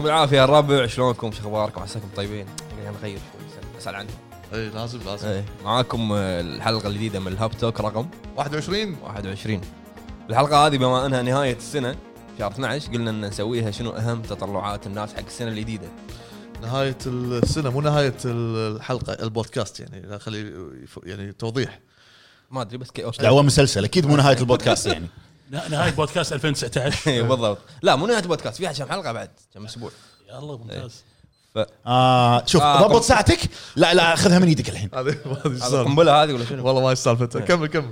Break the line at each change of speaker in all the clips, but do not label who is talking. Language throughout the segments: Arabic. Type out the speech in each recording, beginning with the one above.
العافيه يا الربع شلونكم شو اخباركم عساكم طيبين خلينا نغير شوي اسال عنهم
اي لازم لازم
إيه. معاكم آه، الحلقه الجديده من الهاب توك رقم
21
21 الحلقه هذه بما انها نهايه السنه شهر 12 قلنا ان نسويها شنو اهم تطلعات الناس حق السنه الجديده
نهاية السنة مو نهاية الحلقة البودكاست يعني لا خلي يف- يعني توضيح
ما ادري بس كي اوكي
دعوه مسلسل اكيد مو نهايه البودكاست يعني
ن- نهايه بودكاست 2019
إيه، بالضبط لا مو نهايه البودكاست فيها كم حلقه بعد كم اسبوع
يلا ممتاز
آه شوف
آه،
ضبط
طب-
ساعتك لا لا خذها من ايدك الحين
هذه ما ادري إيش
هذا
صار.
القنبله هذه ولا شنو
والله ما ايش سالفته كمل كمل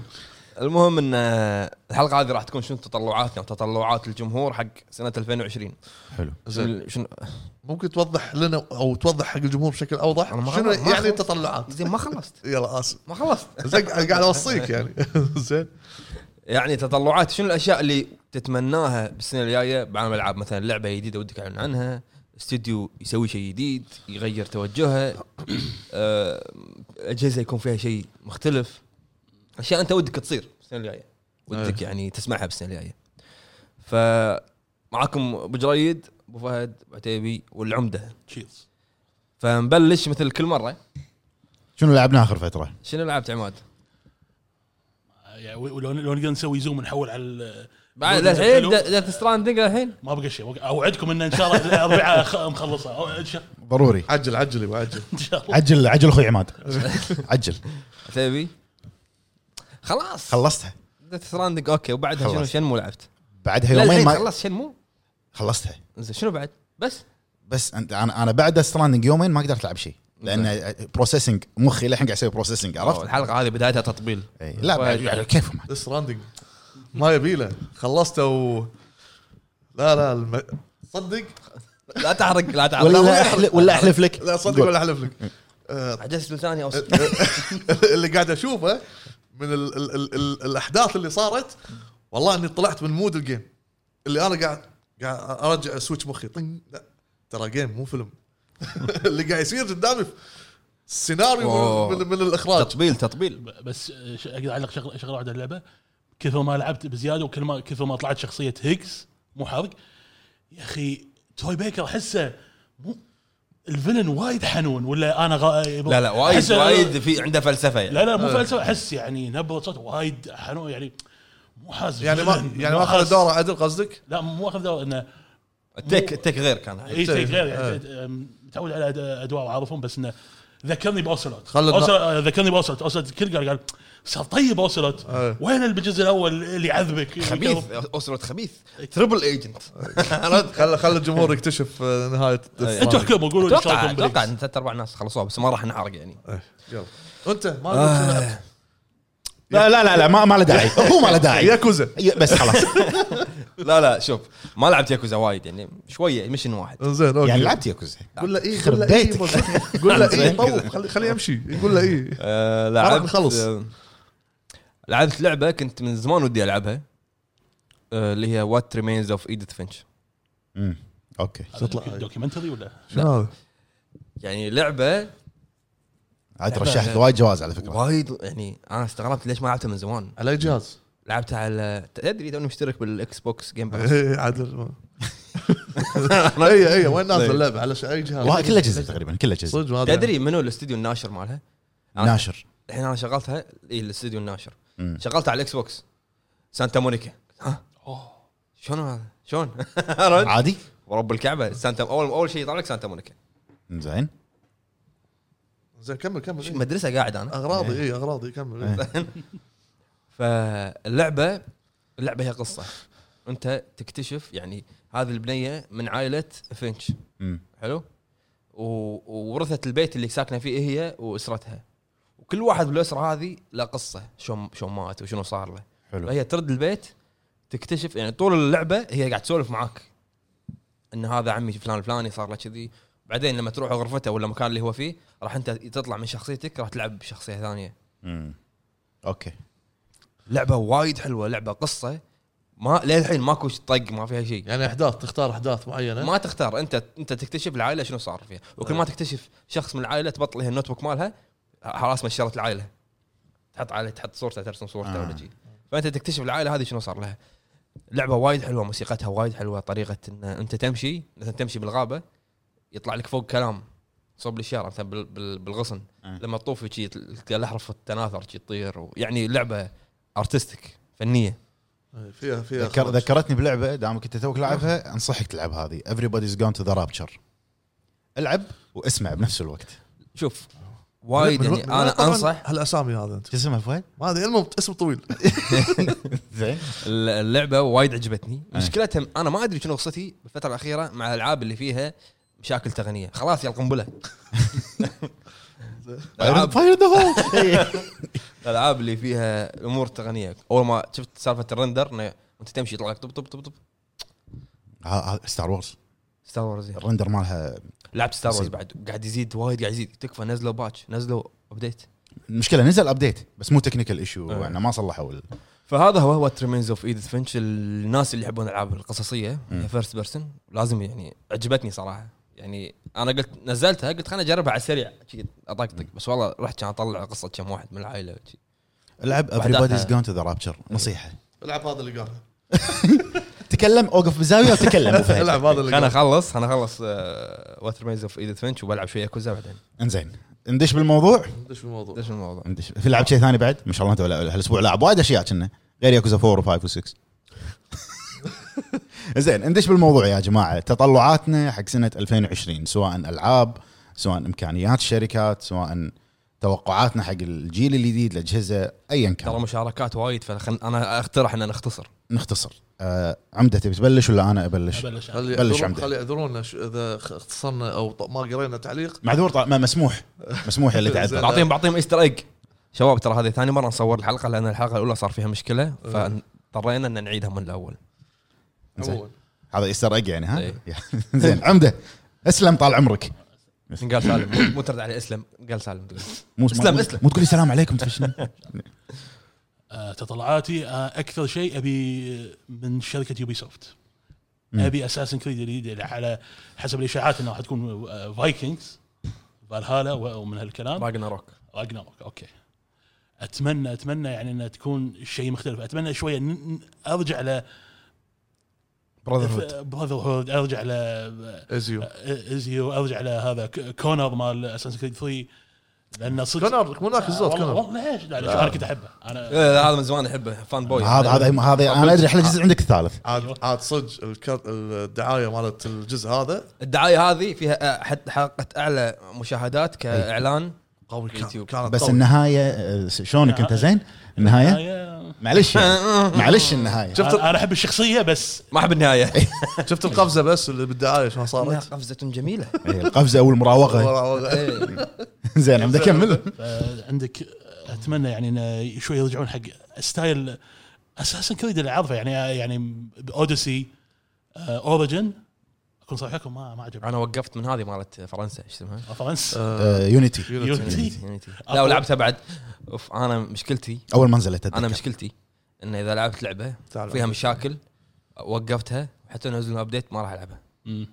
المهم ان آه، الحلقه هذه راح تكون شنو تطلعاتنا وتطلعات الجمهور حق سنه 2020
حلو
زين
شنو
ممكن توضح لنا او توضح حق الجمهور بشكل اوضح
أنا ما-
شنو
ما- ما-
يعني التطلعات
زين ما خلصت
يلا اسف
ما خلصت
زين قاعد اوصيك يعني زين
يعني تطلعات شنو الاشياء اللي تتمناها بالسنه الجايه بعالم الالعاب مثلا لعبه جديده ودك اعلن عنها استوديو يسوي شيء جديد يغير توجهه آه، اجهزه يكون فيها شيء مختلف اشياء انت ودك تصير بالسنه الجايه ودك يعني تسمعها بالسنه الجايه ف معاكم ابو جريد ابو فهد ابو عتيبي والعمده
تشيرز
فنبلش مثل كل مره
شنو لعبنا اخر فتره؟
شنو لعبت عماد؟
يعني ولو لو نقدر نسوي زوم نحول على ال-
بعد
الوزن
الحين
الحلو.
ديث ستراندنج الحين
ما بقى شيء بقى- اوعدكم ان ان شاء الله الاربعاء خ- مخلصه أو- ان شاء
ضروري
عجل عجل يبا عجل
إن شاء الله
عجل عجل اخوي عماد عجل
عتيبي خلاص
خلصتها
ديث ستراندنج اوكي وبعدها شنو
خلصت.
شنمو لعبت؟
بعدها
لا
يومين
الحين
ما
خلص شنمو؟
خلصتها
زين شنو بعد؟ بس
بس أنت- انا انا بعد ستراندنج يومين ما قدرت العب شيء لان بروسيسنج مخي للحين قاعد يسوي بروسيسنج
أوه،
عرفت؟ إيه.
الحلقه هذه بدايتها تطبيل
إي، لا بعد- بعد- كيف ما
ذس راندنج ما يبي له خلصته و... لا لا الم... صدق
لا تحرق لا تحرق
ولا أحلف- ولا احلف لك
لا صدق
قول.
ولا احلف لك آه،
عجزت لساني اوصل
اللي قاعد اشوفه من ال ال ال ال الاحداث اللي صارت والله اني طلعت من مود الجيم اللي انا قاعد قاعد ارجع سويتش مخي طن لا ترى جيم مو فيلم اللي قاعد يصير قدامي سيناريو
أوه.
من, من الاخراج
تطبيل تطبيل
ب- بس آه، ش- اقدر اعلق شغله شغله واحده على اللعبه كثر ما لعبت بزياده وكل ما كثر ما طلعت شخصيه هيكس مو حرق يا اخي توي بيكر احسه مو الفلن وايد حنون ولا انا غا...
لا لا وايد
أحسه-
وايد في عنده فلسفه يعني
لا لا مو
آه.
فلسفه احس يعني نبره صوت وايد حنون يعني مو حاسس
يعني ما
فلن،
يعني
مو
ما اخذ
حاسس-
دوره إيه، عدل قصدك؟
لا مو اخذ دوره انه
التك التك غير كان
اي شيء غير يعني
آه.
ت- أم، متعود على أد- ادوار وعارفهم بس انه ذكرني باوسلوت
خلد-
أوسل- آه، ذكرني باوسلوت اوسلوت الكل قال قال صار طيب اوسلوت
آه.
وين اللي بالجزء الاول اللي يعذبك
خبيث اسره خبيث تربل ايجنت
خل خل الجمهور يكتشف آه، نهايه
انتوا احكموا قولوا لي إيش
اتوقع
رايكم
اتوقع
بالإكس.
ان ثلاث اربع ناس خلصوها بس ما راح نحرق يعني
إيه، يلا انت ما قلت
آه،
شنو لعبت.
لا لا لا, لا ما, ما له داعي هو ما له داعي
ياكوزا
ي- بس خلاص
لا لا شوف ما لعبت ياكوزا وايد يعني شويه مشن واحد
زين اوكي
يعني لعبت ياكوزا
قول له ايه
يخرب
قول له ايه
بيتك.
مضبوط. قول له ايه طوف خلي- خليه يمشي قول له ايه
آه،
ما
لعبت
راح نخلص.
آه، لعبت لعبه كنت من زمان ودي العبها آه، اللي هي وات ريمينز اوف ايديث فينش
أمم، اوكي
تطلع-
دوكيومنتري ولا
شنو هذا؟
يعني لعبه
عاد رشحت وايد جواز على فكره
وايد يعني انا استغربت ليش ما لعبتها من زمان
على اي جهاز؟
لعبتها على تدري توني مشترك بالاكس بوكس جيم باس
إيه، عادل اي اي وين نازل اللعبه على ش- اي جهاز؟
والله كله جزء تقريبا كله جزء
صدق ما أدري.
تدري منو الاستديو الناشر مالها؟
ناشر
الحين انا شغلتها اي الاستديو الناشر
أمم.
شغلتها على الاكس بوكس سانتا مونيكا ها
أوه.
شلون هذا؟ شلون؟ عرفت؟
عادي
ورب الكعبه سانتا اول اول شيء يطلع لك سانتا مونيكا
زين
زين كمل كمل
شو
إيه.
مدرسه قاعد انا
اغراضي اي اغراضي كمل إيه.
فاللعبه اللعبه هي قصه انت تكتشف يعني هذه البنيه من عائله فينش
أمم.
حلو و- وورثت البيت اللي ساكنه فيه هي واسرتها وكل واحد بالاسره هذه له قصه شلون شلون مات وشنو صار له
حلو
فهي ترد البيت تكتشف يعني طول اللعبه هي قاعد تسولف معاك ان هذا عمي فلان الفلاني صار له كذي بعدين لما تروح غرفته ولا المكان اللي هو فيه راح انت تطلع من شخصيتك راح تلعب بشخصيه ثانيه
أمم. اوكي
لعبه وايد حلوه لعبه قصه ما للحين ماكو طق ما فيها شيء
يعني احداث تختار احداث معينه
ما تختار انت انت تكتشف العائله شنو صار فيها وكل ما تكتشف شخص من العائله تبطل هي النوت بوك مالها خلاص مشرت العائله تحط عائله تحط صورته ترسم صورته
آه.
ولا شيء فانت تكتشف العائله هذه شنو صار لها لعبه وايد حلوه موسيقتها وايد حلوه طريقه ان انت تمشي مثلا تمشي بالغابه يطلع لك فوق كلام صوب الاشاره مثلا بال- بال- بالغصن
أه.
لما تطوف شي تل- تلقى الاحرف تتناثر شي تطير و- يعني لعبه ارتستيك فنيه
إيه، فيها فيها
ذكر
خرج.
ذكرتني بلعبه دامك انت توك لاعبها انصحك تلعب هذه everybody's gone to the rapture العب واسمع بنفس الوقت
شوف وايد
من-
يعني
من وين
انا
طبعاً
انصح
هالاسامي هذا انت
شو اسمها فهد؟
ما ادري المهم اسم طويل
زين
الل- اللعبه وايد عجبتني
أي.
مشكلتها انا ما ادري شنو قصتي بالفتره الاخيره مع الالعاب اللي فيها مشاكل تقنيه خلاص يا القنبله ألعاب-
Fire in the hole.
الالعاب اللي فيها الامور التقنيه اول ما شفت سالفه الرندر إنه وانت تمشي يطلع لك طب طب طب طب
ها- ها- ستار وورز
ستار وورز
الرندر مالها
يعني. لعبت ستار وورز
مصيبة.
بعد قاعد يزيد وايد قاعد يزيد تكفى نزلوا باتش نزلوا ابديت
المشكله نزل ابديت بس مو تكنيكال ايشو
أه.
يعني ما صلحوا ال-
فهذا هو هو ريمينز اوف ايدث فينش الناس اللي يحبون الالعاب القصصيه
مم.
فيرست بيرسون لازم يعني عجبتني صراحه يعني انا قلت نزلتها قلت خليني اجربها على السريع شي اطقطق بس والله رحت كان اطلع قصه كم واحد من العائله وشي.
العب everybody's gone to the rapture نصيحه
العب هذا اللي قالها
تكلم اوقف بزاويه وتكلم أبو فهد.
العب هذا اللي
خليني
قالها
اخلص خليني اخلص وات ريمينز اوف ايدث فينش وبلعب شويه كوزا بعدين
انزين ندش بالموضوع
ندش بالموضوع
ليش الموضوع
ندش في لعب شيء ثاني بعد ما شاء الله انت ولا- هالاسبوع لاعب وايد اشياء كنا غير ياكوزا 4 و5 و6 زين ندش بالموضوع يا جماعه تطلعاتنا حق سنه 2020 سواء العاب سواء امكانيات الشركات سواء توقعاتنا حق الجيل الجديد الاجهزه ايا
ترى
كان
مشاركات وايد فانا اقترح ان نختصر
نختصر آه عمده تبي تبلش ولا انا ابلش؟
ابلش
خلي
بلش
يعذرون-
عمدة.
خلي يعذرونا ش- اذا خ- اختصرنا او ط- ما قرينا تعليق
معذور طبعاً، ما مسموح مسموح اللي
زين.
تعذر
بعطيهم بعطيهم ايستر ايج شباب ترى هذه ثاني مره نصور الحلقه لان الحلقه الاولى صار فيها مشكله فاضطرينا ان نعيدها من الاول
زين.
عموما
هذا ايستر ايج يعني ها؟
إيه.
زين عمده اسلم طال عمرك
قال سالم مو- مو ترد عليه اسلم قال سالم
مو
اسلم،
مو-
اسلم.
مو تقول لي السلام عليكم تفشني
آه، تطلعاتي آه، اكثر شيء ابي من شركه يوبي سوفت
مم.
ابي اساسن كريد الجديد على حسب الاشاعات انها راح تكون فايكنجز فالهالا و- ومن هالكلام
راجنا روك
راجناروك اوكي اتمنى اتمنى يعني انها تكون شيء مختلف اتمنى شويه ن- ن- ارجع ل
براذر هود
براذر هود ارجع ل آه،
ازيو
ازيو ارجع لهذا ك- كونر مال اساسن كريد 3 لانه صدق
كونر مو ذاك الزود
آه، والله-
كونر
والله ليش؟ لا ليش انا كنت احبه انا
إيه، هذا من زمان احبه فان بوي
هذا
يعني
هذا هذا انا ادري احلى جزء عندك الثالث
عاد عاد صدق الك- الدعايه مالت الجزء هذا
الدعايه هذه فيها آه، أحد حلقه اعلى
إيه.
مشاهدات كاعلان
قوي كان
يوتيوب.
كانت
بس
قوي.
النهايه آه، شلونك انت زين؟ النهايه
أنا-
معلش يعني. معلش النهايه
شفت
انا احب الشخصيه بس
ما احب النهايه
إيه.
شفت القفزه بس اللي بالدعايه شلون
إنها
صارت إيه،
قفزه جميله
إيه، القفزه او المراوغه
ورا- ورا.
زين عمده كمل
آه، عندك اتمنى يعني انه شوي يرجعون حق ستايل اساسا كريد اللي اعرفه يعني يعني آه، اوديسي اوريجن اكون صريح لكم ما ما عجبني
انا وقفت من هذه مالت فرنسا ايش اسمها؟
فرنس
آه،
آه، يونيتي
يونيتي
لا ولعبتها بعد اوف انا مشكلتي
اول ما نزلت أتذكر.
انا مشكلتي ان اذا لعبت لعبه
تعال.
فيها مشاكل وقفتها حتى لو نزلوا ابديت ما راح العبها
مم.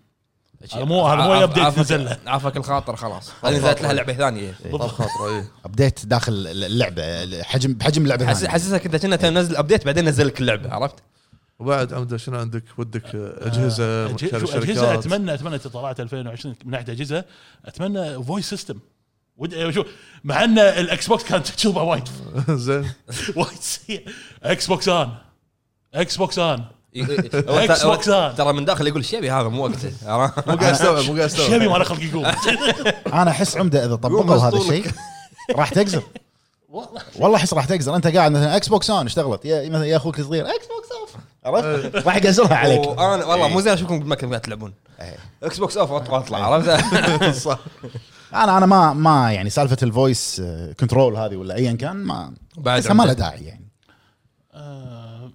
هذا مو- هذا مو أي
عاف-
update
عافك-
نزل له.
عافك الخاطر خلاص هذه نزلت لها لعبه ثانيه
طب إيه. خاطره اي
ابديت داخل اللعبه الحجم بحجم اللعبه
حس-
الثانية.
حسسها كنت كنا تنزل ابديت بعدين نزل لك اللعبه عرفت؟
وبعد عمده شنو عندك ودك آه، اجهزه
أج-
مكان
شو اجهزه
الشركات
اتمنى اتمنى تطلعت 2020 من ناحيه اجهزه اتمنى فويس سيستم ود... آه، شو مع ان الاكس بوكس كانت تجربه وايد
زين
وايد سيئه اكس بوكس ان اكس بوكس ان
ي-
إيه.
ي- هو
إكس
ترى-
بوكس هذا.
ترى من داخل يقول شبي هذا مو وقته عرفت؟
مو قاعد استوعب مو قاعد استوعب
شبي ما له خلق يقوم
انا احس عمده اذا
يوم
طبقوا هذا
مسطولك.
الشيء راح تقزر
والله
والله احس راح تقزر انت قاعد مثلا اكس بوكس اون اشتغلت يا مثلا يا اخوك الصغير اكس بوكس اوف عرفت راح يقزرها عليك
وانا والله
إيه.
مو زين اشوفكم بالمكان قاعد تلعبون
إيه.
اكس بوكس اوف اطلع اطلع عرفت؟
صح
انا انا ما ما يعني سالفه الفويس آه، كنترول هذه ولا ايا كان ما
بعد
بس ما له داعي يعني
آه،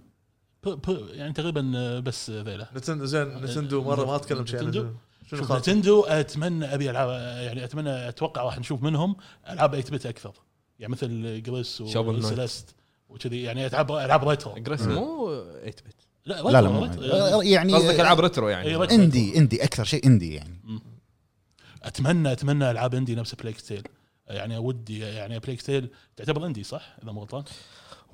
ب- ب- يعني تقريبا آه، بس ذيلا
نتن- زين نتندو مره ما اتكلم شيء عن
نتندو؟
نتندو. شنو
شوف
خاطر
نتندو اتمنى ابي العاب يعني اتمنى اتوقع راح نشوف منهم العاب 8 بت اكثر يعني مثل جريس
Shovel Knight.
وسلست وكذي يعني العاب العاب ريترو
جريس مو 8 بت
لا
لا لا
ريترو،
مو-
ريترو.
يعني
قصدك العاب ريترو
إيه،
يعني
ريترو.
اندي اندي اكثر شيء اندي يعني
اتمنى اتمنى العاب اندي نفس بلاك تيل يعني ودي يعني بلاك تيل تعتبر اندي صح اذا مو غلطان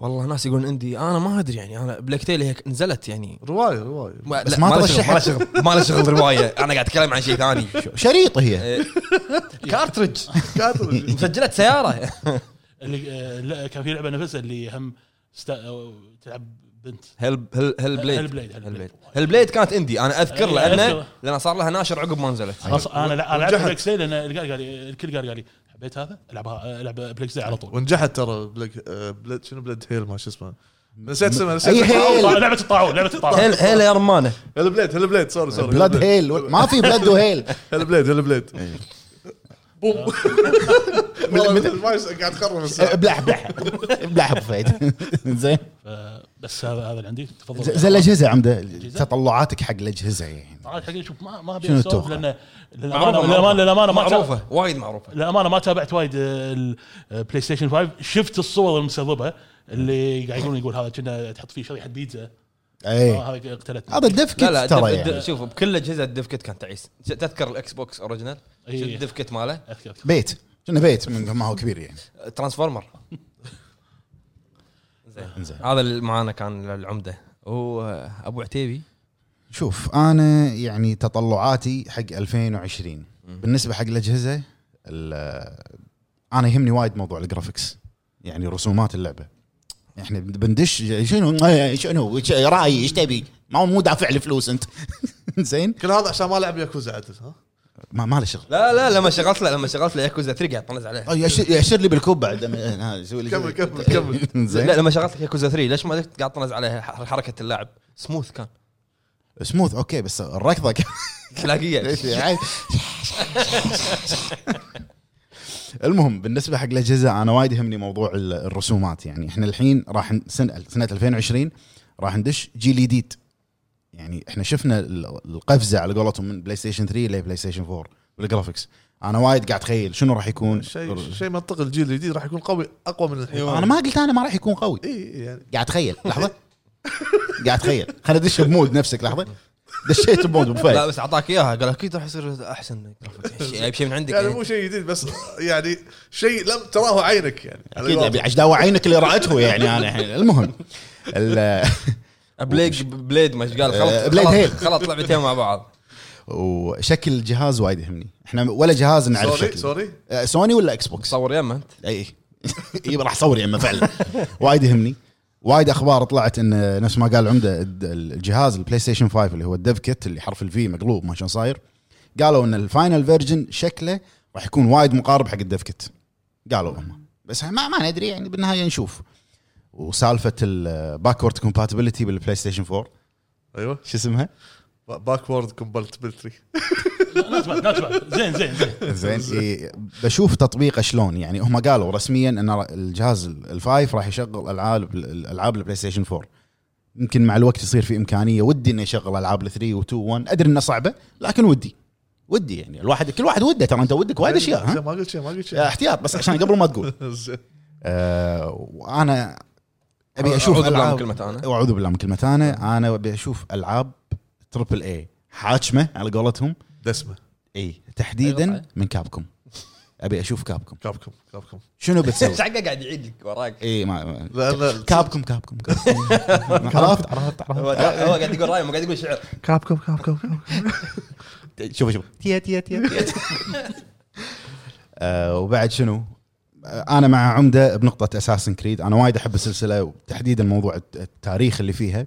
والله ناس يقولون عندي انا ما ادري يعني انا بلاك تيل هيك نزلت يعني
روايه روايه
بس
لا،
ما
له شغل،
ترشحت.
ما له شغل ما له شغل روايه انا قاعد اتكلم عن شيء ثاني
شريط هي
إيه، كارترج
كاتب
مسجلات سياره
اللي آه، لا كان في لعبه نفسها اللي هم ستا... أو تلعب بنت
هل هل هل بليد
هل بليد، هل
هل بليد
بليد.
هل بليد كانت اندي انا اذكر
إيه،
لانه
أذكر.
لان صار لها ناشر عقب ما نزلت
أص- انا لا انا لعبت
ونجحت.
بلاك سيل لان القال قال لي الكل قال قال لي حبيت هذا العبها العب بلاك سيل على طول
ونجحت ترى بلك آه، بلد شنو بلد هيل ما شو اسمه نسيت اسمه نسيت
أيوة.
أي
اسمه.
هيل؟
طبعاً لعبه الطاعون لعبه الطاعون
هل هل يا رمانه
هيل بليد هيل بليد سوري سوري
بلاد هيل ما في بلاد وهيل
هيل بليد هيل بليد بوم والله مثل ما يس- قاعد خرب الساعه
بلح بلح بلح ابو فهد زين
ف- بس هذا هذا اللي عندي تفضل
ز- زين الاجهزه عمده تطلعاتك حق الاجهزه يعني
طبعاً حقيقي شوف ما ما ابي
شنو
اسولف
تتوقع؟
لان للامانه
معروفة،
للامانه للامانه ما
معروفه وايد معروفه
للامانه ما تابعت وايد البلاي ستيشن 5 شفت الصور المسربه اللي قاعد يقولون يقول هذا كنا تحط فيه شريحه بيتزا
اي
آه، هذا قتلتني
إيه. هذا الدف
لا لا
كيت
الدف-
ترى
الد-
يعني
شوف بكل اجهزه الديف كيت كان تعيس تذكر الاكس بوكس اوريجنال
إيه.
الديف كيت ماله
اذكر
بيت كنا بيت من ما هو كبير يعني
ترانسفورمر
زين
هذا اللي معانا كان العمده هو ابو عتيبي
شوف انا يعني تطلعاتي حق 2020 بالنسبه حق الاجهزه ال- انا يهمني وايد موضوع الجرافكس يعني رسومات اللعبه احنا بندش يعني شنو إيه، شنو ش- رايي ايش تبي؟ ما هو مو دافع الفلوس انت زين
كل هذا عشان ما لعب ياكوزا عدل ها
ما, ما له شغل
لا لا لما شغلت له لما شغلت له ياكوزا 3 قاعد طنز عليه
أي يأشر, ياشر لي بالكوب بعد أما- ها، يسوي لي
كمل
كذا.
كمل كمل
زين
لا لما شغلت لك ياكوزا 3 ليش ما قاعد طنز عليها ح- حركه اللاعب سموث كان
سموث اوكي بس الركضه كان-
اخلاقيه
ليش يعني؟ المهم بالنسبه حق الاجهزه انا وايد يهمني موضوع ال- الرسومات يعني احنا الحين راح ن- سنه سنه 2020 راح ندش جيل جديد يعني احنا شفنا ال- القفزه على قولتهم من بلاي ستيشن 3 لبلاي ستيشن 4 بالجرافكس انا وايد قاعد اتخيل شنو راح يكون
شيء شيء منطقي الجيل الجديد راح يكون قوي اقوى من الحين
انا ما قلت انا ما راح يكون قوي
اي يعني
قاعد اتخيل لحظه قاعد اتخيل خلينا ندش بمود نفسك لحظه دشيت بمود أبو فهد.
لا بس اعطاك اياها قال اكيد راح يصير احسن جرافيك. شيء- اي شيء من عندك
يعني
يعني
مو شيء جديد بس يعني شيء لم تراه عينك يعني على
اكيد
الواقع.
ابي عشداوة عينك اللي رايته يعني انا الحين المهم ال-
بليد بليد ما ايش قال
آه،
خلط
بليد
خلط-
هيل.
خلط لعبتين مع بعض
وشكل الجهاز وايد يهمني احنا ولا جهاز نعرف
سوري
شكله
سوري
آه، سوني ولا اكس بوكس
تصور يمه انت
اي اي إيه. راح صوري اما فعلا وايد يهمني وايد اخبار طلعت ان نفس ما قال عمده الد- الجهاز البلاي ستيشن 5 اللي هو الديف كيت اللي حرف الفي مقلوب ما شلون صاير قالوا ان الفاينل فيرجن شكله راح يكون وايد مقارب حق الديف كيت قالوا هم بس ما ما ندري يعني بالنهايه نشوف وسالفه الباكورد كومباتبلتي بالبلاي ستيشن 4
ايوه
شو اسمها؟
باكورد كومبلتبلتري
ناتبع ناتبع زين زين زين
زين إي، بشوف تطبيقه شلون يعني هم قالوا رسميا ان ر- الجهاز ال- الفايف راح يشغل العاب الالعاب البلاي ستيشن 4 يمكن مع الوقت يصير في امكانيه ودي انه يشغل العاب ال 3 و 2 و 1 ادري انها صعبه لكن ودي ودي يعني الواحد كل واحد وده ترى انت ودك وايد اشياء ها
ما قلت شيء ما قلت شيء
احتياط بس عشان قبل ما تقول
زين.
آه وانا ابي اشوف
أعوذ بالله من
ألعاب-
كلمة أنا.
واعوذ بالله من كلمه انا انا ابي اشوف العاب تربل اي حاكمه على قولتهم
دسمه
اي
أيوة
تحديدا
صحيح.
من كابكم ابي اشوف كابكم
كابكم كابكم
شنو بتسوي؟
ايش حقه قاعد يعيد لك وراك
اي ما- ما
لا
كابكم كابكم كابكم. عرفت عرفت
هو
عرفت
قاعد- هو قاعد يقول راي مو قاعد يقول شعر
كابكم كابكم كابكم
شوف شوف تيا تيا تيا تيا. آه، وبعد شنو؟ آه، انا مع عمده بنقطه اساسن كريد انا وايد احب السلسله وتحديدا موضوع الت- التاريخ اللي فيها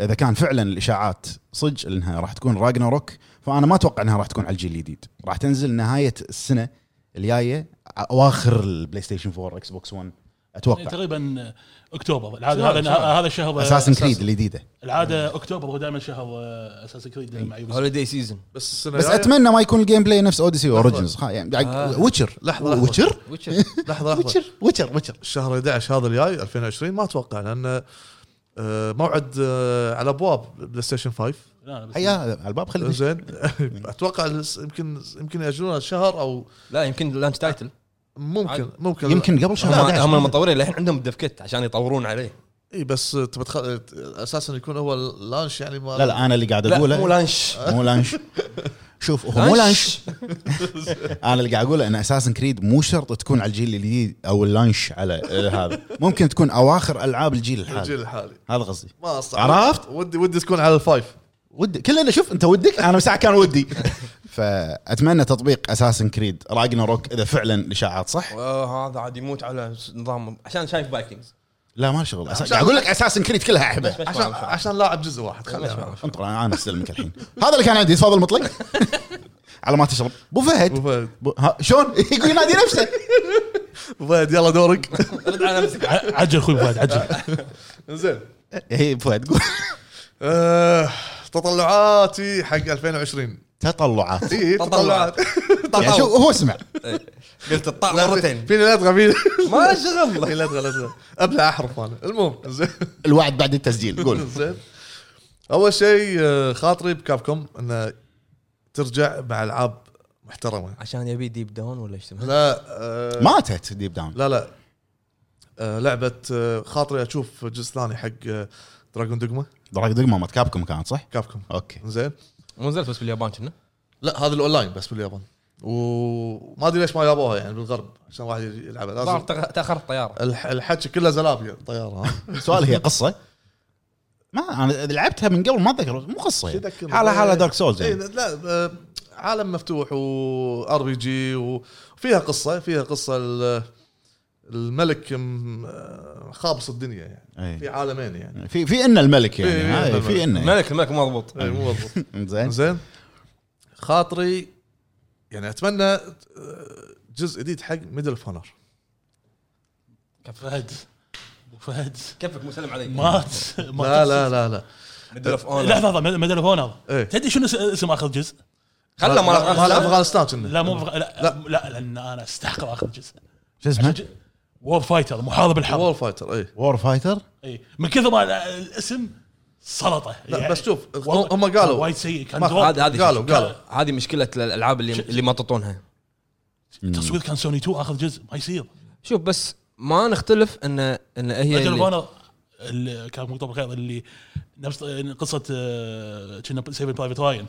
اذا كان فعلا الاشاعات صدق انها راح تكون راجناروك فانا ما اتوقع انها راح تكون على الجيل الجديد راح تنزل نهايه السنه الجايه اواخر البلاي ستيشن 4 اكس بوكس 1 اتوقع
تقريبا اكتوبر العاده
شهر-
هذا
شهر.
هذا الشهر
اساسن كريد الجديده
العاده اكتوبر هو دائما شهر آه، اساسا كريد مع يوبيسوفت.
هوليدي سيزون
بس السنه
بس
الجاية-
اتمنى ما يكون الجيم بلاي نفس اوديسي اوريجنز يعني
آه.
ويتشر
لحظة، لحظة.
ويتشر
ويتشر
لحظه لحظه
ويتشر ويتشر ويتشر
الشهر 11 هذا الجاي 2020 ما اتوقع لان آه، موعد آه، على ابواب بلاي ستيشن 5
لا، بس-
هيا على الباب خلي
زين اتوقع الس- يمكن يمكن ياجلونها شهر او يمكن-
لا يمكن لانش تايتل
ممكن ممكن
يمكن قبل شهر
هم
11.
هم المطورين للحين عندهم الديف كيت عشان يطورون عليه
اي بس تبى تخ- اساسا يكون هو اللانش يعني ما
لا لا انا اللي قاعد
لا
اقوله
مو لانش
مو لانش شوف هو مو لانش انا اللي قاعد اقوله ان اساسن كريد مو شرط تكون على الجيل الجديد او اللانش على هذا ممكن تكون اواخر العاب الجيل
الجيل
الحالي
الحالي
هذا قصدي
ما أصعب.
عرفت؟
ودي ودي تكون على الفايف
ودي كلنا شوف انت ودك انا ساعه كان ودي فاتمنى تطبيق اساسن كريد راجنا روك اذا فعلا الاشاعات صح
آه، هذا عاد يموت على نظام عشان شايف فايكنجز
لا ما له شغل أسا- قاعد اقول لك اساسن كريد كلها احبه
مش
عشان
فاهم.
عشان لاعب جزء واحد
مش
خليها
فاهم.
انطر انا انا استلمك الحين هذا اللي كان عندي تفضل مطلق على ما تشرب ابو فهد
أبو فهد.
بو- ها، شلون يقول ينادي نفسه
أبو فهد يلا دورك
رد على نفسك
ع- عجل اخوي فهد عجل
زين
هي ابو إيه، فهد قول
آه، تطلعاتي حق 2020
تطلعات
اي تطلعات
يعني شو هو سمع
قلت الطاق مرتين
فيني لا ادغى فيني
ما شغل
فيني لا ادغى لا ادغى ابلع احرف انا المهم زين
الوعد بعد التسجيل قول
زين اول شيء آه، خاطري بكابكم انه ترجع مع العاب محترمه
عشان يبي ديب داون ولا ايش تبي؟
لا آه،
ماتت ديب داون
لا لا آه، لعبه آه، خاطري اشوف جزء ثاني حق آه، دراجون دوجما
دراج دقمه مات كابكم كانت صح؟
كابكم
اوكي
زين
مو نزلت بس باليابان كنا
لا هذا الاونلاين بس باليابان وما ادري ليش ما جابوها يعني بالغرب عشان واحد يلعبها
ظهر
لازم
تأخ- تاخرت طياره
الح- الحكي كله زلابيا طياره ها
سؤال هي قصه ما انا لعبتها من قبل ما اتذكر مو قصه يعني.
يذكرني.
حالها حالها دارك سولز
اي
يعني.
لا آه، عالم مفتوح وار بي جي وفيها قصه فيها قصه ال- الملك م- آه، خابص الدنيا يعني
إيه.
في عالمين يعني
في في ان الملك يعني
إيه، إيه،
هاي، في انه
الملك الملك مضبوط
إيه، مو مضبوط
زين
زين خاطري يعني اتمنى آه، جزء جديد حق ميدل اوف اونر
فهد أبو فهد
كفك مسلم عليك
مات مات
لا لا لا لا
ميدل اوف اونر
لحظه لحظه ميدل اوف اونر
إيه.
تدري شنو اس- اسم اخر جزء؟
خله مال
مال
افغانستان
افغانستان كنا
لا مو بغ... لا, لا لا لان انا استحقر اخر جزء
شو اسمه؟
وور فايتر محارب الحرب
وول فايتر اي
وور فايتر
اي من كثر ما ال- الاسم سلطه
لا،
يعني
بس شوف،
والله
هم قالوا.
وايد سيء كان
ما-
دور-
هذه هذه
قالوا- قالوا.
هذه مشكله الالعاب اللي اللي ما تطونها
تصوير كان سوني 2 اخر جزء ما يصير
شوف بس ما نختلف ان ان
يعني-
هي
ميدل اوف
اللي-
اونر اللي كان مكتوب بالخير اللي نفس قصه آه، كنا سيفن برايفت راين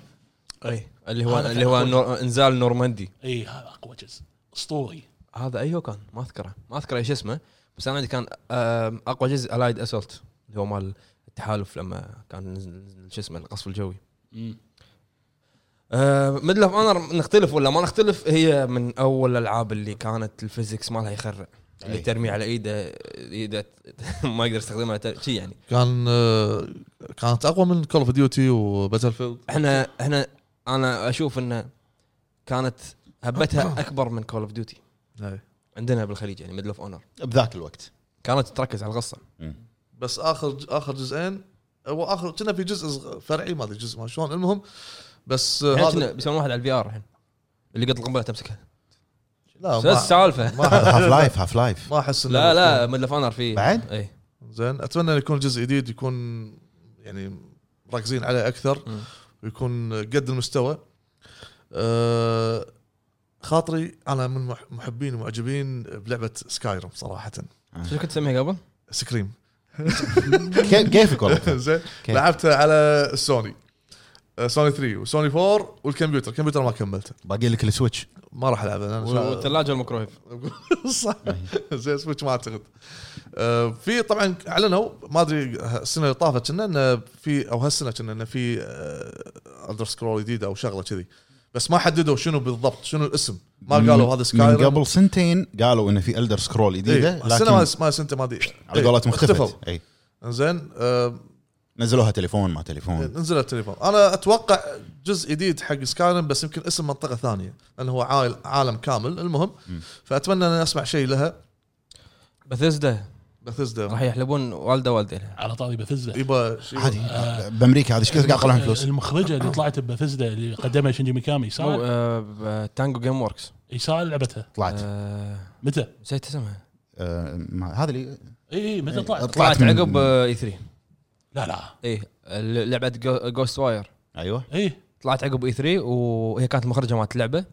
أي، اللي هو
هذا
اللي هو
كان
النور- انزال نورماندي
اي هذا اقوى إيه، جزء اسطوري
هذا ايوه كان ما اذكره ما اذكره ايش اسمه بس انا عندي كان آم، اقوى جزء الايد اسولت اللي هو مال التحالف لما كان نزل- نزل شو اسمه القصف الجوي ميدل اوف اونر نختلف ولا ما نختلف هي من اول الالعاب اللي كانت الفيزكس مالها يخرع اللي
أي.
ترمي على ايده ايده ما يقدر يستخدمها تر- شي يعني
كان آه، كانت اقوى من كول اوف ديوتي وباتل فيلد
احنا احنا انا اشوف انه كانت هبتها اكبر من كول اوف ديوتي عندنا بالخليج يعني ميدل اوف اونر
بذاك الوقت
كانت تركز على القصه
بس اخر اخر جزئين هو اخر كنا في جزء صغ- فرعي ما ادري جزء ما شلون المهم بس آه،
الحين
هذا
يعني إيه، كنا بيسوون واحد على الفي ار الحين اللي قد القنبله تمسكها
لا
شو
ما-
السالفه
هاف لايف هاف لايف
ما احس إنه
لا لا ميدل اوف اونر في إيه.
بعد؟
اي
زين اتمنى إنه يكون جزء جديد يكون يعني مركزين عليه اكثر
مم.
ويكون قد المستوى أه خاطري انا من مح- محبين ومعجبين بلعبه سكايروم صراحه
شو كنت تسميها قبل؟
سكريم
كي- كيفك والله
زين
كيف؟
لعبتها على السوني آه، سوني 3 وسوني 4 والكمبيوتر الكمبيوتر ما كملته
باقي لك السويتش
ما راح العبها انا
والثلاجه والميكرويف
صح
إيه.
زين سويتش ما اعتقد آه، في طبعا اعلنوا ما ادري السنه اللي طافت كنا انه في او هالسنه كنا انه في آه، الدر سكرول جديده او شغله كذي بس ما حددوا شنو بالضبط شنو الاسم ما آه، قالوا هذا سكاي
من قبل سنتين قالوا انه في الدر سكرول جديده
إيه. السنه
لكن
ما ما سنه ما ادري
على قولتهم اختفت اي
زين آه،
نزلوها تليفون ما تليفون
نزل التليفون انا اتوقع جزء جديد حق سكايرم بس يمكن اسم منطقه ثانيه لانه هو عائل عالم كامل المهم فاتمنى ان اسمع شيء لها
بثزدا
بثزدا
راح يحلبون والده والدينها
على طاري بثزدا
يبا شيء-
عادي بامريكا هذا ايش كثر قاعد يطلعون فلوس
المخرجه اللي طلعت ببثزدا اللي قدمها شنجي ميكامي
مو
ساعه
آه، ب- آه، تانجو جيم وركس
اي ساعه لعبتها
طلعت
آه،
متى؟
نسيت اسمها
آه، ما- هذا اللي
اي اي
إيه.
متى طلعت؟
طلعت
طلعت
من-
عقب آه، E اي 3
لا لا
اي ال- لعبه جوست واير
ايوه
اي
آه، طلعت عقب اي 3 وهي كانت المخرجه مالت اللعبه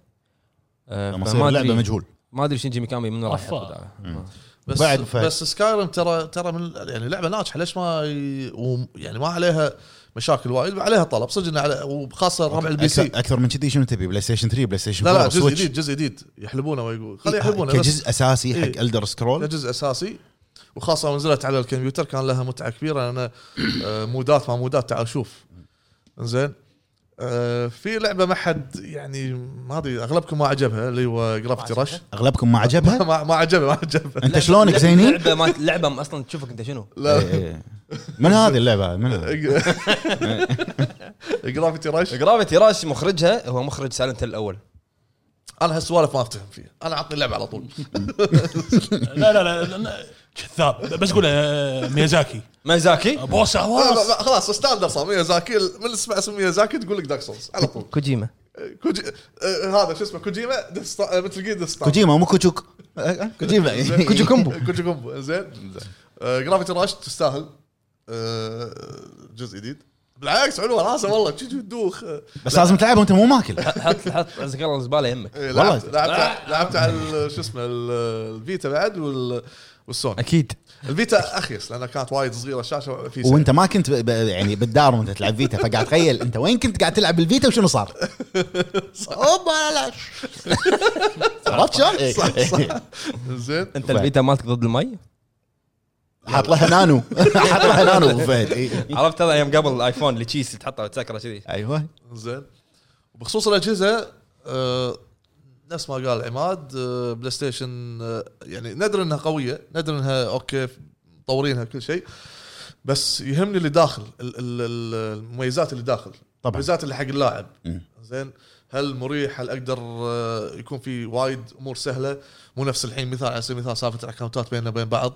آه،
مصير
فما
اللعبه
أدري-
مجهول
ما ادري شنجي ميكامي من راح
أفا.
ياخذها.
بس
بعد
بعد
فهد.
بس سكايرم ترى ترى من يعني لعبه ناجحه ليش ما ي... وم- يعني ما عليها مشاكل وايد عليها طلب صدق إنه على وخاصه ربع البي سي
أكثر- اكثر من كذي شنو تبي بلاي ستيشن 3 بلاي ستيشن
لا
4
لا جزء
سويتش.
جديد جزء جديد يحلبونه ويقول خليه
إيه،
يحلبونه بس
كجزء اساسي حق
إيه.
الدر سكرول
كجزء اساسي وخاصه نزلت على الكمبيوتر كان لها متعه كبيره انا آه، مودات ما مودات تعال شوف زين آه، في لعبه ما حد يعني ما ادري اغلبكم ما عجبها اللي هو جرافيتي رش
اغلبكم ما عجبها
ما ما عجبها ما عجبها
انت شلونك زينين؟
لعبه ما لعبه اصلا تشوفك انت شنو
لا إيه،
إيه، إيه. من هذه اللعبه من هذه؟
جرافيتي رش
جرافيتي راش مخرجها هو مخرج سالنت الاول
انا هالسوالف ما افتهم فيها انا اعطي اللعبه على طول
لا لا لا, لا كذاب بس قول آه، ميازاكي
مازاكي
بوس آه،
لا، لا،
حواس
لا، خلاص ستاندر صار ميازاكي من اسمع اسم ميازاكي تقول لك دارك سولز على طول أه،
كوجيما
كوجي آه، هذا شو اسمه كوجيما أه، مثل جير ديث ستار
كوجيما مو كوجوك
إيه،
كوجيما إيه.
كوجو كومبو
كوجي كومبو زين آه، جرافيتي راش تستاهل آه، جزء جديد بالعكس حلوه راسه والله تشي- تشي تدوخ آه،
بس لازم تلعبها وانت مو ماكل
حط حط عزك الله الزباله يهمك
إيه،
والله.
لعبت لعبت لعبت على ال- شو اسمه ال- الفيتا بعد وال- والسوني
اكيد
الفيتا اخيس لانها كانت وايد صغيره الشاشه في
وانت ما كنت ب- ب- يعني بالدار وانت تلعب فيتا فقاعد تخيل انت وين كنت قاعد تلعب بالفيتا وشنو صار؟ اوبا لا عرفت شلون؟ إيه.
صح، صح. زين
انت البيتا مالتك ضد المي
حاط لها نانو حاط لها نانو أبو فهد إيه.
عرفت هذا ايام قبل الايفون اللي تشيس تحطه تسكره كذي
ايوه
زين بخصوص الاجهزه آه، نفس ما قال عماد آه، بلاي ستيشن آه، يعني ندري انها قويه ندري انها اوكي مطورينها كل شيء بس يهمني اللي داخل ال- ال- ال- المميزات اللي داخل
طبعا
المميزات اللي حق اللاعب
مم.
زين هل مريح هل اقدر آه، يكون في وايد امور سهله مو نفس الحين مثال على سبيل المثال سالفه الاكونتات بيننا وبين بعض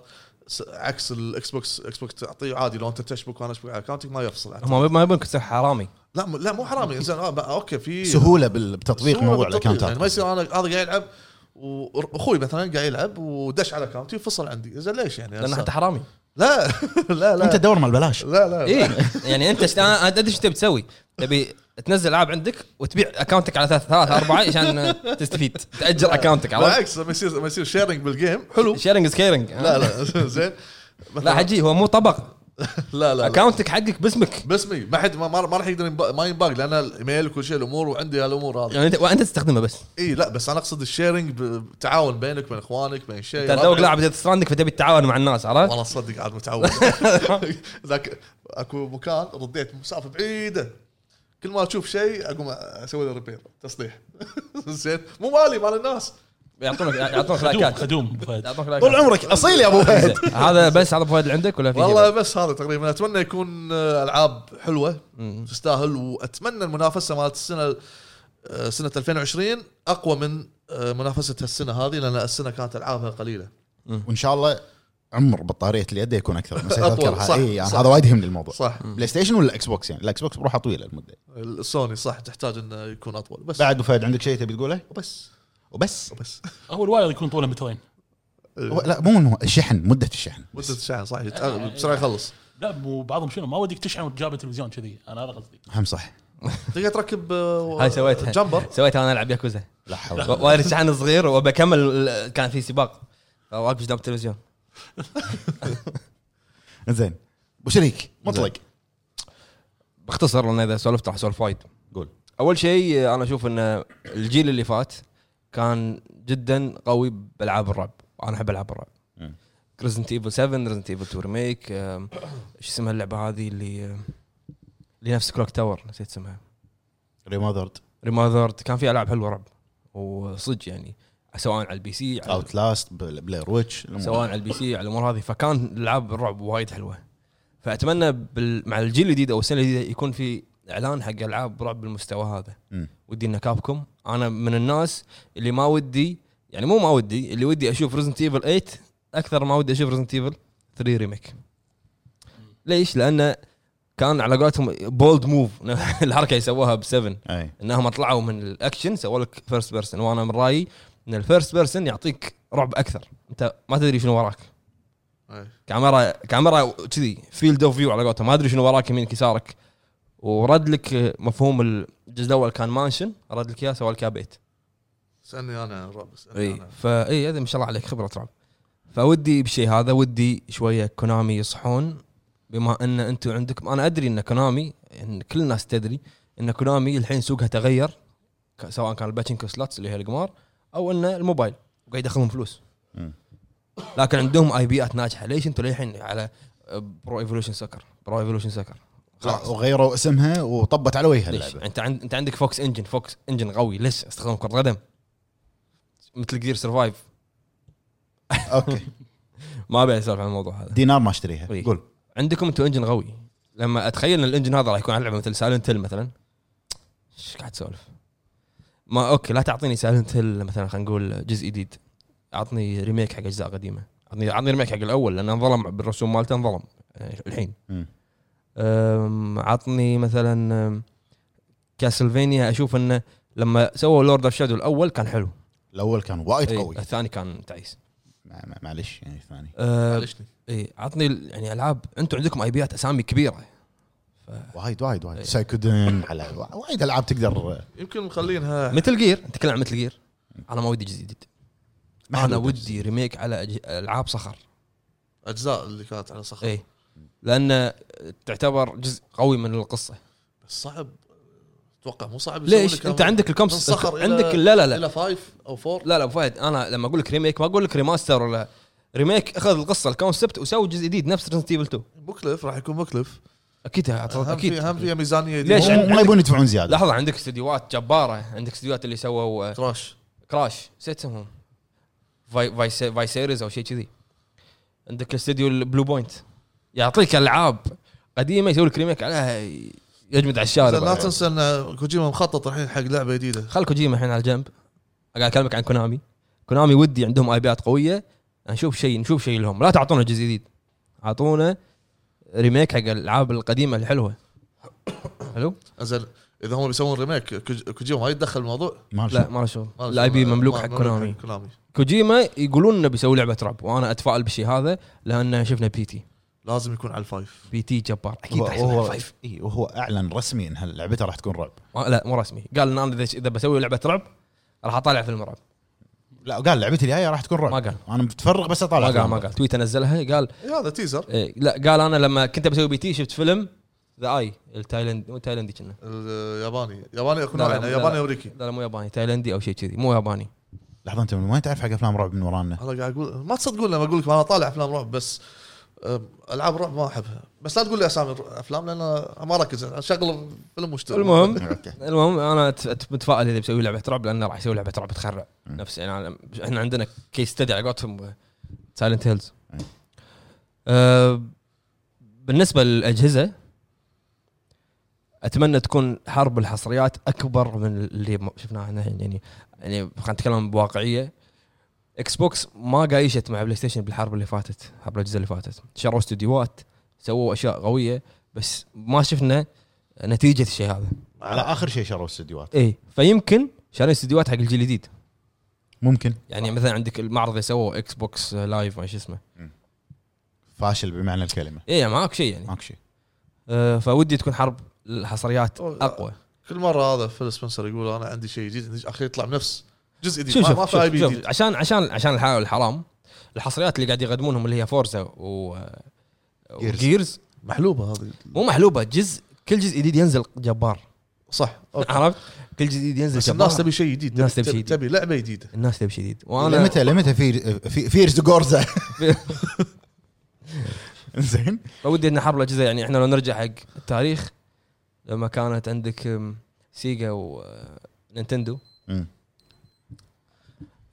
س- عكس الاكس بوكس اكس بوكس تعطيه عادي لو انت تشبك وانا اشبك على اكونتك ما يفصل
هم ما يبونك تصير حرامي
لا م- لا مو حرامي انزين آه، بقى، اوكي في
سهوله بال- بتطبيق
سهولة
موضوع
بالتطبيق. يعني ما
الاكونتات
يصير انا هذا قاعد يلعب واخوي مثلا قاعد يلعب ودش على اكونتي فصل عندي زين ليش يعني
لان
هسه؟
انت حرامي
لا لا
انت
لا
دور مال بلاش
لا لا
اي يعني انت شت... انا أنا ادري ايش تبي تسوي تبي تنزل العاب عندك وتبيع اكونتك على ثلاث ثلاث اربعه عشان تستفيد تاجر اكونتك عرفت
بالعكس لما يصير لما يصير شيرنج بالجيم حلو
شيرنج از كيرنج
لا لا زين
لا حجي هو مو طبق
لا لا لا
اكونتك حقك باسمك
باسمي ما حد ما, ما ما راح يقدر ينب- ما ينباق لان الايميل وكل شيء الامور وعندي هالامور هذه
يعني انت وانت تستخدمه بس
اي لا بس انا اقصد الشيرنج بالتعاون بينك وبين اخوانك بين شيء
انت توك لاعب ديث ستراندنج فتبي تتعاون مع الناس عرفت؟
والله تصدق عاد متعود ذاك اكو مكان رديت مسافه بعيده كل ما اشوف شيء اقوم اسوي له ريبير تصليح زين مو مالي مال الناس
يعطونك يعطونك
خدوم
لايكات
خدوم أبو فهد
يعطونك
طول
لايكات
عمرك اصيل يا ابو فهد
زين. هذا بس هذا فوائد اللي عندك ولا في
والله
شيء؟
بس هذا تقريبا اتمنى يكون آه، العاب حلوه
مم.
تستاهل واتمنى المنافسه مالت السنه آه، سنه 2020 اقوى من آه، منافسه هالسنه هذه لان السنه كانت العابها قليله
وان شاء الله عمر بطاريه اليد يكون اكثر نسيت
أطول، صح،
اذكرها اي يعني
صح.
هذا وايد يهمني الموضوع
صح
بلاي ستيشن ولا اكس بوكس يعني الاكس بوكس بروحه طويله المده
السوني صح تحتاج انه يكون اطول بس
بعد ابو فهد عندك شيء تبي تقوله
بس
وبس
بس
هو الواير يكون طوله مترين
هو- لا مو المهم الشحن مده الشحن
مده الشعر صح يتأ- بسرعه يخلص
لا مو بعضهم شنو ما ودك تشحن وتجاب التلفزيون كذي انا هذا قصدي
هم صح
تقدر تركب آه،
هاي سويتها
جمبر
سويتها وانا العب ياكوزا
لا حول
و- وارد شحن صغير وبكمل ال- كان في سباق واقف قدام التلفزيون
زين ابو شريك مطلق
باختصر لان اذا سولفت راح اسولف وايد
قول
اول شيء انا اشوف ان الجيل اللي فات كان جدا قوي بالعاب الرعب انا احب العاب الرعب
مم.
ريزنت ايفل 7 ريزنت ايفل 2 ريميك أم، شو اسمها اللعبه هذه اللي اللي نفس كلوك تاور نسيت اسمها
ريماذرد
ريماذرد كان في العاب حلوه رعب وصدق يعني سواء على البي سي على
اوت لاست بلاير ويتش
سواء على البي سي على الامور هذه فكان العاب الرعب وايد حلوه فاتمنى بال... مع الجيل الجديد او السنه الجديده يكون في اعلان حق العاب رعب بالمستوى هذا
مم.
ودي ان كابكم انا من الناس اللي ما ودي يعني مو ما ودي اللي ودي اشوف ريزنت ايفل 8 اكثر ما ودي اشوف ريزنت ايفل 3 ريميك ليش؟ لانه كان على قولتهم بولد موف الحركه اللي سووها ب 7
اي
انهم طلعوا من الاكشن سووا لك فيرست بيرسون وانا من رايي ان الفيرست بيرسون يعطيك رعب اكثر انت ما تدري شنو وراك
أي.
كاميرا كاميرا كذي فيلد اوف فيو على قولتهم ما ادري شنو وراك يمينك يسارك ورد لك مفهوم الجزء الاول كان مانشن رد لك اياه سوى لك إياه بيت
اسالني انا يا رب اسالني
اي
انا
فاي هذا ما شاء الله عليك خبره رعب فودي بشيء هذا ودي شويه كونامي يصحون بما ان انتم عندكم انا ادري ان كونامي ان كل الناس تدري ان كونامي الحين سوقها تغير ك- سواء كان الباتشنكو سلاتس اللي هي القمار او انه الموبايل وقاعد يدخلهم فلوس
مم.
لكن عندهم اي بيات ناجحه ليش انتم للحين على برو ايفولوشن سكر برو ايفولوشن سكر
وغيروا اسمها وطبت على وجهها
ليش؟
اللعبه
انت عند... انت عندك فوكس انجن فوكس انجن قوي ليش استخدام كره قدم مثل جير سرفايف
اوكي
ما ابي اسولف عن الموضوع هذا
دينار ما اشتريها
إيه.
قول
عندكم انتم انجن قوي لما اتخيل ان الانجن هذا راح يكون على لعبه مثل سايلنت هيل مثلا ايش قاعد تسولف؟ ما اوكي لا تعطيني سايلنت هيل مثلا خلينا نقول جزء جديد اعطني ريميك حق اجزاء قديمه اعطني اعطني ريميك حق الاول لانه انظلم بالرسوم مالته انظلم آه، الحين
مم.
أم، عطني مثلا أم، كاسلفينيا اشوف انه لما سووا لورد اوف شادو الاول كان حلو
الاول كان وايد قوي
إيه، الثاني كان تعيس
مع- مع- معلش يعني ثاني
أه
معلشني
اي عطني ال- يعني العاب انتم عندكم اي بيات اسامي كبيره
وايد وايد وايد
إيه.
سايكودن على وا- وايد العاب تقدر
يمكن مخلينها
مثل جير نتكلم عن مثل جير انا ما ودي جزء جديد انا
محدودة.
ودي ريميك على أج- العاب صخر
اجزاء اللي كانت على صخر
اي لان تعتبر جزء قوي من القصه
بس صعب اتوقع مو صعب يسوي لك
ليش انت عندك
من
الكمس
صخر إلى-
عندك لا لا لا
الى فايف او فور
لا لا ابو فهد انا لما اقول لك ريميك ما اقول لك ريماستر ولا ريميك اخذ القصه الكونسبت وسوي جزء جديد نفس ريزنت ايفل 2
مكلف راح يكون مكلف
اكيد
هم
اكيد
في هم فيها ميزانيه
ليش؟
مو-
عن-
ما يبون يدفعون زياده
لحظه عندك استديوهات جباره عندك استديوهات اللي سووا آه،
كراش
كراش نسيت اسمهم فاي فاي فاي سيريز او شيء كذي عندك استديو البلو بوينت يعطيك العاب قديمه يسوي لك ريميك عليها يجمد على الشارع
زين لا
بعد.
تنسى ان كوجيما مخطط الحين حق لعبه جديده
خل كوجيما الحين على جنب قاعد اكلمك عن كونامي كونامي ودي عندهم اي بيات قويه نشوف شيء نشوف شيء لهم لا تعطونا جزء جديد اعطونا ريميك حق الالعاب القديمه الحلوه حلو
زين اذا هم بيسوون ريميك كوج- كوجيما ما يتدخل الموضوع
ما له
لا
شغل.
ما له شغل
ما له
الاي
شغل.
بي مملوك
ما-
حق كونامي
كونامي
كوجيما يقولون انه بيسوي لعبه رعب وانا اتفائل بالشيء هذا لان شفنا بي تي
لازم يكون على الفايف
بي تي جبار اكيد
هو-
راح
هو-
يسوي فايف
إيه، وهو اعلن رسمي ان لعبته راح تكون رعب
آه، لا مو رسمي قال ان انا اذا إذا بسوي لعبه رعب راح اطالع فيلم رعب
لا قال لعبتي الجايه راح تكون رعب
ما قال
انا متفرغ بس اطالع
ما قال
فيلم.
ما قال تويتر نزلها قال
إيه، هذا تيزر
إيه لا قال انا لما كنت بسوي بي تي شفت فيلم ذا اي التايلند مو تايلندي كنا
الياباني ياباني اكون
لا، لا،
علينا
لا،
ياباني
لا.
امريكي
لا لا مو ياباني تايلندي او شيء كذي مو ياباني
لحظه انت من وين تعرف حق افلام رعب من ورانا؟
انا قاعد اقول ما تصدقون لما اقول لكم انا طالع افلام رعب بس أم، العاب رعب ما احبها بس لا تقول لي اسامي الر- افلام لان أنا ما ركز شغل فيلم واشتغل
المهم
اوكي
المهم انا أت- أت- متفائل اذا بيسوي لعبه رعب لانه راح يسوي لعبه رعب تخرع نفس يعني أنا- احنا عندنا كيس ستدي على قولتهم سايلنت هيلز
أي.
آه، بالنسبه للاجهزه اتمنى تكون حرب الحصريات اكبر من اللي م- شفناها احنا الحين، يعني يعني خلينا نتكلم بواقعيه اكس بوكس ما قايشت مع بلاي ستيشن بالحرب اللي فاتت حرب الاجهزه اللي فاتت شروا استديوهات سووا اشياء قويه بس ما شفنا نتيجه الشيء هذا
على اخر شيء شروا استديوهات
اي إيه. فيمكن شارين استديوهات حق الجيل الجديد
ممكن
يعني مثلا عندك المعرض اللي سووه اكس بوكس لايف ما شو اسمه
فاشل بمعنى الكلمه
اي معاك شيء يعني
ماك شيء
آه فودي تكون حرب الحصريات
أوه، آه،
اقوى
كل مره هذا فيل سبنسر يقول انا عندي شيء جديد اخي يطلع بنفس جزء جديد
شوف
ما, ما
شوف,
في اي بي
شوف,
جديد
شوف عشان عشان عشان الحلال والحرام الحصريات اللي قاعد يقدمونهم اللي هي فورزا و
Gears.
جيرز
محلوبه هذه
مو محلوبه جزء كل جزء جديد ينزل جبار
صح أوكي.
عرفت كل جزء جديد ينزل
بس
جبار
الناس تبي شيء جديد
الناس تبي شيء جديد.
تبي لعبه جديده
الناس تبي شيء جديد وانا
لمتى إيه، لمتى في في فيرز جورزا زين
فودي ان حرب الاجهزه يعني احنا لو نرجع حق التاريخ لما كانت عندك أم، سيجا آه، ونينتندو
مم.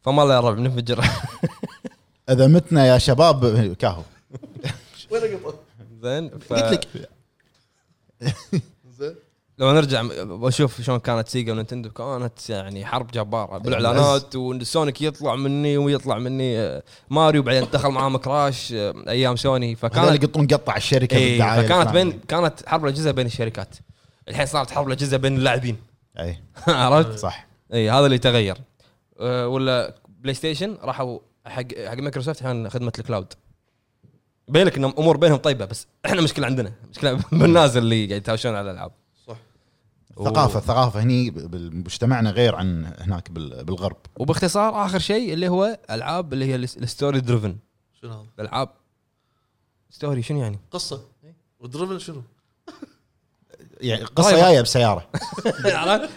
فما الله يا رب ننفجر
اذا متنا يا شباب كاهو
وين اقطع؟
زين ف...
قلت لك
زين
لو نرجع م- بشوف شلون كانت سيجا ونينتندو كانت يعني حرب
إيه،
جباره بالاعلانات وسونيك يطلع مني ويطلع مني آه، ماريو بعدين دخل معاهم كراش آه، ايام سوني
كانت
فكانت
يقطون قطع على الشركه
إيه
بالدعايه
فكانت
الفلانية.
بين كانت حرب الاجهزه بين الشركات الحين صارت حرب الاجهزه بين اللاعبين
اي
عرفت؟
إيه، صح
اي هذا اللي تغير أه ولا بلاي ستيشن راحوا حق حق مايكروسوفت الحين خدمه الكلاود بينك ان امور بينهم طيبه بس احنا مشكله عندنا مشكله بالناس اللي قاعد يتهاوشون على الالعاب
صح.
ثقافه ثقافه هني بمجتمعنا غير عن هناك بال- بالغرب
و- وباختصار اخر شيء اللي هو العاب اللي هي الستوري دريفن
شنو هذا؟
الالعاب ستوري شنو يعني؟
قصه ودريفن شنو؟
يعني
طيب.
قصه جايه بسياره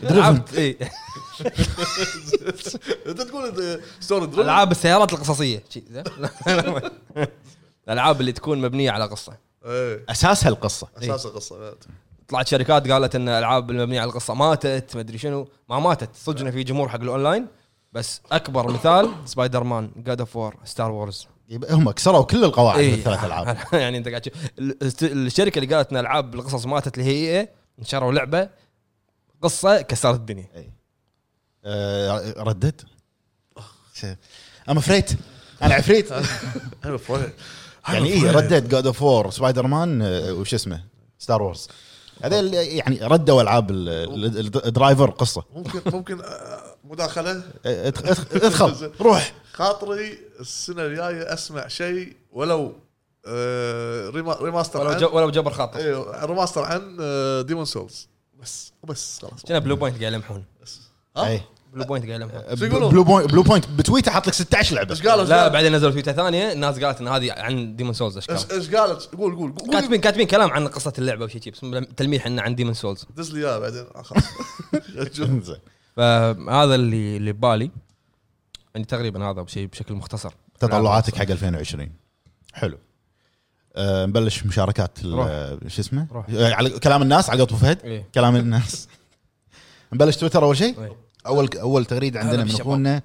عرفت؟ إي.
انت تقول ستوري دريفن
العاب السيارات القصصيه شي، زين؟ الالعاب اللي تكون مبنيه على قصه
ايه
اساسها القصه
إيه.
اساس القصه
طلعت شركات قالت ان الالعاب المبنيه على القصه ماتت ما ادري شنو ما ماتت صدق إن في جمهور حق الاونلاين بس اكبر مثال سبايدر مان جاد اوف وور ستار وورز
يبقى هم كسروا كل القواعد
إيه.
الثلاث العاب
يعني انت قاعد تشوف- ال- الست- الشركه اللي قالت ان العاب القصص ماتت اللي هي ايه نشروا لعبه قصه كسرت الدنيا
آه، ردت ام افريت انا عفريت يعني
إيه
ايه ردت جاد اوف وور سبايدر مان آه، وش اسمه ستار وورز هذول يعني ردوا العاب ال- ال- ال- الدرايفر قصه
ممكن ممكن آه، مداخله
آه، ادخ- ادخ- ادخل روح
خاطري السنه الجايه اسمع شيء ولو آه، ريما- ريماستر
ولو
عن
جو- ولو جبر خاطر
ايوه ريماستر عن ديمون سولز بس بس خلاص
كنا بلو بوينت قاعد يلمحون
ها؟
أي.
بلو بوينت قاعد يلمحون
شو يقولون؟
بلو بوينت بلو بوينت بتويته حاط لك 16 لعبه
ايش قالوا؟ إيش
لا
قالوا؟
بعدين نزلوا تويتر ثانيه الناس قالت ان هذه عن ديمون سولز اشكال
ايش ايش قالت؟ قول قول قول
كاتبين كاتبين كلام عن قصه اللعبه وشي شي بس تلميح انه عن ديمون سولز
دز لي اياها بعدين آه، خلاص شوف.
زين.
فهذا اللي اللي ببالي يعني تقريبا هذا بشيء بشكل مختصر
تطلعاتك حق 2020 حلو أه نبلش مشاركات ال-
روح.
آه، شو اسمه
روح.
آه، على كلام الناس على قط فهد
إيه.
كلام الناس نبلش تويتر اول شيء
إيه.
اول اول تغريده عندنا
هلا
من
بالشباب.
اخونا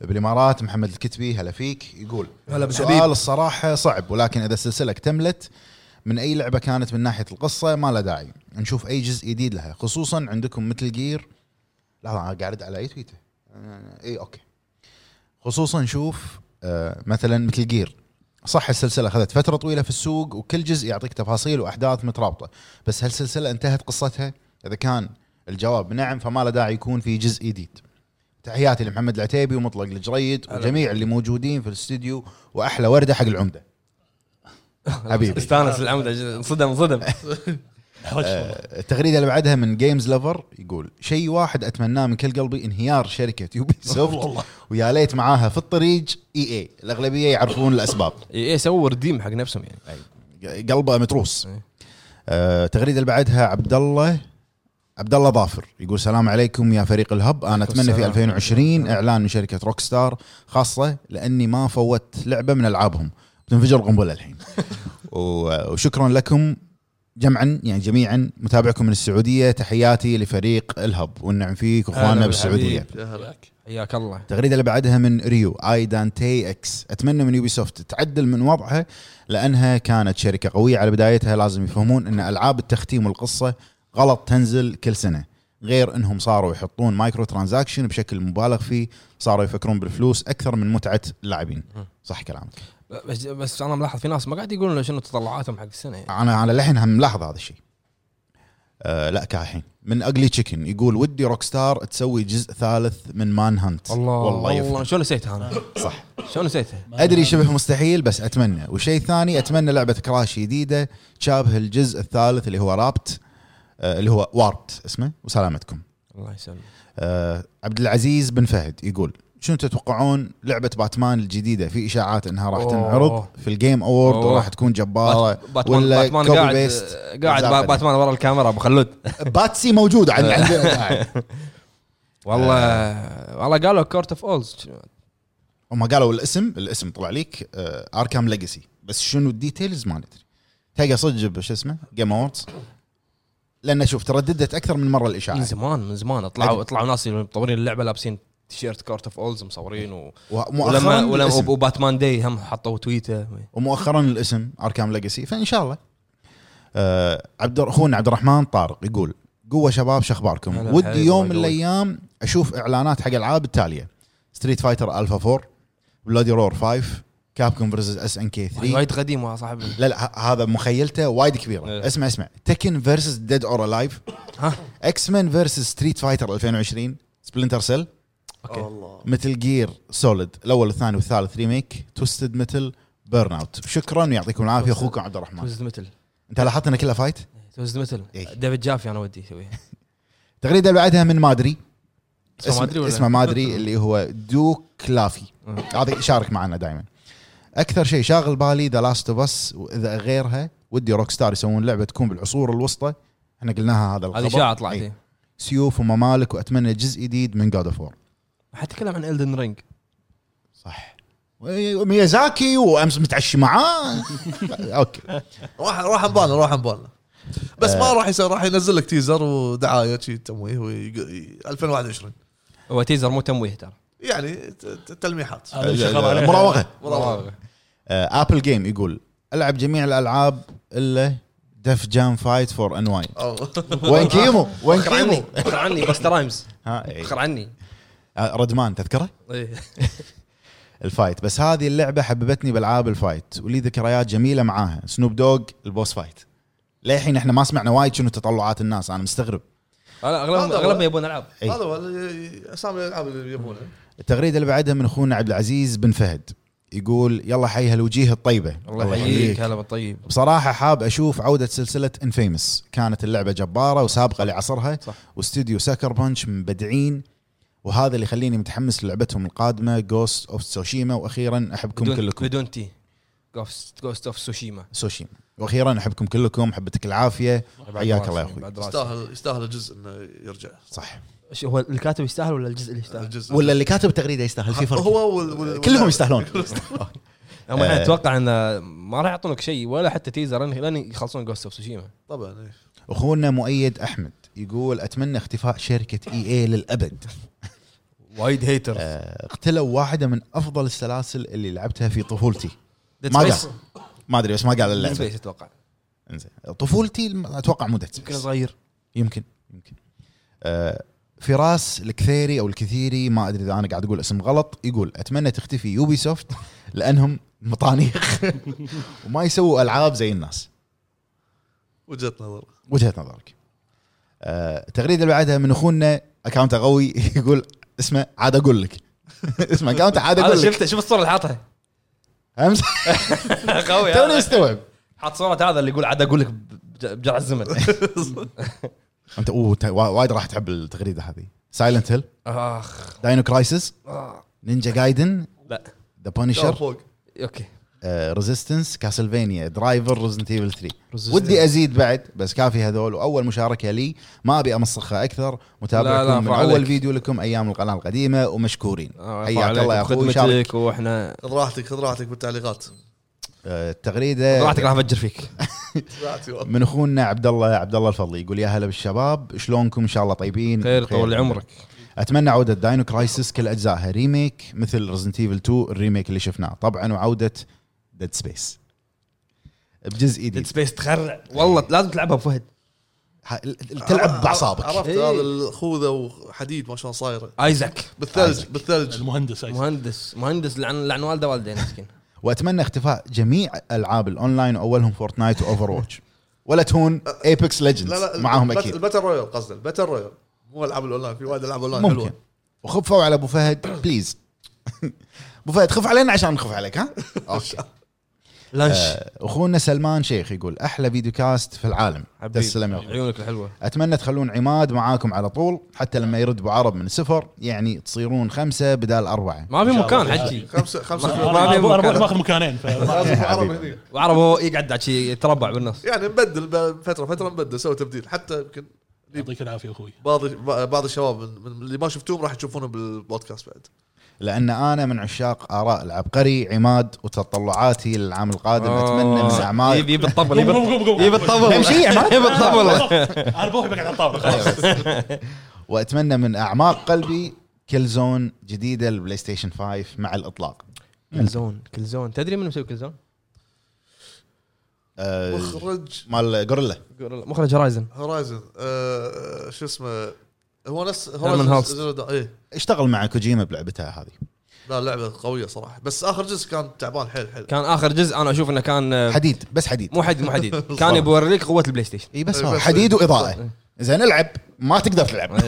بالامارات محمد الكتبي هلا فيك يقول
هلا بالحبيب.
سؤال الصراحه صعب ولكن اذا السلسله اكتملت من اي لعبه كانت من ناحيه القصه ما لها داعي نشوف اي جزء جديد لها خصوصا عندكم مثل جير لحظه انا قاعد أرد على اي تويته اي اوكي خصوصا شوف آه، مثلا مثل جير صح السلسله اخذت فتره طويله في السوق وكل جزء يعطيك تفاصيل واحداث مترابطه بس هل السلسله انتهت قصتها اذا كان الجواب نعم فما له داعي يكون في جزء جديد تحياتي لمحمد العتيبي ومطلق الجريد وجميع اللي موجودين في الاستديو واحلى ورده حق العمده حبيبي
استانس العمده انصدم انصدم
احرجت والله.
آه، التغريده اللي بعدها من جيمز لفر يقول شيء واحد اتمناه من كل قلبي انهيار شركه يوبي سوفت ويا ليت معاها في الطريق اي اي الاغلبيه يعرفون الاسباب
اي إيه، سووا رديم حق نفسهم يعني
قلبه متروس
إيه.
آه، التغريده اللي بعدها عبد الله عبد الله ظافر يقول السلام عليكم يا فريق الهب انا اتمنى في
السلام. إيه.
2020 اعلان من شركه روك ستار خاصه لاني ما فوت لعبه من العابهم بتنفجر قنبله الحين و- وشكرا لكم جمعا يعني جميعا متابعكم من السعوديه تحياتي لفريق الهب والنعم فيك
هلا
اخواننا بالسعوديه
بالحبيب.
يا هلا
وياك.
حياك الله
التغريده اللي بعدها من ريو اي دانتي اكس اتمنى من يوبي سوفت تعدل من وضعها لانها كانت شركه قويه على بدايتها لازم يفهمون ان العاب التختيم والقصه غلط تنزل كل سنه غير انهم صاروا يحطون مايكرو ترانزاكشن بشكل مبالغ فيه صاروا يفكرون بالفلوس اكثر من متعه اللاعبين صح كلامك
بس, بس انا ملاحظ في ناس ما قاعد يقولون شنو تطلعاتهم حق السنه يعني.
انا انا للحين هم ملاحظ هذا الشيء آه لا كاحين من اجلي تشيكن يقول ودي روك ستار تسوي جزء ثالث من مان هانت
الله
والله يفتح.
شلون نسيتها انا
صح
شلون نسيتها
ادري شبه مستحيل بس اتمنى وشيء ثاني اتمنى لعبه كراش جديده تشابه الجزء الثالث اللي هو رابت آه، اللي هو واربت اسمه وسلامتكم
الله يسلمك
آه، عبد العزيز بن فهد يقول شنو تتوقعون لعبه باتمان الجديده في اشاعات انها راح
أوه.
تنعرض في الجيم اوورد
أوه.
وراح تكون جباره
بات- باتمان
ولا
باتمان
كوبي
قاعد
بيست
قاعد
زعفة.
با- باتمان ورا الكاميرا ابو خلود
باتسي موجوده عند- عندنا
والله والله قالوا كورت اوف اولز
هم قالوا الاسم الاسم طلع ليك اركام ليجاسي بس شنو الديتيلز ما ندري تلقى صدق بش اسمه جيم اووردز لان شوف ترددت اكثر من مره
من
الاشاعه
زمان من زمان
أدري.
طلعوا طلعوا ناس اللي مطورين اللعبه لابسين تيشيرت كورت اوف اولز مصورين و... ولما
ومؤخرا
ولما
الاسم.
وباتمان داي هم حطوا تويته
ومؤخرا الاسم اركام ليجاسي فان شاء الله آه، عبد اخونا عبد الرحمن طارق يقول قوه شباب
هلا
شخباركم ودي
حبيبي، الله
يوم من
يقويك.
الايام اشوف اعلانات حق العاب التاليه ستريت فايتر الفا 4 بلادي رور 5 كابكوم فيرسز اس ان كي 3
وايد قديم يا صاحبي
لا لا ه- هذا مخيلته وايد كبيره
إيه.
اسمع اسمع تكن فيرسز ديد اور الايف
ها
اكس مان فيرسز ستريت فايتر 2020 سبلنتر سيل
اوكي
الله
متل جير سوليد الاول والثاني والثالث ريميك توستد متل بيرن اوت شكرا ويعطيكم العافيه اخوكم عبد الرحمن
توزد متل
انت لاحظت ان كلها فايت
توزد متل
إيه.
ديفيد جافي انا ودي يسويها
التغريده اللي بعدها من ما ادري
اسمه ما أدري ولا؟
اسمه ما ادري اللي هو دوك لافي
مم.
هذا يشارك معنا دائما اكثر شيء شاغل بالي ذا لاست اوف اس واذا غيرها ودي روك ستار يسوون لعبه تكون بالعصور الوسطى احنا قلناها هذا الخبر
هذه اشاعه طلعت
إي.
إيه.
سيوف وممالك واتمنى جزء جديد من جاد اوف وور
حتى تكلم عن الدن رينج
صح ميازاكي وامس متعشي معاه اوكي
راح راح نبالنا راح نبالنا بس ما راح يصير راح ينزل لك تيزر ودعايه شي تمويه ويق- ي- 2021
هو تيزر مو تمويه ترى
يعني ت- ت- تلميحات
آه.
هذا اللي شغال عليه
مراوغه
مراوغة.
آه، ابل جيم يقول العب جميع الالعاب الا دف جام فايت فور انواين
أو-
وين كيمو وين
فخر عني
كيمو
فخر عني بس رايمز
ها إي.
فخر عني
آه، ردمان تذكره
إيه.
الفايت بس هذه اللعبه حببتني بالعاب الفايت ولي ذكريات جميله معاها سنوب دوغ البوس فايت للحين احنا ما سمعنا وايد شنو تطلعات الناس انا مستغرب
أنا اغلبهم
هذا هو.
اغلبهم يبون العاب
إي.
هذا هو ال- اسامي الالعاب اللي يبونها
التغريده اللي بعدها من اخونا عبد العزيز بن فهد يقول يلا حي هالوجيه الطيبه
الله يحييك هلا بالطيب
بصراحة حاب أشوف عودة سلسلة انفيمس كانت اللعبة جبارة وسابقة لعصرها
صح.
واستديو سكر بانش مبدعين وهذا اللي يخليني متحمس للعبتهم القادمة جوست اوف تسوشيما واخيرا احبكم
بدون
كلكم
بدون تي جوست اوف سوشيما
سوشيما واخيرا احبكم كلكم حبتك العافية حياك الله يا اخوي
بعد راسي.
يستاهل يستاهل الجزء انه يرجع
صح
شو هو الكاتب يستاهل ولا الجزء اللي يستاهل؟
الجزء
ولا اللي كاتب تغريدة يستاهل في فرق
هو وال- وال-
كلهم يستاهلون
هم
آه.
الحين اتوقع انه ما راح يعطونك شيء ولا حتى تيزر لين لين يخلصون جوست اوف سوشيما
طبعا إيه.
اخونا مؤيد احمد يقول اتمنى اختفاء شركة اي اي للابد
وايد هيتر
آه، اقتلوا واحدة من افضل السلاسل اللي لعبتها في طفولتي
ديد
ما
سبيس
قال. ما ادري بس ما قال
ديد
اللعبة
سبيس اتوقع
انزين طفولتي اتوقع مو ديد
يمكن
سبيس
صغير
يمكن يمكن آه فراس الكثيري او الكثيري ما ادري اذا انا قاعد اقول اسم غلط يقول اتمنى تختفي يوبي سوفت لانهم مطانيخ وما يسووا العاب زي الناس
وجهه نظر
وجهه نظرك آه التغريده اللي بعدها من اخونا اكونت غوي يقول اسمه عاد اقول لك اسمه اكونت عاد
هذا
اقول لك
شفته شوف الصوره اللي حاطها
امس
قوي
توني
هذا.
مستوعب
حاط صوره هذا اللي يقول عاد اقول لك بج- بجرع الزمن
انت اوه ت- وا- وايد راح تحب التغريده هذه سايلنت هيل
اخ
داينو كرايسس
آه.
نينجا جايدن
لا
شر
ذا بانشر
فوق
اوكي
آه، ريزيستنس كاسلفينيا درايفر ريزنت ايفل 3
Resistance.
ودي ازيد بعد بس كافي هذول واول مشاركه لي ما ابي امسخها اكثر
لا، لا،
متابعكم من
فعليك.
اول فيديو لكم ايام القناه القديمه ومشكورين
آه،
حياك
فعليك
الله يا اخوي شارك
خدمتك واحنا
خذ راحتك خذ راحتك بالتعليقات
آه، التغريده
راحتك راح افجر فيك
راحتي والله.
من اخونا عبد الله عبد الله الفضلي يقول يا هلا بالشباب شلونكم ان شاء الله طيبين
خير
بخير.
طول لي عمرك
اتمنى عوده داينو كرايسس كل اجزائها ريميك مثل ريزنت ايفل 2 الريميك اللي شفناه طبعا وعوده ديد سبيس بجزء
ديد
جديد
سبيس تخرع والله لازم تلعبها بفهد
ح- تلعب باعصابك
عرفت
إيه.
هذا الخوذه وحديد ما شلون صايره
ايزاك
بالثلج بالثلج
المهندس أيضاً.
مهندس مهندس لعن لعن والده والدين مسكين
آه، واتمنى اختفاء جميع العاب الاونلاين واولهم فورتنايت واوفر واتش ولا تهون ايبكس
لا
ليجندز
لا
معاهم
البت-
اكيد
الباتل رويال قصده الباتل رويال مو العاب الاونلاين في وايد العاب اونلاين
ممكن
حلوه
وخفوا على ابو فهد بليز ابو فهد خف علينا عشان نخف عليك ها اوكي
لانش
آه، اخونا سلمان شيخ يقول احلى فيديو كاست في العالم
حبيبي.
تسلم يا اخوي
عيونك الحلوه
اتمنى تخلون عماد معاكم على طول حتى لما يرد ابو عرب من السفر يعني تصيرون خمسه بدال اربعه
ما في
إن شاء
مكان
الله.
حجي
خمسه خمسه
ما-
في-
ما-
انا
أبي
أبو- أنا
مكان.
أبو- باخذ مكانين ف-
لازم
يا
عرب
حبيبي.
هني
وعربه يقعد عاد شي يتربع بالنص
يعني نبدل ب- فتره فتره نبدل سوي تبديل حتى يمكن
يعطيك العافيه اخوي
بعض بعض الشباب من- من اللي ما شفتوهم راح تشوفونه بالبودكاست بعد
لان انا من عشاق اراء العبقري عماد وتطلعاتي للعام القادم اتمنى من
آه.
اعمالكم
يبي يبي الطبل يعني.
قوم-
يبي
قوم- قوم- قوم.
يبي الطبل
نمشي يا عماد.
يبي الطبل
انا بروح بقعد على الطاوله خلاص
واتمنى من اعماق قلبي كل زون جديده للبلاي ستيشن 5 مع الاطلاق
كلزون كلزون تدري من مسوي كلزون؟
آه،
مخرج
مال غوريلا
مخرج هورايزن
هورايزن آه، شو اسمه هو نفس
Hearts.
هورايزن Zero Dawn. ايه
اشتغل مع كوجيما بلعبتها هذه
لا لعبه قويه صراحه بس اخر جزء كان تعبان حيل حيل
كان اخر جزء انا اشوف انه كان آه،
حديد بس حديد
مو حديد مو حديد كان يبي يوريك قوه البلاي ستيشن
اي بس
إيه،
هذا
بس-
حديد واضاءه زين العب ما تقدر تلعب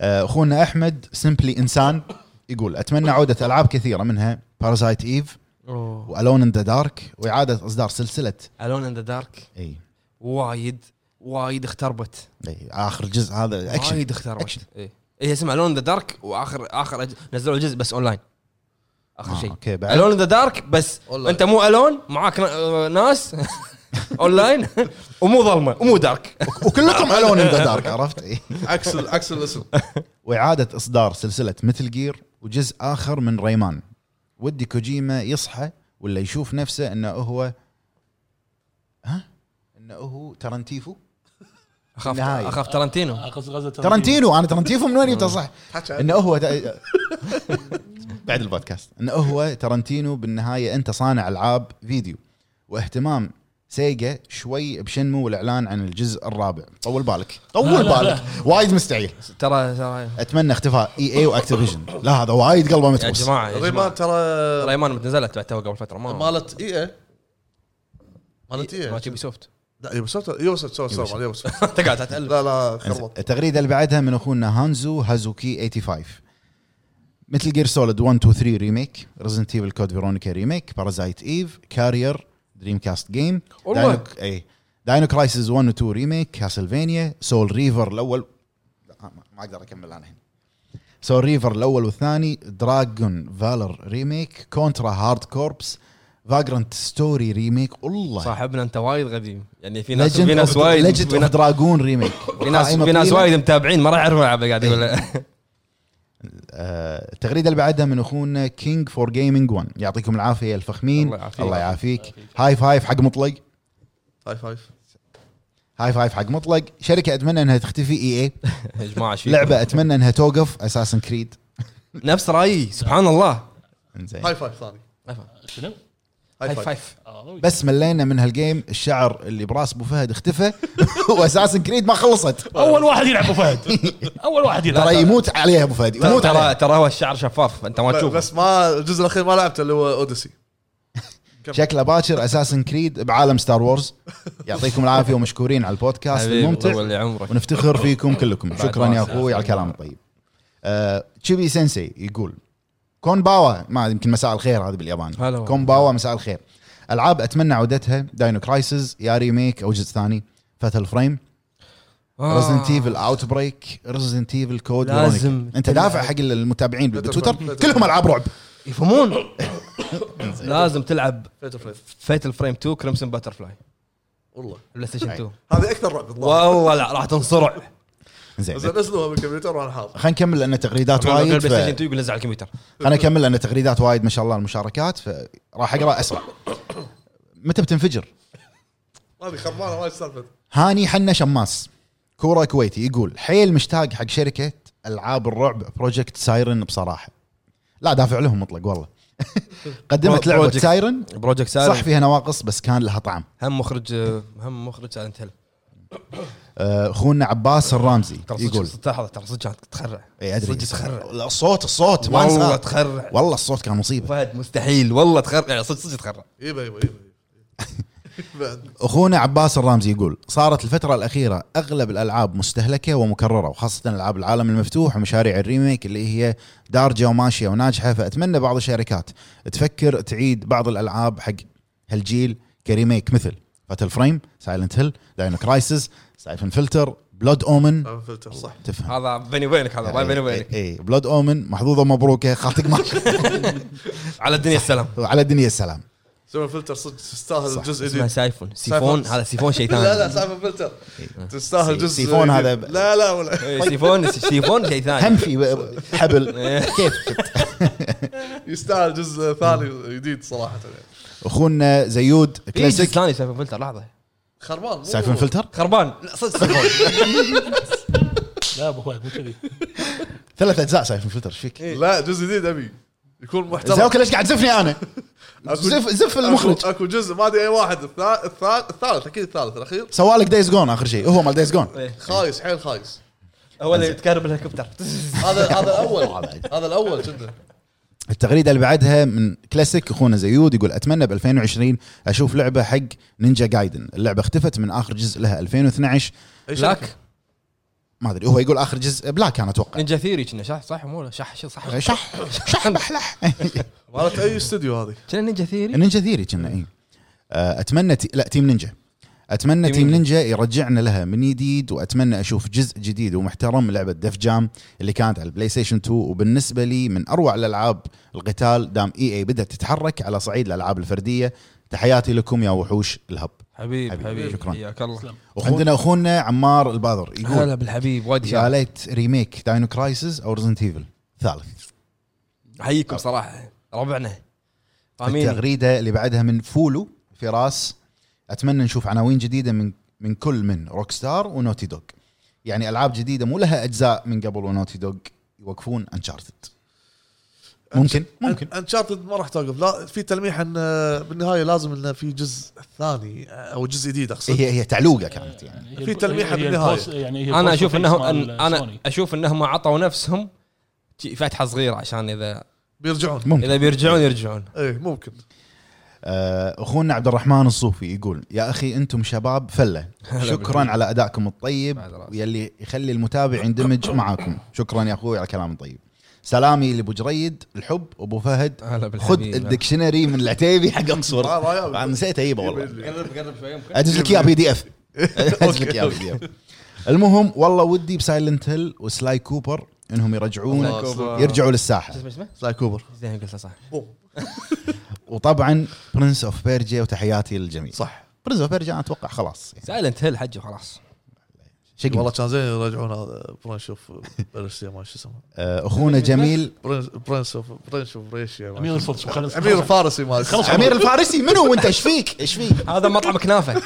آه، اخونا احمد سمبلي انسان يقول اتمنى عوده العاب كثيره منها بارازايت ايف
اوه
والون ان ذا دارك واعاده اصدار سلسله
الون ان ذا دارك
اي
وايد وايد اختربت
إي، اخر جزء هذا اكشن
وايد اختربت
أكشن.
إيه. هي اسمها الون ذا دارك واخر اخر أج- نزلوا الجزء بس اونلاين اخر
آه،
شيء
اوكي بعد
الون ذا دارك بس
Online.
انت مو الون معاك ن- آه، ناس اونلاين ومو ظلمه ومو دارك
وكلكم الون ان ذا دارك عرفت إي.
عكس ال- عكس الاسم
واعاده اصدار سلسله مثل جير وجزء اخر من ريمان ودي كوجيما يصحى ولا يشوف نفسه انه هو ها انه هو ترنتيفو
اخاف
النهاية.
اخاف ترنتينو
قصد غزه
ترنتينو انا ترنتيفو من وين جبته صح
حكى
انه هو تا- بعد البودكاست انه هو ترنتينو بالنهايه انت صانع العاب فيديو واهتمام سيجا شوي بشنمو والاعلان عن الجزء الرابع طول بالك
لا،
طول
لا، لا.
بالك وايد مستعجل
ترى ترى
اتمنى اختفاء اي اي واكتيفيجن لا هذا وايد قلبه
يا
متعوس
جماعه يا جماعه
ريمان ترى
ريمان نزلت بعد تو قبل فتره ما
مالت اي اي مالت اي
ما تشوفي سوفت
لا يوبي سوفت يوبي سوفت سوري، سوري، يوبي سوفت
تقعد تعلم
لا لا خربط
التغريده اللي بعدها من اخونا هانزو هازوكي 85 مثل جير سوليد 1 2 3 ريميك ريزنت ايفل كود فيرونيكا ريميك بارازايت ايف كارير دريم كاست جيم
والله.
اي داينو كرايسز 1 و 2 ريميك كاسلفينيا سول ريفر الاول لا، ما- ما اقدر اكمل انا هنا سول ريفر الاول والثاني دراجون فالر ريميك كونترا هارد كوربس فاجرنت ستوري ريميك والله
صاحبنا انت وايد قديم يعني في ناس في
ليجند
ناس وايد
ليجند
في
اوف
ناس-
دراجون ريميك
في ناس في ناس وايد متابعين ما راح يعرفون العاب قاعد يقول
آه، التغريده اللي بعدها من اخونا كينج فور جيمنج 1 يعطيكم العافيه يا الفخمين
الله يعافيك.
الله يعافيك هاي فايف حق مطلق
هاي فايف
هاي فايف حق مطلق شركه اتمنى انها تختفي اي اي
يا جماعه ايش فيكم؟
لعبه اتمنى انها توقف اساسن كريد
نفس رايي سبحان الله
انزين
طيب.
هاي فايف ثاني
شنو؟
هاي
هاي
فايف
فايف
آه،
بس ملينا من هالجيم الشعر اللي براس ابو فهد اختفى واساسن كريد ما خلصت
اول واحد يلعب ابو فهد اول واحد يلعب
ترى يموت عليها ابو فهد
ترى
يموت
ترى-
عليها
ترى هو الشعر شفاف انت ما تشوف
بس ما الجزء الاخير ما لعبته اللي هو اوديسي
شكله باكر اساسن كريد بعالم ستار وورز يعطيكم العافيه ومشكورين على البودكاست
حبيبي،
الممتع
طول لي عمرك
ونفتخر فيكم كلكم شكرا يا
راسي.
اخوي على الكلام الطيب آه، تشيبي سensei يقول كون باوا ما يمكن مساء الخير هذا
هلا
بالياباني
والله.
كون باوا مساء الخير العاب اتمنى عودتها داينو كرايسز يا ريميك او جزء ثاني فتل فريم
آه.
ريزنت ايفل اوت بريك ريزنت ايفل كود
لازم
انت
تلعب.
دافع حق المتابعين
Fatal
بالتويتر
Frame.
كلهم العاب رعب
يفهمون لازم تلعب
فيتر فليت
فيتل فريم 2 كريمسون باترفلاي
والله
بلاي ستيشن 2
هذه اكثر رعب الظاهر
والله لا راح تنصرع
زين
زين نزلوها من الكمبيوتر وانا حاضر
خلينا نكمل لان تغريدات
بلاي
وايد
ستيشن 2
ف-
يقول نزل على الكمبيوتر
انا اكمل لان تغريدات وايد ما شاء الله المشاركات فراح اقرا اسرع متى بتنفجر؟
هذه خربانه وايد سالفه
هاني حنا شماس كوره كويتي يقول حيل مشتاق حق شركه العاب الرعب بروجكت سايرن بصراحه لا دافع لهم مطلق والله قدمت لعبه
بروجكت.
سايرن
بروجكت سالم
صح فيها نواقص بس كان لها طعم
هم مخرج هم مخرج سالنت هيل
آه، اخونا عباس الرامزي
ترى
يقول
صدق لحظه ترى صدق كانت تخرع
إي أدري.
صدق تخرع
لا، الصوت الصوت ما
والله
انساه
تخرع
والله الصوت كان مصيبه
فهد مستحيل والله تخرع يعني صدق صدق تخرع
يبا يبا يبا إيه، بعد
اخونا عباس الرامزي يقول صارت الفتره الاخيره اغلب الالعاب مستهلكه ومكرره وخاصه العاب العالم المفتوح ومشاريع الريميك اللي هي دارجه وماشيه وناجحه فاتمنى بعض الشركات تفكر تعيد بعض الالعاب حق هالجيل كريميك مثل فتل فريم سايلنت هيل داينو كرايسز سايفن فلتر بلود اومن
آه، فلتر صح
تفهم إيه،
هذا بيني وبينك هذا ما بيني وبينك
اي بلود اومن محظوظه مبروكه خاطق ماشي
على الدنيا السلام
وعلى الدنيا السلام
سوي فلتر صدق تستاهل
صح.
جزء
اسمها
جديد
سايفون سيفون هذا سيفون شيء ثاني
لا لا سالفه فلتر تستاهل
إيه، سي-
جزء
سيفون
جديد.
هذا ب-
لا لا ولا
إيه، سيفون سيفون شيء ثاني
هم في حبل كيف
يستاهل جزء ثاني جديد صراحه يعني
اخونا زيود
كلاسيك
كلاسيك
ثاني سايفون فلتر لحظه
خربان مو-
سايفن فلتر
خربان لا صدق سيفون
لا ابو فهد مو كذي
ثلاث اجزاء سايفن فلتر ايش فيك؟
لا جزء جديد ابي يكون
زين
محترم
اوكي ليش قاعد تزفني انا؟
أكو-
زف زف المخرج
اكو اكو جزء ما ادري اي واحد الثا- الثا- الثالث اكيد الثالث الاخير
سوالك دايز جون اخر شيء هو مال دايز جون
خايس حيل خايس
هو اللي يتكهرب الهليكوبتر
هذا هذا الاول هذا الاول جدا
التغريده اللي بعدها من كلاسيك اخونا زيود يقول اتمنى ب 2020 اشوف لعبه حق نينجا جايدن اللعبه اختفت من اخر جزء لها 2012
اي شركة؟
بلاك
ما ادري هو يقول اخر جزء بلاك كان اتوقع
نينجا ثيري كنا صح صح مو لا، شح شو صح
شح شح بحلح
مالت اي استوديو هذه
كنا نينجا ثيري
إيه. نينجا ثيري كنا اي آه، اتمنى تي... لا تيم نينجا اتمنى
تيم
تيم
نينجا.
نينجا يرجعنا لها من جديد واتمنى اشوف جزء جديد ومحترم لعبه دف جام اللي كانت على البلاي ستيشن 2 وبالنسبه لي من اروع الالعاب القتال دام اي اي بدات تتحرك على صعيد الالعاب الفرديه تحياتي لكم يا وحوش الهب
حبيب
حبيب،
حبيب
شكراً.
حياك الله
تسلم.
وعندنا اخونا عمار البادر يقول
هلا بالحبيب وايد
يا
شكراً.
ليت ريميك داينو كرايسز او ريزنت ايفل ثالث
احييكم صراحه ربعنا فاهمين
التغريده اللي بعدها من فولو فراس اتمنى نشوف عناوين جديده من من كل من روك ستار ونوتي دوغ يعني العاب جديده مو لها اجزاء من قبل ونوتي دوغ يوقفون انشارتد ممكن ممكن
انشارتد ما راح توقف لا في تلميح ان آه، بالنهايه لازم انه في جزء ثاني آه، او جزء جديد اقصد
هي هي تعلوقه كانت يعني
يعني هي
في
الب-
تلميحة
هي- هي
بالنهاية.
البوس- يعني هي
انا
البوس
اشوف
فيس
انهم
مال
أن- انا
سوني.
اشوف انهم عطوا نفسهم شي فتحه صغيره عشان اذا
بيرجعون
ممكن
اذا بيرجعون يرجعون
اي ممكن
آه، اخونا عبد الرحمن الصوفي يقول يا اخي انتم شباب فله شكرا
بالحبيب.
على ادائكم الطيب
بعد راسك.
ويلي يخلي المتابع يندمج معاكم شكرا يا اخوي على كلام طيب سلامي لابو جريد الحب ابو فهد
هلا
خذ
بالحبيب
الدكشنري من العتيبي حق
آه،
انصر
ما يابي.
طبعاً نسيت اجيبه والله
قرب قرب شوي يمكن
ادز لك اياه بي دي اف ادز لك
أوكي،
اياه بي دي اف المهم والله ودي بسايلنت هيل وسلاي كوبر انهم يرجعون
الله.
يرجعوا للساحه
شو اسمه اسمه؟
سلاي كوبر
زين قصه صح
بوم.
وطبعا برنس اوف بيرجي وتحياتي للجميع
صح
برنس اوف بيرجي انا اتوقع خلاص يعني
سايلنت هيل حجه خلاص
شقنا.
والله كان زين آه، يرجعون هذا برنس اوف بريشيا ما شو اسمه
آه، اخونا جميل
برنس- برنس اوف برنس اوف بريشيا ما شو
امير
اسمه.
الفرس خلص
امير الفارسي ما اسمه.
خلص.
امير الفارسي منو وانت ايش فيك ايش فيك
هذا مطعم كنافه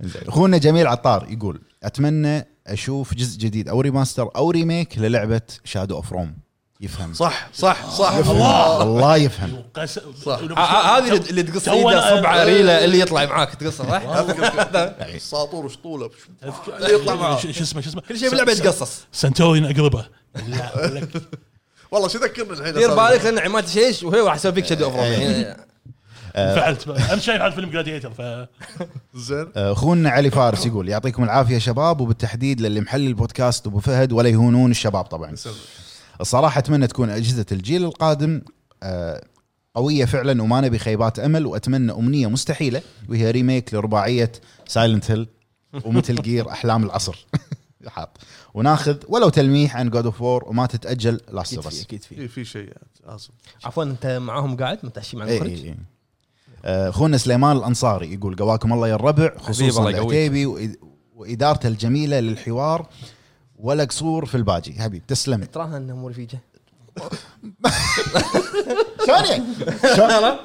زين. اخونا جميل عطار يقول اتمنى اشوف جزء جديد او ريماستر او ريميك للعبه شادو اوف روم يفهم
صح صح صح
يفهم. والله يفهم
صح.
ه- ه- آه، هذه اللي- اللي تقص
تو
ايده
أنا-
صبعه ريله اللي يطلع معاك تقصه صح؟
ساطور وشطوله
اللي
يطلع معاه.
شو اسمه شو اسمه
كل شيء باللعبه يتقصص
سنتورين اقربه لا، أقول لك.
والله شو ذكرنا الحين
دير بالك لان عماد شيش وهي راح يسوي فيك شادو اوف
إيه.
فعلت امس شايف على فيلم جلاديتر ف
زين
اخونا آه، علي فارس يقول يعطيكم العافيه شباب وبالتحديد للي محلل البودكاست ابو فهد ولا يهونون الشباب طبعا الصراحه اتمنى تكون اجهزه الجيل القادم آه، قويه فعلا وما نبي خيبات امل واتمنى امنيه مستحيله وهي ريميك لرباعيه سايلنت هيل ومثل جير احلام العصر حاط وناخذ ولو تلميح عن جود اوف وور وما تتاجل لاست
اكيد
اوف
في
اس
اكيد في
في في شيء يعني لازم
عفوا انت معاهم قاعد متعشي
إيه،
مع المخرج
اخونا آه، سليمان الانصاري يقول قواكم الله يا الربع
حبيب
خصوصا
الله يقويك.
العتيبي وإد- وادارته الجميله للحوار ولا قصور في الباجي حبيب تسلم
تراها انها مو رفيجه
ثانيه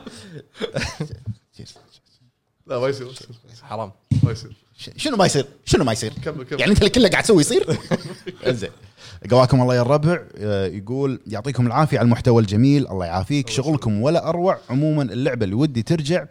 لا ما يصير ما يصير،
حرام
ما يصير
شنو ما يصير شنو ما يصير
كمل كمل
يعني انت اللي كله قاعد تسوي يصير زين قواكم الله يا الربع آه، يقول يعطيكم العافيه على المحتوى الجميل الله يعافيك شغلكم ولا اروع عموما اللعبه اللي ودي ترجع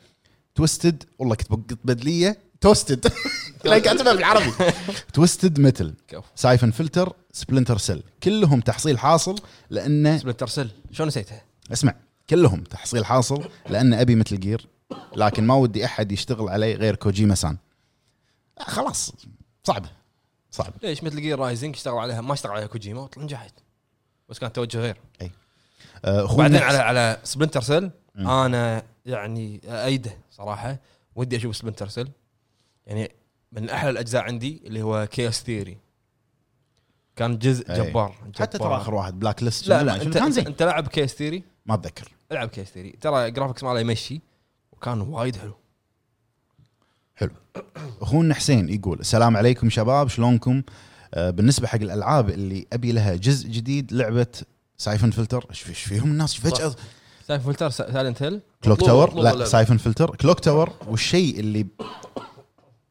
توستد والله كنت بقط بدليه توستد لا قاعد أسمع بالعربي توستد متل
كفو.
سايفن فلتر سبلنتر سيل كلهم تحصيل حاصل لانه
سبلنتر سيل شلون نسيتها؟
اسمع كلهم تحصيل حاصل لان ابي مثل جير لكن ما ودي احد يشتغل علي غير كوجيما سان آه، خلاص صعبه صعبه
ليش مثل جير رايزنج اشتغلوا عليها ما اشتغلوا عليها كوجيما وطلع نجحت بس كان توجه غير
آه، أخونا-
بعدين على على سبلنتر سيل
مم.
انا يعني ايده صراحه ودي اشوف سبلنتر سيل يعني من احلى الاجزاء عندي اللي هو كيوس ثيري كان جزء
أي.
جبار, جبار.
حتى ترى اخر واحد بلاك ليست
لا
شنو
لا
ما- شنو
انت
كان زين
انت لاعب كيوس ثيري
ما اتذكر
العب كيس ثيري ترى جرافكس ماله يمشي وكان وايد حلو
اخونا حسين يقول السلام عليكم شباب شلونكم آه، بالنسبه حق الالعاب اللي ابي لها جزء جديد لعبه سايفن فلتر ايش في- إيش فيهم الناس فجاه
سايف فلتر سايلنت هيل
كلوك
مطلوبة-
تاور
مطلوبة
لا
لعبة.
سايفن فلتر كلوك تاور والشيء اللي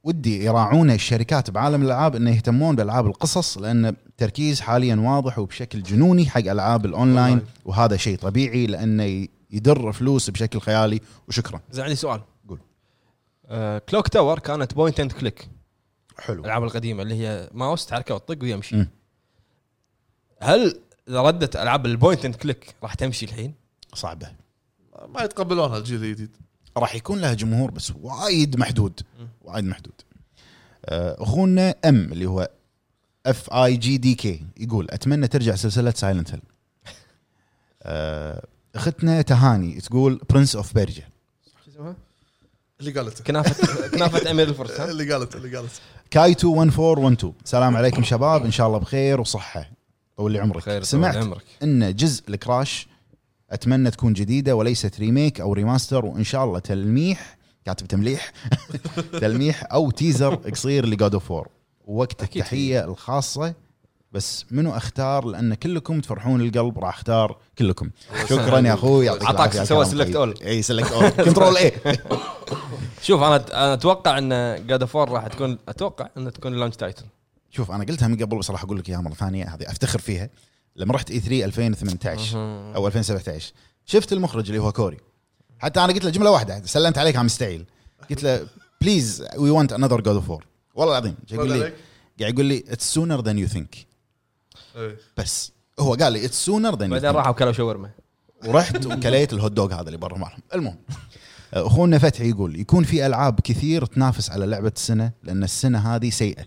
ودي يراعونه الشركات بعالم الالعاب انه يهتمون بالعاب القصص لان التركيز حاليا واضح وبشكل جنوني حق العاب الاونلاين
أونلاين.
وهذا شيء طبيعي لانه يدر فلوس بشكل خيالي وشكرا
زين عندي سؤال
قول.
آه كلوك تاور كانت بوينت اند كليك
حلو
الالعاب القديمه اللي هي ماوس تحركه وتطق ويمشي
مم.
هل اذا ردت العاب البوينت اند كليك راح تمشي الحين؟
صعبه
ما يتقبلونها الجيل الجديد
راح يكون لها جمهور بس وايد محدود وايد محدود آه، اخونا ام اللي هو اف اي جي دي كي يقول اتمنى ترجع سلسله سايلنت هيل اختنا آه، تهاني تقول برنس اوف بيرجا
اللي قالته
كنافه كنافه امير الفرس ها؟
اللي قالته اللي قالته
كايتو 1412 السلام عليكم شباب ان شاء الله بخير وصحه طول لي عمرك
خير طول
سمعت
عمرك.
ان جزء الكراش اتمنى تكون جديده وليست ريميك او ريماستر وان شاء الله تلميح كاتب تمليح تلميح او تيزر قصير لجود اوف وور وقت
أكيد.
التحيه الخاصه بس منو اختار لان كلكم تفرحون القلب راح اختار كلكم شكرا يا اخوي يعطيك
عطاك
العافية طيب. على
سوى
الكلام.
select all.
اي سلكت اول كنترول اي
شوف انا انا اتوقع ان جاد اوف راح تكون اتوقع انها تكون لانش تايتل
شوف انا قلتها من قبل بس راح اقول لك اياها مره ثانيه هذه افتخر فيها لما رحت E اي 3 2018 او 2017 شفت المخرج اللي هو كوري حتى انا قلت له جمله واحده سلمت عليك عم مستعيل قلت له بليز وي ونت انذر جود اوف وور والله العظيم جاي يقول لي
عليك.
قاعد يقول لي اتس سونر ذان يو ثينك
إيه.
بس هو قال لي اتس سونر ذان يو
بعدين
ثينك
راحوا كلوا شاورما
ورحت وكليت الهوت دوغ هذا اللي برا مالهم المهم اخونا فتحي يقول يكون في العاب كثير تنافس على لعبه السنه لان السنه هذه سيئه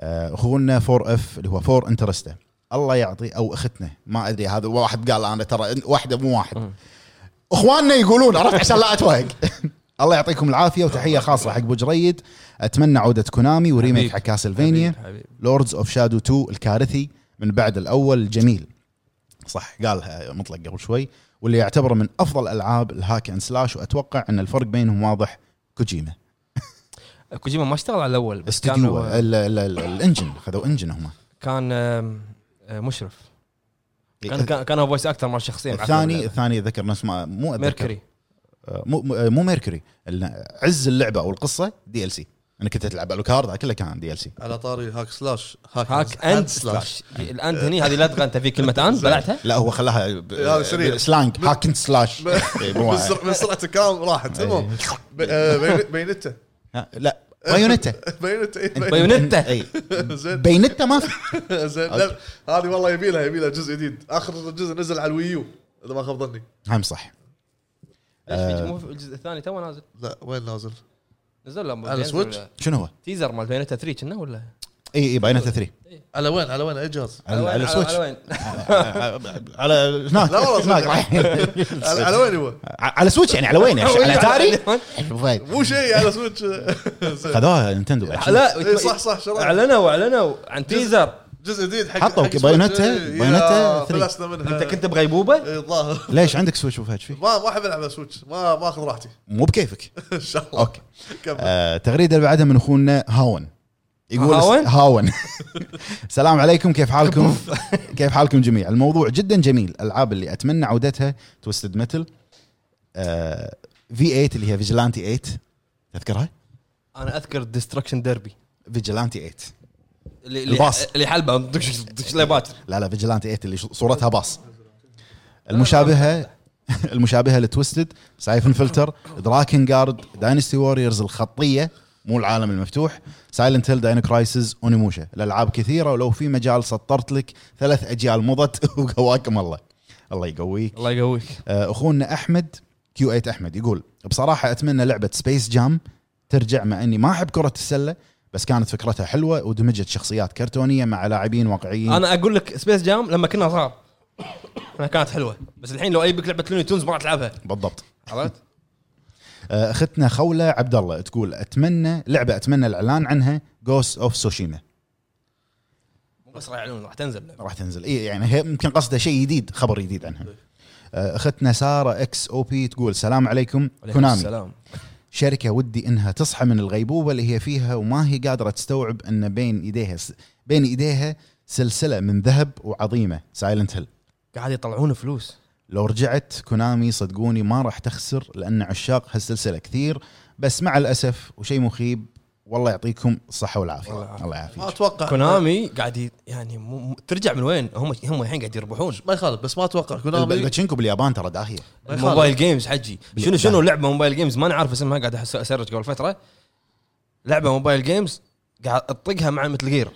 آه، اخونا 4 اف اللي هو 4 انترستا الله يعطي او اختنا ما ادري هذا واحد قال انا ترى واحده مو واحد اخواننا يقولون عرفت عشان لا اتوهق الله يعطيكم العافيه وتحيه خاصه حق ابو جريد اتمنى عوده كونامي وريميك
حبيب.
حق كاسلفينيا
حبيب- حبيب.
لوردز اوف شادو 2 الكارثي من بعد الاول الجميل صح قالها مطلق قبل شوي واللي يعتبره من افضل العاب الهاك اند سلاش واتوقع ان الفرق بينهم واضح كوجيما
كوجيما ما اشتغل على الاول بس كان
استديو
هو-
ال- ال- ال- الانجن خذوا انجن هم
كان آم، آه، مشرف كان كان- كان هو فويس اكتر مال الشخصين
إيه. الثاني الثاني ذكر نفس ما مو أتذكر.
ميركوري
آه، مو مو- مو ميركوري ال- عز اللعبه او القصه دي ال سي انا كنت العب الوكارد كله كان دي ال سي
على طاري هاك سلاش هاك,
هاك اند سلاش الاند هني هذه لدغه انت في كلمه اند بلعتها
لا هو خلاها ب-
هذا سريع.
سلانج هاكن سلاش إيه، مو-
بسرعة- من سرعه الكلام راحت المهم ب- آه، بين- بينته
ها، لا بايونيتا
بينته إيه، بينته.
بايونيتا
اي
زين
بينتا ما في
زين لا، هذه والله يبي لها يبي لها جزء جديد اخر جزء نزل على الويو اذا ما خاب ظني
هم صح آه.
ليش مو في الجزء الثاني تو نازل
لا وين نازل؟
نزل له
على سويتش؟
شنو هو؟ إيه،
تيزر مال بايونيتا 3 كنا ولا
اي اي بايونيتا 3
على وين على وين اي جهاز؟
على على
وين-
السويتش
وين؟
على هناك
لا والله
هناك
صدق.
رايحين.
على على وين هو؟
على سويتش يعني على وين يا شيخ؟ على اتاري فايد.
مو شيء على سويتش
خذوها نينتندو بعد.
لا
إيه، صح صح شرع
اعلنوا اعلنوا عن
آه.
تيزر
جزء جديد حق
حطوا
حق سويتش.
بايونيتا-
إيه،
بايونيتا
يا
ثري.
فلسنا منها
انت كنت بغيبوبه؟
إيه، الظاهر
ليش عندك سويتش وفهد فيه؟
ما ما احب العب على سويتش ما ما اخذ راحتي
مو بكيفك
ان شاء الله
اوكي
كمل
آه، تغريده اللي بعدها من اخونا هاون يقول
هاون؟
هاون السلام عليكم كيف حالكم؟ كيف حالكم جميع؟ الموضوع جدا جميل، الالعاب اللي اتمنى عودتها توستد ميتل في 8 اللي هي فيجلانتي 8 تذكرها؟
انا اذكر ديستركشن ديربي
فيجلانتي 8
اللي
الباص.
اللي حلبه دش- دش ليبات
لا لا فيجلانتي 8 اللي ش- صورتها باص المشابهه المشابهه لتويستد سايفن فلتر دراكن جارد داينستي ووريرز الخطيه مو العالم المفتوح سايلنت هيل داين كرايسز اونيموشا الالعاب كثيره ولو في مجال سطرت لك ثلاث اجيال مضت وقواكم الله الله يقويك
الله يقويك
آه، اخونا احمد كيو 8 احمد يقول بصراحه اتمنى لعبه سبيس جام ترجع مع اني ما احب كره السله بس كانت فكرتها حلوه ودمجت شخصيات كرتونيه مع لاعبين واقعيين
انا اقول لك سبيس جام لما كنا صغار كانت حلوه بس الحين لو اجيب لك لعبه لوني تونز ما راح تلعبها
بالضبط
عرفت؟
آه، اختنا خوله عبد الله تقول اتمنى لعبه اتمنى الاعلان عنها جوست اوف سوشيما
مو بس راح يعلنون راح تنزل
راح تنزل اي يعني هي يمكن قصده شيء جديد خبر جديد عنها آه، اختنا ساره اكس او بي تقول السلام عليكم
عليكم
كونامي
السلام
شركه ودي انها تصحى من الغيبوبه اللي هي فيها وما هي قادره تستوعب ان بين ايديها س... بين ايديها سلسله من ذهب وعظيمه سايلنت هيل
قاعد يطلعون فلوس
لو رجعت كونامي صدقوني ما راح تخسر لان عشاق هالسلسله كثير بس مع الاسف وشيء مخيب والله يعطيكم الصحه والعافيه الله
ما
يعافيك
اتوقع
كونامي قاعد ي- يعني مو مو- ترجع من وين؟ هم هم الحين قاعد يربحون
ما يخالف بس ما اتوقع كونامي
الباتشينكو باليابان ترى داهيه
ما يخالف.
الموبايل جيمز حجي
بال-
شنو شنو
نعم.
لعبه موبايل جيمز ما نعرف اسمها قاعد أحس- اسرج قبل فتره لعبه موبايل جيمز قاعد اطقها مع مثل جير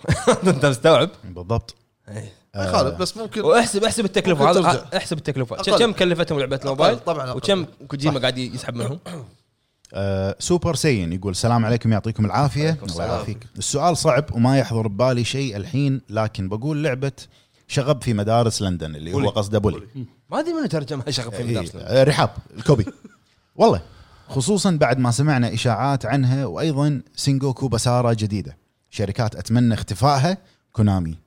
انت مستوعب
بالضبط
إيه.
ما يخالف بس ممكن
واحسب احسب التكلفه
ممكن
هذا
ترجع.
احسب التكلفه
أقل.
كم كلفتهم لعبه الموبايل
طبعاً أقل.
وكم كوجيما قاعد يسحب منهم
آه، سوبر سين يقول السلام عليكم يعطيكم العافيه الله يعافيك السؤال صعب وما يحضر ببالي شيء الحين لكن بقول لعبه شغب في مدارس لندن اللي هو
بولي.
قصده بولي
ما ادري منو ترجمها شغف في
إيه،
مدارسنا
آه، رحاب الكوبي والله خصوصا بعد ما سمعنا اشاعات عنها وايضا سينجوكو بساره جديده شركات اتمنى اختفائها كونامي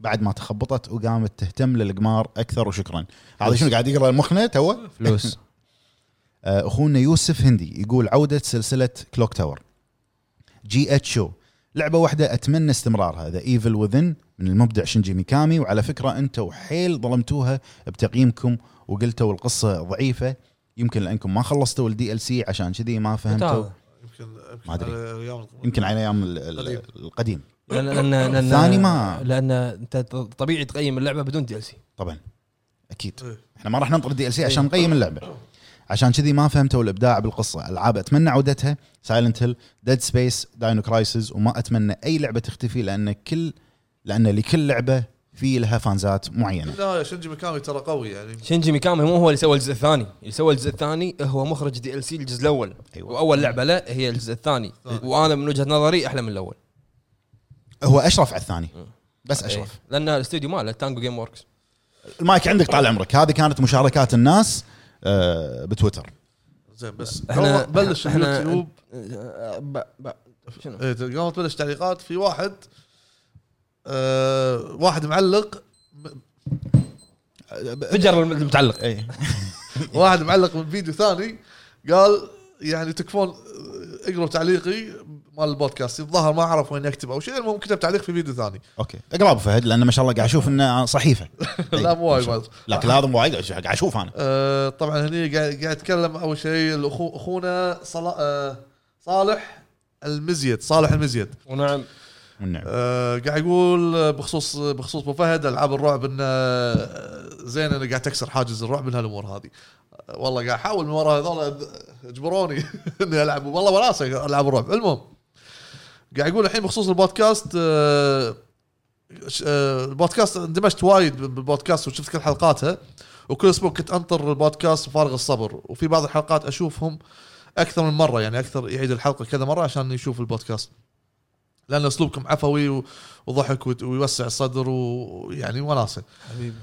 بعد ما تخبطت وقامت تهتم للقمار اكثر وشكرا هذا شنو قاعد يقرا مخنا توه
فلوس
آه، اخونا يوسف هندي يقول عوده سلسله كلوك تاور جي اتش او لعبه واحده اتمنى استمرارها ذا ايفل وذن من المبدع شنجي ميكامي وعلى فكره انتم حيل ظلمتوها بتقييمكم وقلتوا القصه ضعيفه يمكن لانكم ما خلصتوا الدي ال سي عشان كذي ما فهمتوا
متى
يمكن يمكن
ما أدري.
على أيام-
يمكن على ايام ال- ال-
قديم.
القديم
لان لان لأن-
الثاني ما-
لان انت طبيعي تقيم اللعبه بدون دي ال سي
طبعا اكيد
إيه.
احنا ما راح ننطر الدي ال سي عشان نقيم اللعبه عشان كذي ما فهمتوا الابداع بالقصه العاب اتمنى عودتها سايلنت هيل ديد سبيس داينو كرايسز وما اتمنى اي لعبه تختفي لان كل لان لكل لعبه في لها فانزات معينه
لا شنجي ميكامي ترى قوي يعني
شينجي ميكامي مو هو اللي سوى الجزء الثاني اللي سوى الجزء الثاني هو مخرج دي ال سي الجزء الاول
أيوة.
واول لعبه له هي الجزء الثاني وانا من وجهه نظري احلى من الاول
هو اشرف على الثاني بس اشرف
إيه. لان الاستوديو ماله تانجو جيم وركس
إيه.
المايك عندك طال عمرك هذه كانت مشاركات الناس آه، بتويتر
زين بس
إحنا-
احنا بلش
إحنا-
اليوتيوب
آه، ب- ب- شنو
إيه، قامت تبلش تعليقات في واحد آه واحد معلق
فجر المتعلق
إيه.
اي
واحد معلق من فيديو ثاني قال يعني تكفون آه، اقروا تعليقي مال البودكاست الظاهر ما اعرف وين يكتب او شيء المهم كتب تعليق في فيديو ثاني
اوكي اقرا ابو فهد لان ما شاء الله قاعد اشوف انه صحيفه إي.
لا مو وايد مالت.
إيه. لكن هذا مو وايد قاعد اشوف انا
آه، طبعا هني قاعد قاعد يتكلم اول شيء الأخو- اخونا صلا- آه، صالح المزيد صالح المزيد
ونعم
والنعم
آه، قاعد يقول آه، بخصوص بخصوص ابو فهد العاب الرعب انه آه، زين انا قاعد تكسر حاجز الرعب من هالامور هذه آه، والله قاعد احاول من ورا هذول أذ- اجبروني اني العب والله وناسه العاب الرعب المهم قاعد يقول الحين بخصوص البودكاست آه، ش- آه، البودكاست اندمجت وايد بالبودكاست وشفت كل حلقاتها وكل اسبوع كنت انطر البودكاست فارغ الصبر وفي بعض الحلقات اشوفهم اكثر من مره يعني اكثر يعيد الحلقه كذا مره عشان يشوف البودكاست لان اسلوبكم عفوي و- وضحك وت- ويوسع الصدر يعني ويعني وناسه
حبيبي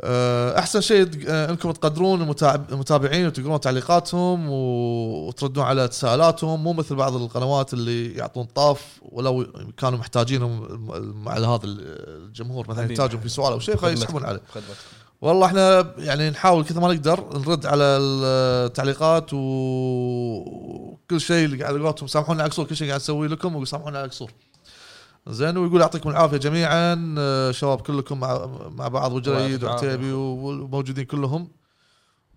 أه، احسن شيء تق- أه، انكم تقدرون المتاع- المتابعين وتقرون تعليقاتهم و- وتردون على تساؤلاتهم مو مثل بعض القنوات اللي يعطون طاف ولو كانوا محتاجينهم الم- مع هذا الجمهور مثلا
حبيبي.
يحتاجهم في سؤال او شيء فيسحبون عليه
خدمتك
والله احنا يعني نحاول كثر ما نقدر نرد على التعليقات وكل شيء اللي قاعد قولتهم سامحونا على قصور كل شيء قاعد نسويه لكم وسامحونا على قصور زين ويقول يعطيكم العافيه جميعا آه، شباب كلكم مع, مع بعض وجريد
يعطيك العافية.
وعتيبي وموجودين كلهم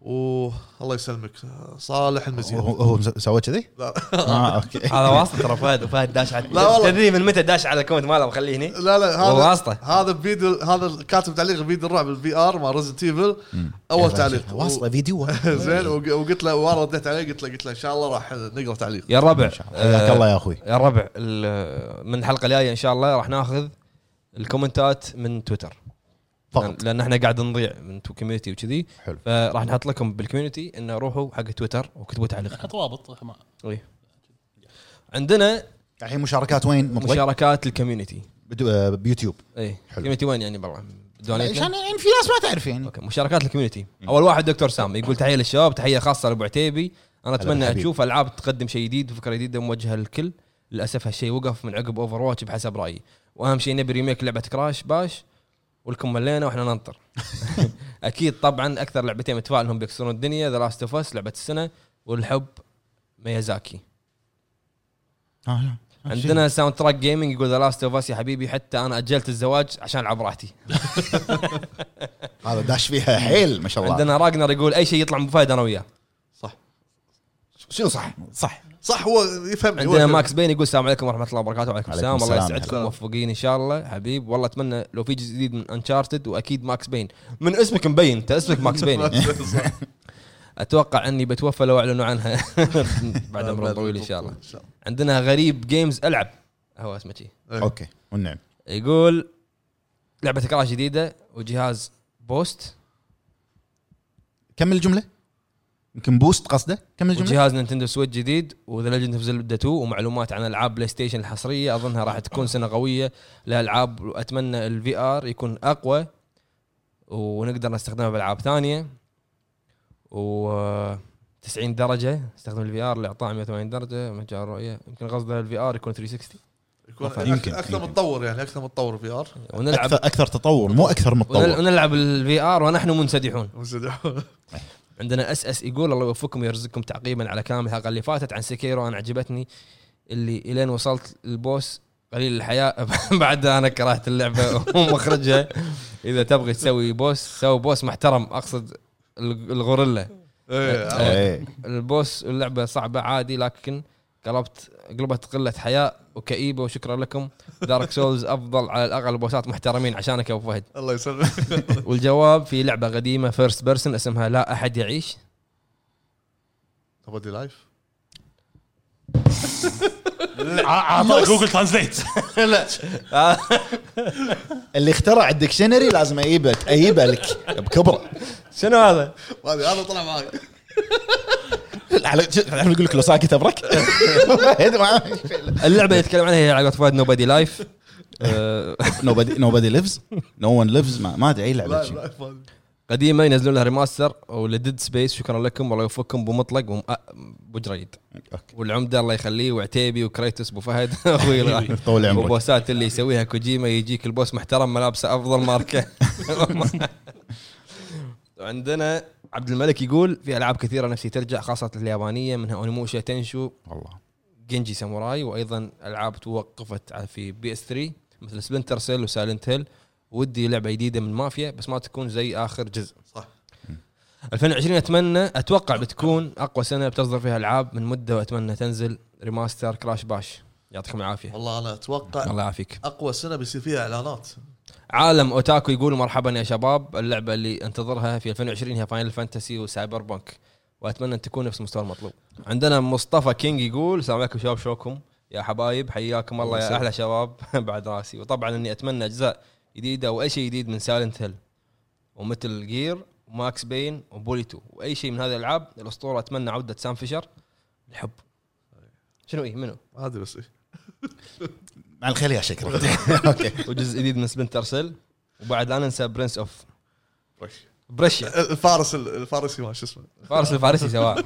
والله يسلمك آه، صالح المزيد
هو هو سوى كذي؟
لا.
اه اوكي
هذا واسطه ترى فهد وفهد داش على
لا والله.
تدري من متى داش على الكومنت ماله مخليه هني
لا لا
والله
هذا
واسطة.
هذا بفيديو هذا كاتب تعليق فيديو الرعب الفي ار مال ريزنت ايفل اول تعليق
واصله إيه، فيديو إيه،
زين وق- وقلت له وانا رديت عليه قلت له قلت له ان شاء الله راح نقرا تعليق
يا الربع
حياك
آه،
الله يا اخوي
يا الربع ال- من الحلقه الجايه ان شاء الله راح ناخذ الكومنتات من تويتر
فقط
لان احنا قاعد نضيع من كوميونتي وكذي
حلو.
فراح نحط لكم بالكوميونتي انه روحوا حق تويتر وكتبوا تعليق
حط رابط ما-
إيه. عندنا
الحين مشاركات وين مطلق
مشاركات الكوميونتي
بدو- آه، بيوتيوب
اي
حلو.
كوميونتي وين يعني برا
عشان
دونيتنا
يعني في ناس ما تعرف يعني
اوكي مشاركات الكوميونتي اول واحد دكتور سام يقول تحيه للشباب تحيه خاصه لابو عتيبي انا اتمنى
بالحبيب.
اشوف العاب تقدم شيء جديد وفكره جديده موجهه للكل للاسف هالشيء وقف من عقب اوفر واتش بحسب رايي واهم شيء نبي ريميك لعبه كراش باش ولكم ملينا واحنا ننطر اكيد طبعا اكثر لعبتين متفائل انهم بيكسرون الدنيا ذا لاست اوف اس لعبه السنه والحب ميازاكي
آه، لا.
عندنا ساوند تراك جيمنج يقول ذا لاست اوف اس يا حبيبي حتى انا اجلت الزواج عشان العب راحتي
هذا داش فيها حيل ما شاء الله
عندنا راجنر يقول اي شيء يطلع من فايد انا وياه
صح
شنو صح صح
صح هو يفهم
عندنا ماكس بين يقول السلام عليكم ورحمه الله وبركاته وعليكم
وعليكم
السلام الله
السلام.
يسعدكم
هلا.
موفقين ان شاء الله حبيب والله اتمنى لو في جزء جديد من انشارتد واكيد ماكس بين من اسمك مبين انت اسمك ماكس بين اتوقع اني بتوفى لو اعلنوا عنها بعد عمر طويل ان شاء الله
ان شاء الله
عندنا غريب جيمز العب هو اسمه شي
اوكي والنعم
يقول لعبه كراش جديده وجهاز بوست
كمل الجمله يمكن بوست قصده كمل الجمله
وجهاز نينتندو سويتش جديد وذا ليجند اوف زلدا 2 ومعلومات عن العاب بلاي ستيشن الحصريه اظنها راح تكون سنه قويه لالعاب واتمنى الفي ار يكون اقوى ونقدر نستخدمه بالعاب ثانيه و 90 درجه استخدم الفي ار لاعطاء 180 درجه مجال الرؤيه يمكن قصده الفي ار يكون 360
يكون
مفهوم.
أك-
يمكن،
اكثر
يمكن.
متطور يعني اكثر متطور في ار
ونلعب
اكثر اكثر تطور مو اكثر
ونل-
متطور
ونلعب الفي ار ونحن منسدحون عندنا اس اس يقول الله يوفقكم ويرزقكم تعقيبا على كلام الحلقه اللي فاتت عن سكيرو انا عجبتني اللي الين وصلت البوس قليل الحياه بعدها انا كرهت اللعبه ومخرجها اذا تبغي تسوي بوس سوي بوس محترم اقصد الغ- الغوريلا
إيه.
البوس اللعبه صعبه عادي لكن قلبت قلبت قله حياء وكئيبه وشكرا لكم دارك سولز افضل على الاقل بوسات محترمين عشانك يا ابو فهد
الله يسلمك
والجواب في لعبه قديمه فيرست بيرسون اسمها لا احد يعيش
نبدي لايف
آه،
اعطى جوجل ترانزليت
لا
اللي اخترع الدكشنري لازم اجيبه اجيبه لك بكبره
شنو هذا؟
هذا هذا طلع معي
على- شو- الحين يقول لك لو ساكت ابرك
اللعبه اللي يتكلم عنها هي لعبه فايد نو بادي لايف آه،
نوبادي نوبادي ليفز نو ون ليفز ما ما ادري اي لعبه شي.
لايف هذا.
قديمه ينزلون لها ريماستر ولديد سبيس شكرا لكم والله يوفقكم ابو مطلق وابو جريد
أوكي.
والعمده الله يخليه وعتيبي وكريتوس ابو فهد اخوي الغالي.
طول عمرك
وبوسات اللي يسويها كوجيما يجيك البوس محترم ملابسه افضل ماركه وعندنا عبد الملك يقول في العاب كثيره نفسي ترجع خاصه اليابانيه منها اونيموشا تنشو
والله
جنجي ساموراي وايضا العاب توقفت على- في بي اس 3 مثل سبنتر سيل وسايلنت هيل ودي لعبه جديده من مافيا بس ما تكون زي اخر جزء
صح
2020 اتمنى اتوقع بتكون اقوى سنه بتصدر فيها العاب من مده واتمنى تنزل ريماستر كراش باش يعطيكم العافيه
والله انا اتوقع
الله يعافيك
اقوى سنه بيصير فيها اعلانات
عالم اوتاكو يقول مرحبا يا شباب اللعبه اللي انتظرها في 2020 هي فاينل فانتسي وسايبر بانك واتمنى ان تكون نفس المستوى المطلوب عندنا مصطفى كينج يقول السلام عليكم شباب شلونكم يا حبايب حياكم الله يا احلى شباب بعد راسي وطبعا اني اتمنى اجزاء جديده واي شيء جديد من سايلنت هيل ومثل جير وماكس بين وبوليتو واي شيء من هذه الالعاب الاسطوره اتمنى عوده سام فيشر الحب شنو ايه منو
ما ادري بس إيه.
مع الخير يا شكرا اوكي
وجزء جديد من سبنتر سيل وبعد لا ننسى برنس اوف طيب.
وش.
بريشيا
الفارس الفارسي ما شو اسمه
فارس الفارسي سواء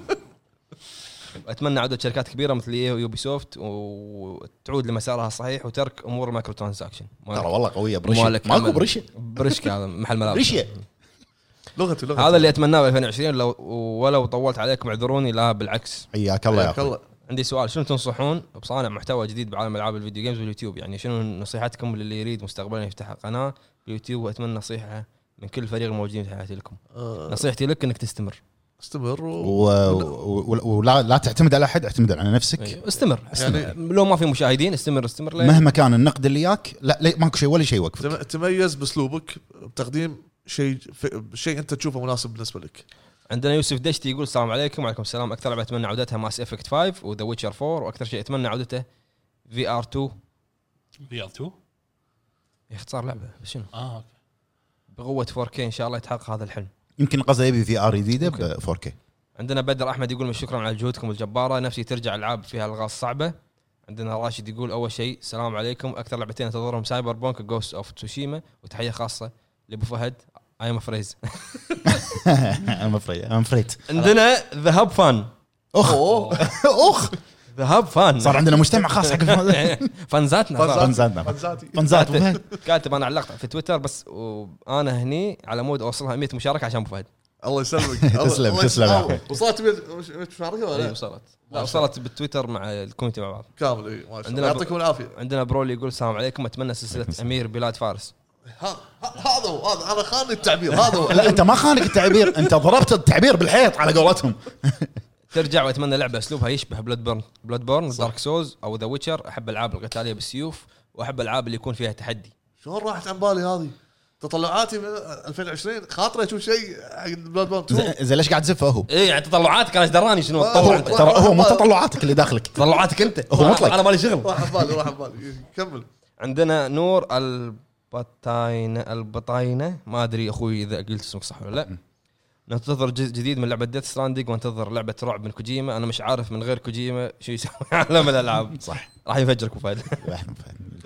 اتمنى عوده شركات كبيره مثل ايه ويوبي سوفت وتعود لمسارها الصحيح وترك امور المايكرو ترانزاكشن
ترى
مالك-
والله قويه برشا
مالك
ماكو
أمل.
برشا
برشك هذا محل ملابس
برشا
لغته لغته
هذا اللي اتمناه ب 2020 لو ولو طولت عليكم اعذروني لا بالعكس
حياك الله يا
حياك
اخوي
الله
عندي سؤال شنو تنصحون بصانع محتوى جديد بعالم العاب الفيديو جيمز واليوتيوب يعني شنو نصيحتكم للي يريد مستقبلا يفتح قناه باليوتيوب واتمنى نصيحه من كل فريق الموجودين في حياتي لكم
أه.
آه،
نصيحتي لك انك تستمر
استمر و...
و- و- و- ولا لا تعتمد على احد اعتمد على نفسك
أيوه، استمر, استمر. يعني لو ما في مشاهدين استمر استمر لين-
مهما كان النقد اللي ياك لا لا، ماكو شيء ولا شيء يوقفك
تم- تميز باسلوبك بتقديم شيء ف- شيء انت تشوفه مناسب بالنسبه لك
عندنا يوسف دشتي يقول السلام عليكم وعليكم السلام اكثر لعبه اتمنى عودتها ماس افكت 5 وذا ويتشر 4 واكثر شيء اتمنى عودته في ار 2
في ار 2
يا اختصار لعبه بس شنو
اه أوكي.
بقوه 4 كي ان شاء الله يتحقق هذا الحلم
يمكن قصده يبي في ار جديده ب 4 كي
عندنا بدر احمد يقول شكرا على جهودكم الجباره نفسي ترجع العاب فيها الغاز صعبه عندنا راشد يقول اول شيء السلام عليكم اكثر لعبتين انتظرهم سايبر بونك جوست اوف تسوشيما وتحيه خاصه لابو فهد اي ام فريز
ام افريد ام افريد
عندنا ذا هاب فان
اخ اخ
ذا هاب فان
صار عندنا مجتمع خاص حق الفن-
فانزاتنا صار.
فنزاتنا
فانزاتي
فنزات
كاتب- كاتب انا علقت في تويتر بس وانا هني على مود اوصلها 100 مشاركه عشان ابو فهد
الله يسلمك
تسلم،
الله-
تسلم يا
الله- وصلت بيت- مش- مش مشاركه
اي
ولا لا؟
وصلت لا وصلت بالتويتر مع الكوميتي مع بعض
كامل اي ما شاء الله
عندنا
يعطيكم العافيه
عندنا برولي يقول السلام عليكم اتمنى سلسله امير بلاد فارس
ها- ها- هذا هو هذا انا خاني التعبير هذا هو أيوة.
لا انت ما خانك التعبير انت ضربت التعبير بالحيط على قولتهم
ترجع واتمنى لعبه اسلوبها يشبه بلاد بورن بلاد بورن دارك سوز او ذا ويتشر احب العاب القتاليه بالسيوف واحب العاب اللي يكون فيها تحدي
شلون راحت عن بالي هذه تطلعاتي من 2020 خاطري اشوف شيء حق بلاد بورن 2
زين- زين ليش قاعد تزفه هو؟
اي يعني تطلعاتك انا ايش دراني شنو
هو-
تطلع انت
ترى هو مو تطلعاتك اللي داخلك
تطلعاتك انت
هو مطلق.
انا مالي شغل
راح عن بالي راح عن بالي إيه، كمل
عندنا نور البطاينه البطاينه ما ادري اخوي اذا قلت اسمك صح ولا لا ننتظر جزء جديد من لعبه ديث ستراندنج وانتظر لعبه رعب من كوجيما انا مش عارف من غير كوجيما شو يسوي عالم الالعاب
صح
راح يفجرك أبو فهد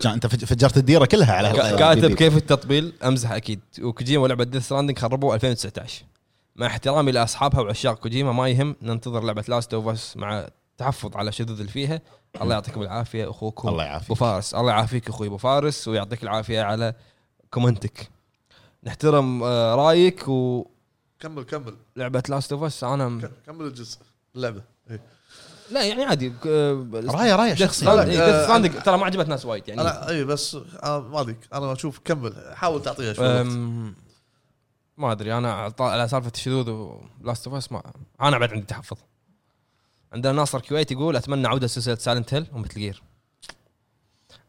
كان انت فج- فجرت الديره كلها على
كا- كاتب كيف التطبيل امزح اكيد وكوجيما ولعبه ديث ستراندنج خربوه 2019 مع احترامي لاصحابها وعشاق كوجيما ما يهم ننتظر لعبه لاست اوف اس مع تحفظ على الشذوذ اللي فيها الله يعطيكم العافيه اخوكم
الله يعافيك.
ابو فارس الله يعافيك اخوي ابو فارس ويعطيك العافيه على كومنتك نحترم آه، رايك ولعبه
كمل كمل
لاست اوف اس انا م...
ك- كمل الجزء اللعبه إيه.
لا يعني عادي
رايه رايه شخصيه
رايك آه، ترى ما عجبت ناس وايد يعني
انا اي بس أنا ما ادري انا اشوف كمل حاول تعطيها شوي وقت.
أم، ما ادري انا على طا- على سالفه الشذوذ ولاست اوف اس ما انا بعد عندي تحفظ عندنا ناصر كويت يقول اتمنى عوده سلسله سايلنت هيل ومثل جير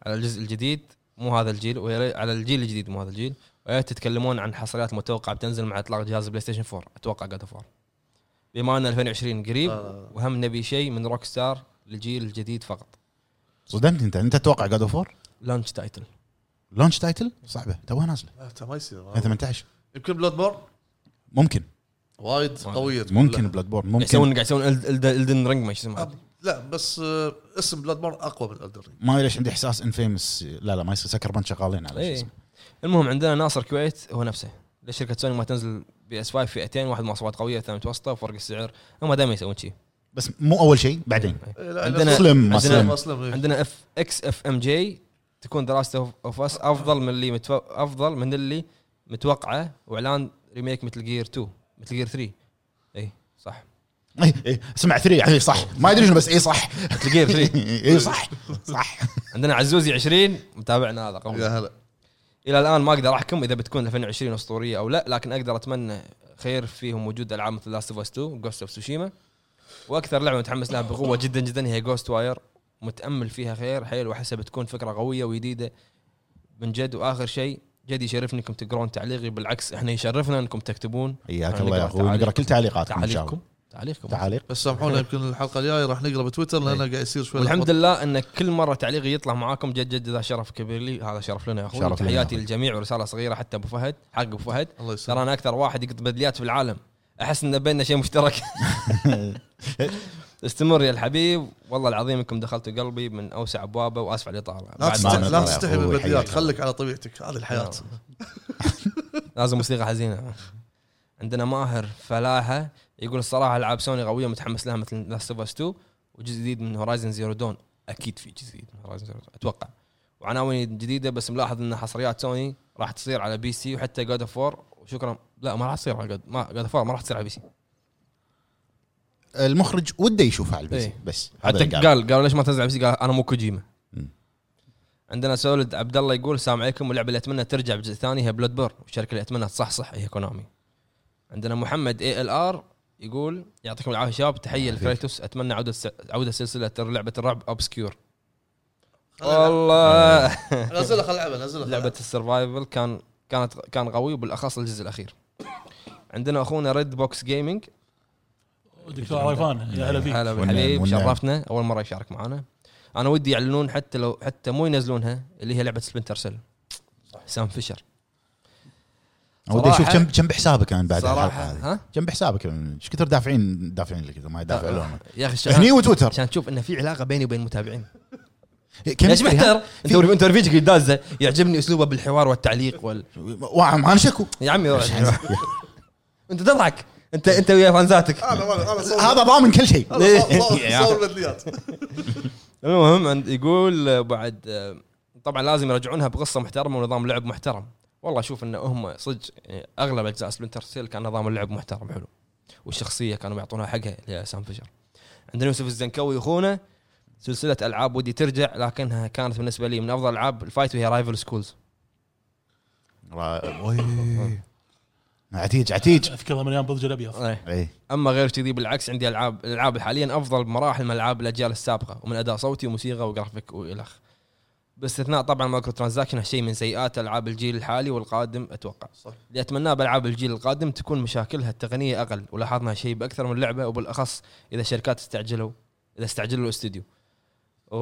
على الجزء الجديد مو هذا الجيل ويا ريت- على الجيل الجديد مو هذا الجيل ويا ريت تتكلمون عن حصريات متوقعه بتنزل مع اطلاق جهاز بلاي ستيشن 4 اتوقع قاعد فور بما ان 2020 قريب
لا، لا، لا.
وهم نبي شيء من روك ستار للجيل الجديد فقط
صدمت انت انت تتوقع جاد اوف وور
لانش تايتل
لونش تايتل صعبه توها نازله
لا، تا- ما
آه.
يصير
2018
يمكن بلاد بورن
ممكن
وايد قويه تكون
ممكن
لها.
بلاد بورن
قاعد يسوون
ممكن
قاعد يسوون الدن رينج ما شو اسمه
أب- لا بس آه، اسم بلاد بورن اقوى من الدرينج
ما ادري ليش عندي احساس انفيمس لا لا ما يصير سكر بنت شغالين على شو
ايه
اسمه.
المهم عندنا ناصر كويت هو نفسه ليش شركه سوني ما تنزل بي اس 5 فئتين واحد مواصفات قويه والثاني متوسطه وفرق السعر هم دائما يسوون شيء
بس مو اول شيء بعدين
عندنا-
سلم
عندنا-
مسلم
مسلم
عندنا اف اكس اف ام جي تكون دراسته اوف اس افضل من اللي متو... افضل من اللي متوقعه واعلان ريميك مثل جير 2 مثل جير 3 اي صح
إيه، إيه، سمع ثري يعني صح ما ادري شنو بس اي صح
مثل جير 3
اي صح صح
عندنا عزوزي 20 متابعنا هذا قوي
يا هلا
الى الان ما اقدر احكم اذا بتكون 2020 اسطوريه او لا لكن اقدر اتمنى خير فيهم وجود العاب مثل لاست اوف اس 2 جوست اوف سوشيما واكثر لعبه متحمس لها بقوه جدا جدا هي جوست واير متامل فيها خير حيل واحسها بتكون فكره قويه وجديده من جد واخر شيء جد يشرفني انكم تقرون تعليقي بالعكس احنا يشرفنا انكم تكتبون
حياك
نقرأ
الله يا اخوي
تعاليق-
نقرا كل تعليقاتكم ان شاء
تعليقكم
الله
تعليقكم
تعاليق
بس سامحونا يمكن الحلقه الجايه راح نقرا بتويتر لان قاعد يصير شوي
والحمد لله ان كل مره تعليقي يطلع معاكم جد جد هذا شرف كبير لي هذا شرف لنا يا اخوي
شرف لنا يا
تحياتي
أخوي.
للجميع ورساله صغيره حتى ابو فهد حق ابو فهد ترى
الله يسلمك
انا اكثر واحد يقط بدليات في العالم احس ان بيننا شيء مشترك استمر يا الحبيب والله العظيم انكم دخلتوا قلبي من اوسع ابوابه واسف على الاطاله
لا
بعد
تست-
ما-
تستحي.
لا
نطلع يا
تستحي
أخوي،
من البديات
حياك الله.
خليك على طبيعتك هذه الحياه
لازم موسيقى حزينه عندنا ماهر فلاحه يقول الصراحه العاب سوني قويه متحمس لها مثل لاست اوف اس 2 وجزء جديد من هورايزن زيرو دون اكيد في جزء جديد من هورايزن زيرو دون اتوقع وعناوين جديده بس ملاحظ ان حصريات سوني راح تصير على بي سي وحتى جود اوف 4 وشكرا لا ما راح تصير على جود ما جود اوف 4 ما راح تصير على بي سي
المخرج وده يشوفها على البيت
إيه.
بس هذا
حتى
اللي
قال قالوا ليش ما تنزل على بي سي؟ قال انا مو كوجيما
مم.
عندنا سولد عبد الله يقول السلام عليكم واللعبه اللي اتمنى ترجع بجزء ثاني هي بلود بور والشركه اللي اتمنى تصحصح هي كونامي عندنا محمد اي ال ار يقول يعطيكم العافيه شباب تحيه لكريتوس اتمنى عوده س- عوده سلسله لعبه الرعب اوبسكيور والله
آه.
نزلها خل العبها نزلها خل
لعبه السرفايفل كان كانت كان قوي وبالاخص الجزء الاخير عندنا اخونا ريد بوكس جيمنج
دكتور عرفان يا هلا فيك
هلا
والنعم،
بالحبيب
والنعم.
شرفنا اول مره يشارك معنا انا ودي يعلنون حتى لو حتى مو ينزلونها اللي هي لعبه سبنتر سيل سام فيشر
ودي
صراحة-
اشوف كم كم بحسابك انا بعد
صراحه
الحلقه هذه
ها آه.
كم بحسابك ايش كثر دافعين دافعين لك إذا ما يدافع لهم
يا اخي عشان-
هني وتويتر
عشان تشوف انه في علاقه بيني وبين المتابعين
كم
ليش
يشتري
محتار انت انت رفيجك يدازه يعجبني اسلوبه بالحوار والتعليق وال
هذا؟ وا- ما انا شكو
يا عمي انت تضحك انت انت ويا فانزاتك
انا انا انا صور-
هذا ضامن كل شيء
أنا صور- صور- صور البديات
المهم عند يقول آه، بعد آه، طبعا لازم يرجعونها بقصه محترمه ونظام لعب محترم والله اشوف ان هم صدق يعني اغلب اجزاء سبلنتر سيل كان نظام اللعب محترم حلو والشخصيه كانوا يعطونها حقها اللي هي سام فيشر عندنا يوسف الزنكوي اخونا سلسله العاب ودي ترجع لكنها كانت بالنسبه لي من افضل العاب الفايت وهي رايفل سكولز
را- وي. عتيج عتيج إيه،
اذكرها من ايام برج
آه.
الابيض
اي
اما غير كذي بالعكس عندي العاب الالعاب حاليا افضل بمراحل من العاب الاجيال السابقه ومن اداء صوتي وموسيقى وجرافيك والخ باستثناء طبعا مايكرو ترانزاكشن شيء من سيئات العاب الجيل الحالي والقادم اتوقع
صح.
اللي اتمناه بالعاب الجيل القادم تكون مشاكلها التقنيه اقل ولاحظنا شيء باكثر من لعبه وبالاخص اذا الشركات استعجلوا اذا استعجلوا الاستوديو و...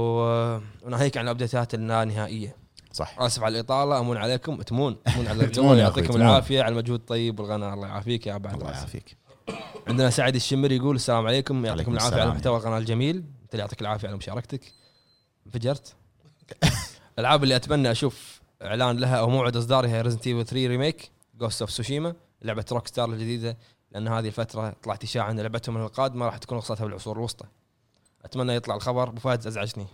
وناهيك عن الابديتات النهائيه
صح
اسف على الاطاله امون عليكم تمون تمون على
تمون
الجو
يا أخوي،
يعطيكم
تمون.
العافيه على المجهود الطيب والغنى الله يعافيك يا بعد
الله
راسي.
يعافيك
عندنا سعد الشمري يقول السلام عليكم يعطيكم
عليكم
العافيه
السلام.
على محتوى القناه الجميل انت اللي يعطيك العافيه على مشاركتك انفجرت الالعاب اللي اتمنى اشوف اعلان لها او موعد اصدارها ريزنت ايفل 3 ريميك جوست اوف سوشيما لعبه روك ستار الجديده لان هذه الفتره طلعت اشاعه ان لعبتهم القادمه راح تكون قصتها بالعصور الوسطى اتمنى يطلع الخبر ابو فهد ازعجني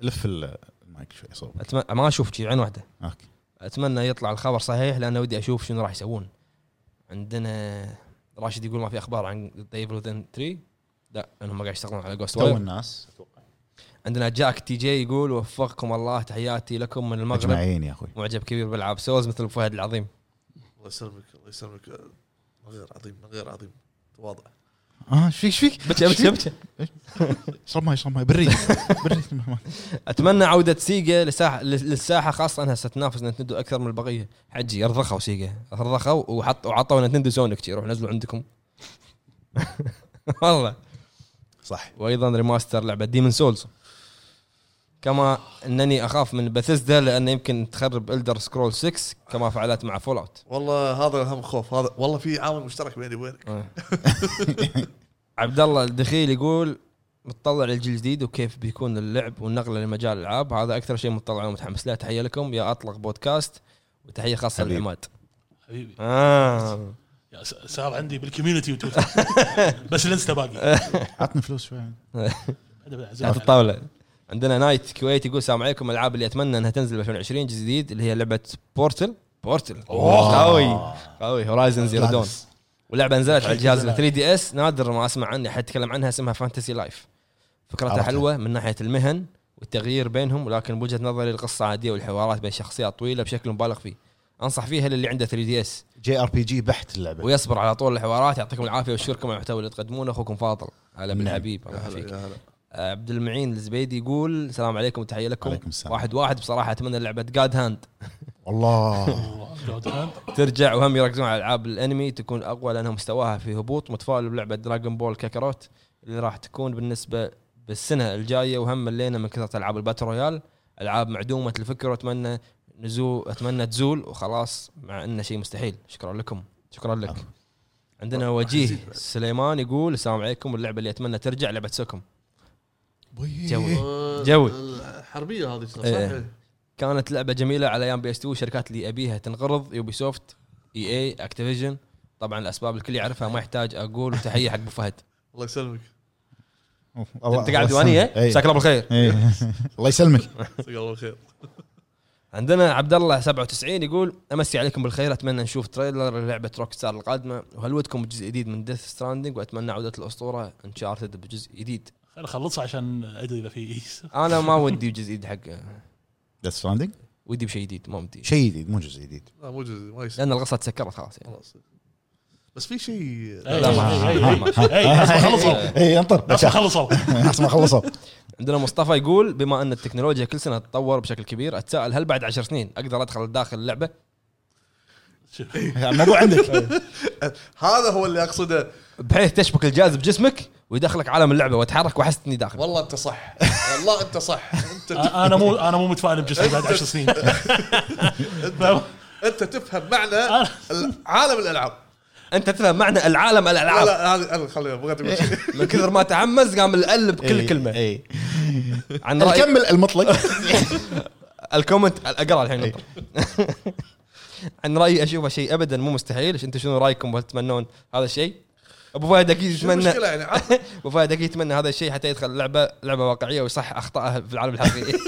لف ال- المايك شوي صوب
اتمنى ما اشوف شي عين واحده
اوكي
اتمنى يطلع الخبر صحيح لان ودي اشوف شنو راح يسوون عندنا راشد يقول ما في اخبار عن ديفل وذن 3 لا لانهم ما قاعد يشتغلون على جوست
تو
واير
الناس اتوقع
عندنا جاك تي جي يقول وفقكم الله تحياتي لكم من المغرب
اجمعين يا اخوي
معجب كبير بالعاب سوز مثل أبو فهد العظيم
الله يسلمك الله يسلمك آه، من غير عظيم من غير عظيم تواضع
اه ايش فيك ايش فيك؟
بكى بكى بكى
اشرب ماي اشرب ماي بريد بريد
اتمنى عوده سيجا لساحه للساحه خاصه انها ستنافس نتندو اكثر من البقيه حجي ارضخوا سيجا ارضخوا وحط وعطوا نتندو سونيك شي، روح نزلوا عندكم والله
صح
وايضا ريماستر لعبه ديمن سولز كما انني اخاف من بثزدا لان يمكن تخرب الدر سكرول 6 كما فعلت مع فول اوت
والله هذا اهم خوف هذا والله في عامل مشترك بيني وبينك
عبد الله الدخيل يقول متطلع للجيل الجديد وكيف بيكون اللعب والنقله لمجال الالعاب هذا اكثر شيء متطلع له متحمس له تحيه لكم يا اطلق بودكاست وتحيه خاصه
حبيب.
للعماد
حبيبي
آه.
يا س- صار عندي بالكوميونتي وتويتر بس الانستا باقي
عطني فلوس شوي
تحت الطاوله عندنا نايت كويت يقول السلام عليكم الالعاب اللي اتمنى انها تنزل ب 2020 جزء جديد اللي هي لعبه بورتل بورتل قوي قوي هورايزن زيرو دون
لابس.
ولعبه نزلت على الجهاز ال
أكيد
3 دي اس نادر ما اسمع عنها حد يتكلم عنها اسمها فانتسي لايف فكرتها
عرفتها.
حلوه من ناحيه المهن والتغيير بينهم ولكن بوجهه نظري القصه عاديه والحوارات بين شخصيات طويله بشكل مبالغ فيه انصح فيها للي عنده 3 دي اس
جي ار بي جي بحت اللعبه
ويصبر على طول الحوارات يعطيكم العافيه واشكركم على المحتوى اللي تقدمونه اخوكم فاضل هلا
نعم.
بالحبيب الله
يا هلا
يعافيك
يا هلا
آه، عبد المعين الزبيدي يقول السلام عليكم وتحيه لكم
عليكم السلام.
واحد واحد بصراحه اتمنى لعبه جاد هاند
والله
ترجع وهم يركزون على العاب الانمي تكون اقوى لانها مستواها في هبوط متفائل بلعبه دراغون بول كاكاروت اللي راح تكون بالنسبه بالسنه الجايه وهم ملينا من كثره العاب الباتل رويال العاب معدومه الفكر واتمنى نزول اتمنى تزول وخلاص مع انه شيء مستحيل شكرا لكم شكرا لك
عفوا.
عندنا
راح
وجيه
نزيد بعد.
سليمان يقول السلام عليكم اللعبه اللي اتمنى ترجع لعبه سكم جوي.
آه،
إيه. جوي.
الحربيه هذه صح؟
إيه. كانت لعبه جميله على ايام بي اس 2 الشركات اللي ابيها تنقرض يوبي سوفت اي اي اكتيفيجن طبعا الاسباب الكل يعرفها ما يحتاج اقول وتحيه حق ابو فهد
الله يسلمك
انت قاعد ديوانيه مساك الله بالخير
إيه. الله يسلمك
جزاك الله خير
عندنا عبد الله 97 يقول امسي عليكم بالخير اتمنى نشوف تريلر للعبه روك ستار القادمه وهل ودكم جزء جديد من ديث ستراندنج واتمنى عوده الاسطوره انشارتد بجزء جديد
انا خلصها عشان ادري اذا في ايس
انا ما ودي بجزء جديد حق
ذا ستراندنج
ودي بشيء جديد ما ودي
شيء جديد مو جزء جديد
لا مو جزء ما يصير
لان القصه تسكرت خلاص يعني
خلاص بس في شيء
إيه.
لا، ما-
إيه،
ما-
إيه،
ما- إيه.
إيه، أصبر خلصوا
اي انطر
اصبر خلصوا
اسمع خلصوا
عندنا مصطفى يقول بما ان التكنولوجيا كل سنه تتطور بشكل كبير اتساءل هل بعد عشر سنين اقدر ادخل داخل اللعبه؟
شوف.
الموضوع عندك
هذا هو اللي اقصده
بحيث تشبك الجهاز بجسمك ويدخلك عالم اللعبه واتحرك واحس اني داخل.
والله انت صح والله انت صح انت
انا مو انا مو متفائل بجسمي بعد 10 سنين
انت تفهم معنى ال- عالم الالعاب
انت تفهم معنى العالم
لا
الالعاب
لا هذه هذه خلينا بغيت أقول شيء.
من كثر ما تعمز قام القلب
إيه،
كل كلمه
اي
عن راي
نكمل المطلق
الكومنت اقرا الحين انطر. عن رايي اشوفه شيء ابدا مو مستحيل انتم شنو رايكم وهل تتمنون هذا الشيء؟ ابو فهد اكيد
شو
يتمنى
المشكله يعني عاد
ابو فهد اكيد يتمنى هذا الشيء حتى يدخل اللعبه لعبه واقعيه ويصح اخطائها في العالم الحقيقي.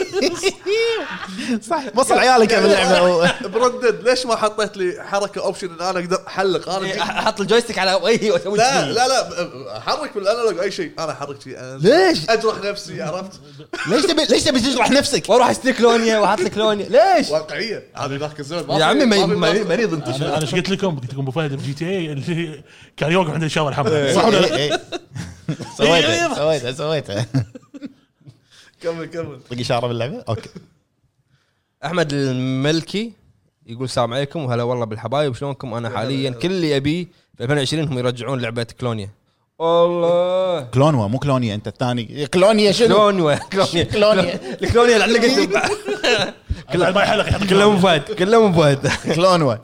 صح وصل عيالك يا
إيه.
باللعبه
بردد ليش ما حطيت لي حركه اوبشن ان انا اقدر احلق انا
إيه،
جي-
احط الجويستيك على وجهي واسوي
لا
شي.
لا لا احرك بالانالوج اي شيء انا احرك شيء أنا
ليش؟
اجرح نفسي عرفت
ليش تبي ليش تبي تجرح نفسك؟
واروح اشتري كلونيا واحط لك كلونيا ليش؟
واقعيه هذا ذاك الزمن ما
يا
في-
عمي
ما
ما-
في-
ما-
ما في-
مريض انت
انا أنا ايش قلت لكم؟ قلت لكم ابو فهد بجي تي اي اللي كان يوقف عند الشاور
إيه،
الحمراء صح ولا لا؟
إيه. سويتها سويتها سويتها
كمل كمل
طق اشاره باللعبه اوكي
احمد الملكي يقول السلام عليكم وهلا والله بالحبايب شلونكم انا حاليا كل اللي ابيه في 2020 هم يرجعون لعبه كلونيا الله
كلونوا مو كلونيا انت الثاني كلونيا شنو؟
كلونيا كلونيا
كلونيا.
الكلونيا اللي علقت
بعد ما يحلق يحط
كلهم
كلام.
أبو فهد كلهم أبو فهد
كلونوا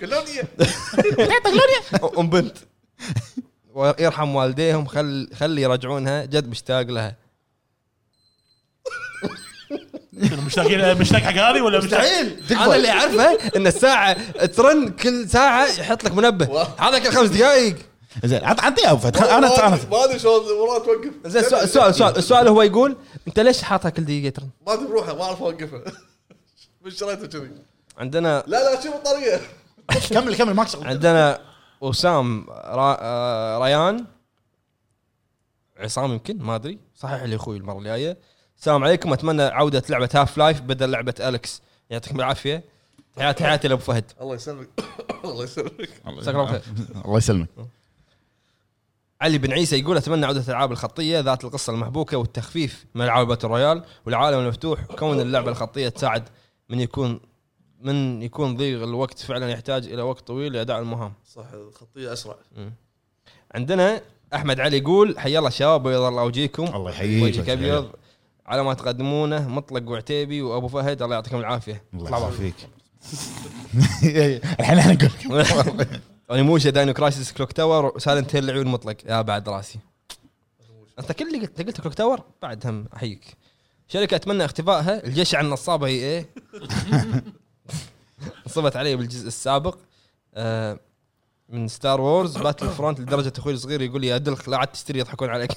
كلوني
ام بنت ويرحم والديهم خل خلي يرجعونها جد مشتاق لها
مشتاقين مشتاق حق هذه ولا مشتاق
مستحيل انا اللي اعرفه ان الساعه ترن كل ساعه يحط لك منبه هذا كل خمس دقائق
زين عط عطني ابو فهد خل- انا انا
ما ادري شلون مرات توقف
زين السؤال السؤال السؤال, السؤال هو يقول انت ليش حاطها كل دقيقتين؟
ما ادري بروحه ما اعرف اوقفها من شريته كذي
عندنا
لا لا شوف الطريقه
كمل كمل ماك شغل
عندنا وسام را... آه، ريان عصام يمكن ما ادري صحيح لي اخوي المره الجايه السلام عليكم اتمنى عوده لعبه هاف لايف بدل لعبه الكس يعطيكم العافيه تحياتي تحياتي لابو فهد
الله يسلمك الله يسلمك
مساك الله بالخير.
الله يسلمك
علي بن عيسى يقول اتمنى عوده الالعاب الخطيه ذات القصه المحبوكه والتخفيف من العاب باتل رويال والعالم المفتوح كون اللعبه الخطيه تساعد من يكون من يكون ضيق الوقت فعلا يحتاج الى وقت طويل لاداء المهام
صح الخطيه اسرع
عندنا احمد علي يقول حي الله شباب بيض الله وجيكم
الله يحييك.
وجهك ابيض على ما تقدمونه مطلق وعتيبي وابو فهد الله يعطيكم العافيه
الله يعافيك الحين احنا نقول
اونيموشا يعني داينو كرايسيس كلوك تاور وسايلنت هيل العيون مطلق يا بعد راسي انت كل اللي قلت قلت كلوك تاور بعد هم احييك شركه اتمنى اختفائها الجيش عن نصابه هي ايه انصبت علي بالجزء السابق آه، من ستار وورز باتل فرونت لدرجه اخوي الصغير يقول لي يا دلخ لا عاد تشتري يضحكون عليك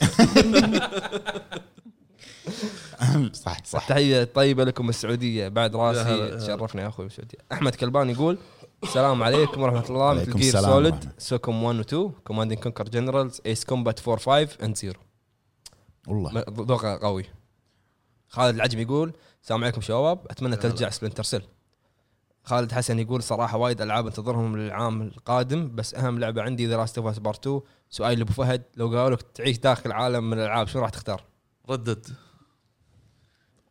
صح صح
صح تحيه طيبه لكم من السعوديه بعد
يا هلا، يا
راسي
هلا.
تشرفنا يا اخوي بالسعوديه احمد كلبان يقول السلام عليكم ورحمه الله مثل
عليكم
جير
السلام
سوليد
ورحمة.
سوكم 1 و 2 كوماند كونكر جنرالز ايس كومبات 4 5 اند 0
والله
ذوق قوي خالد العجم يقول السلام عليكم شباب اتمنى ترجع سبلنتر سيل خالد حسن يقول صراحه وايد العاب انتظرهم للعام القادم بس اهم لعبه عندي ذا لاست اوف اس بارت 2 سؤال لابو فهد لو قالوا لك تعيش داخل عالم من الالعاب شنو راح تختار؟
ردد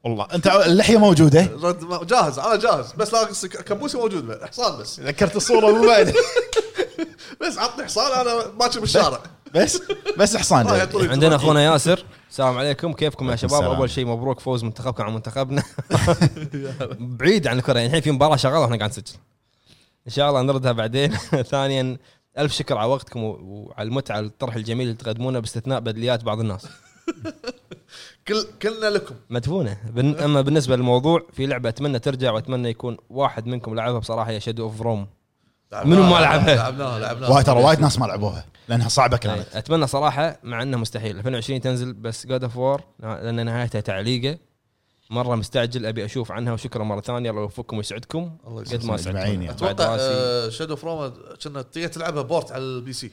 والله انت اللحيه موجوده
رد ما- جاهز انا جاهز بس لا أقص- كابوسي موجود بعد حصان بس
ذكرت الصوره من بعد
بس عطني حصان انا ماشي بالشارع
بس بس حصان
آه، يا طويل.
عندنا اخونا ياسر السلام عليكم كيفكم يا
عليكم
شباب
السلام.
اول شيء مبروك فوز منتخبكم على منتخبنا بعيد عن الكره يعني الحين في مباراه شغاله واحنا قاعد نسجل ان شاء الله نردها بعدين ثانيا الف شكر على وقتكم و- وعلى المتعه والطرح الجميل اللي تقدمونه باستثناء بدليات بعض الناس
كل كلنا لكم
مدفونه بن... اما بالنسبه للموضوع في لعبه اتمنى ترجع واتمنى يكون واحد منكم لعبها بصراحه يا شادو اوف روم منو ما لعبها؟
لعبناها لعبناها
وايد ترى وايد ناس ما لعبوها لانها صعبه كانت
اتمنى صراحه يعني مع انه مستحيل 2020 تنزل بس جود اوف وور لان نهايتها تعليقه مره مستعجل ابي اشوف عنها وشكرا مره ثانيه الله يوفقكم ويسعدكم
الله
قد ما
يسلمك.
أجمعين
سعدتونا
يعني.
بعد
اتوقع
راسي
شادو فروم كنا تيجي تلعبها بورت على البي سي
اي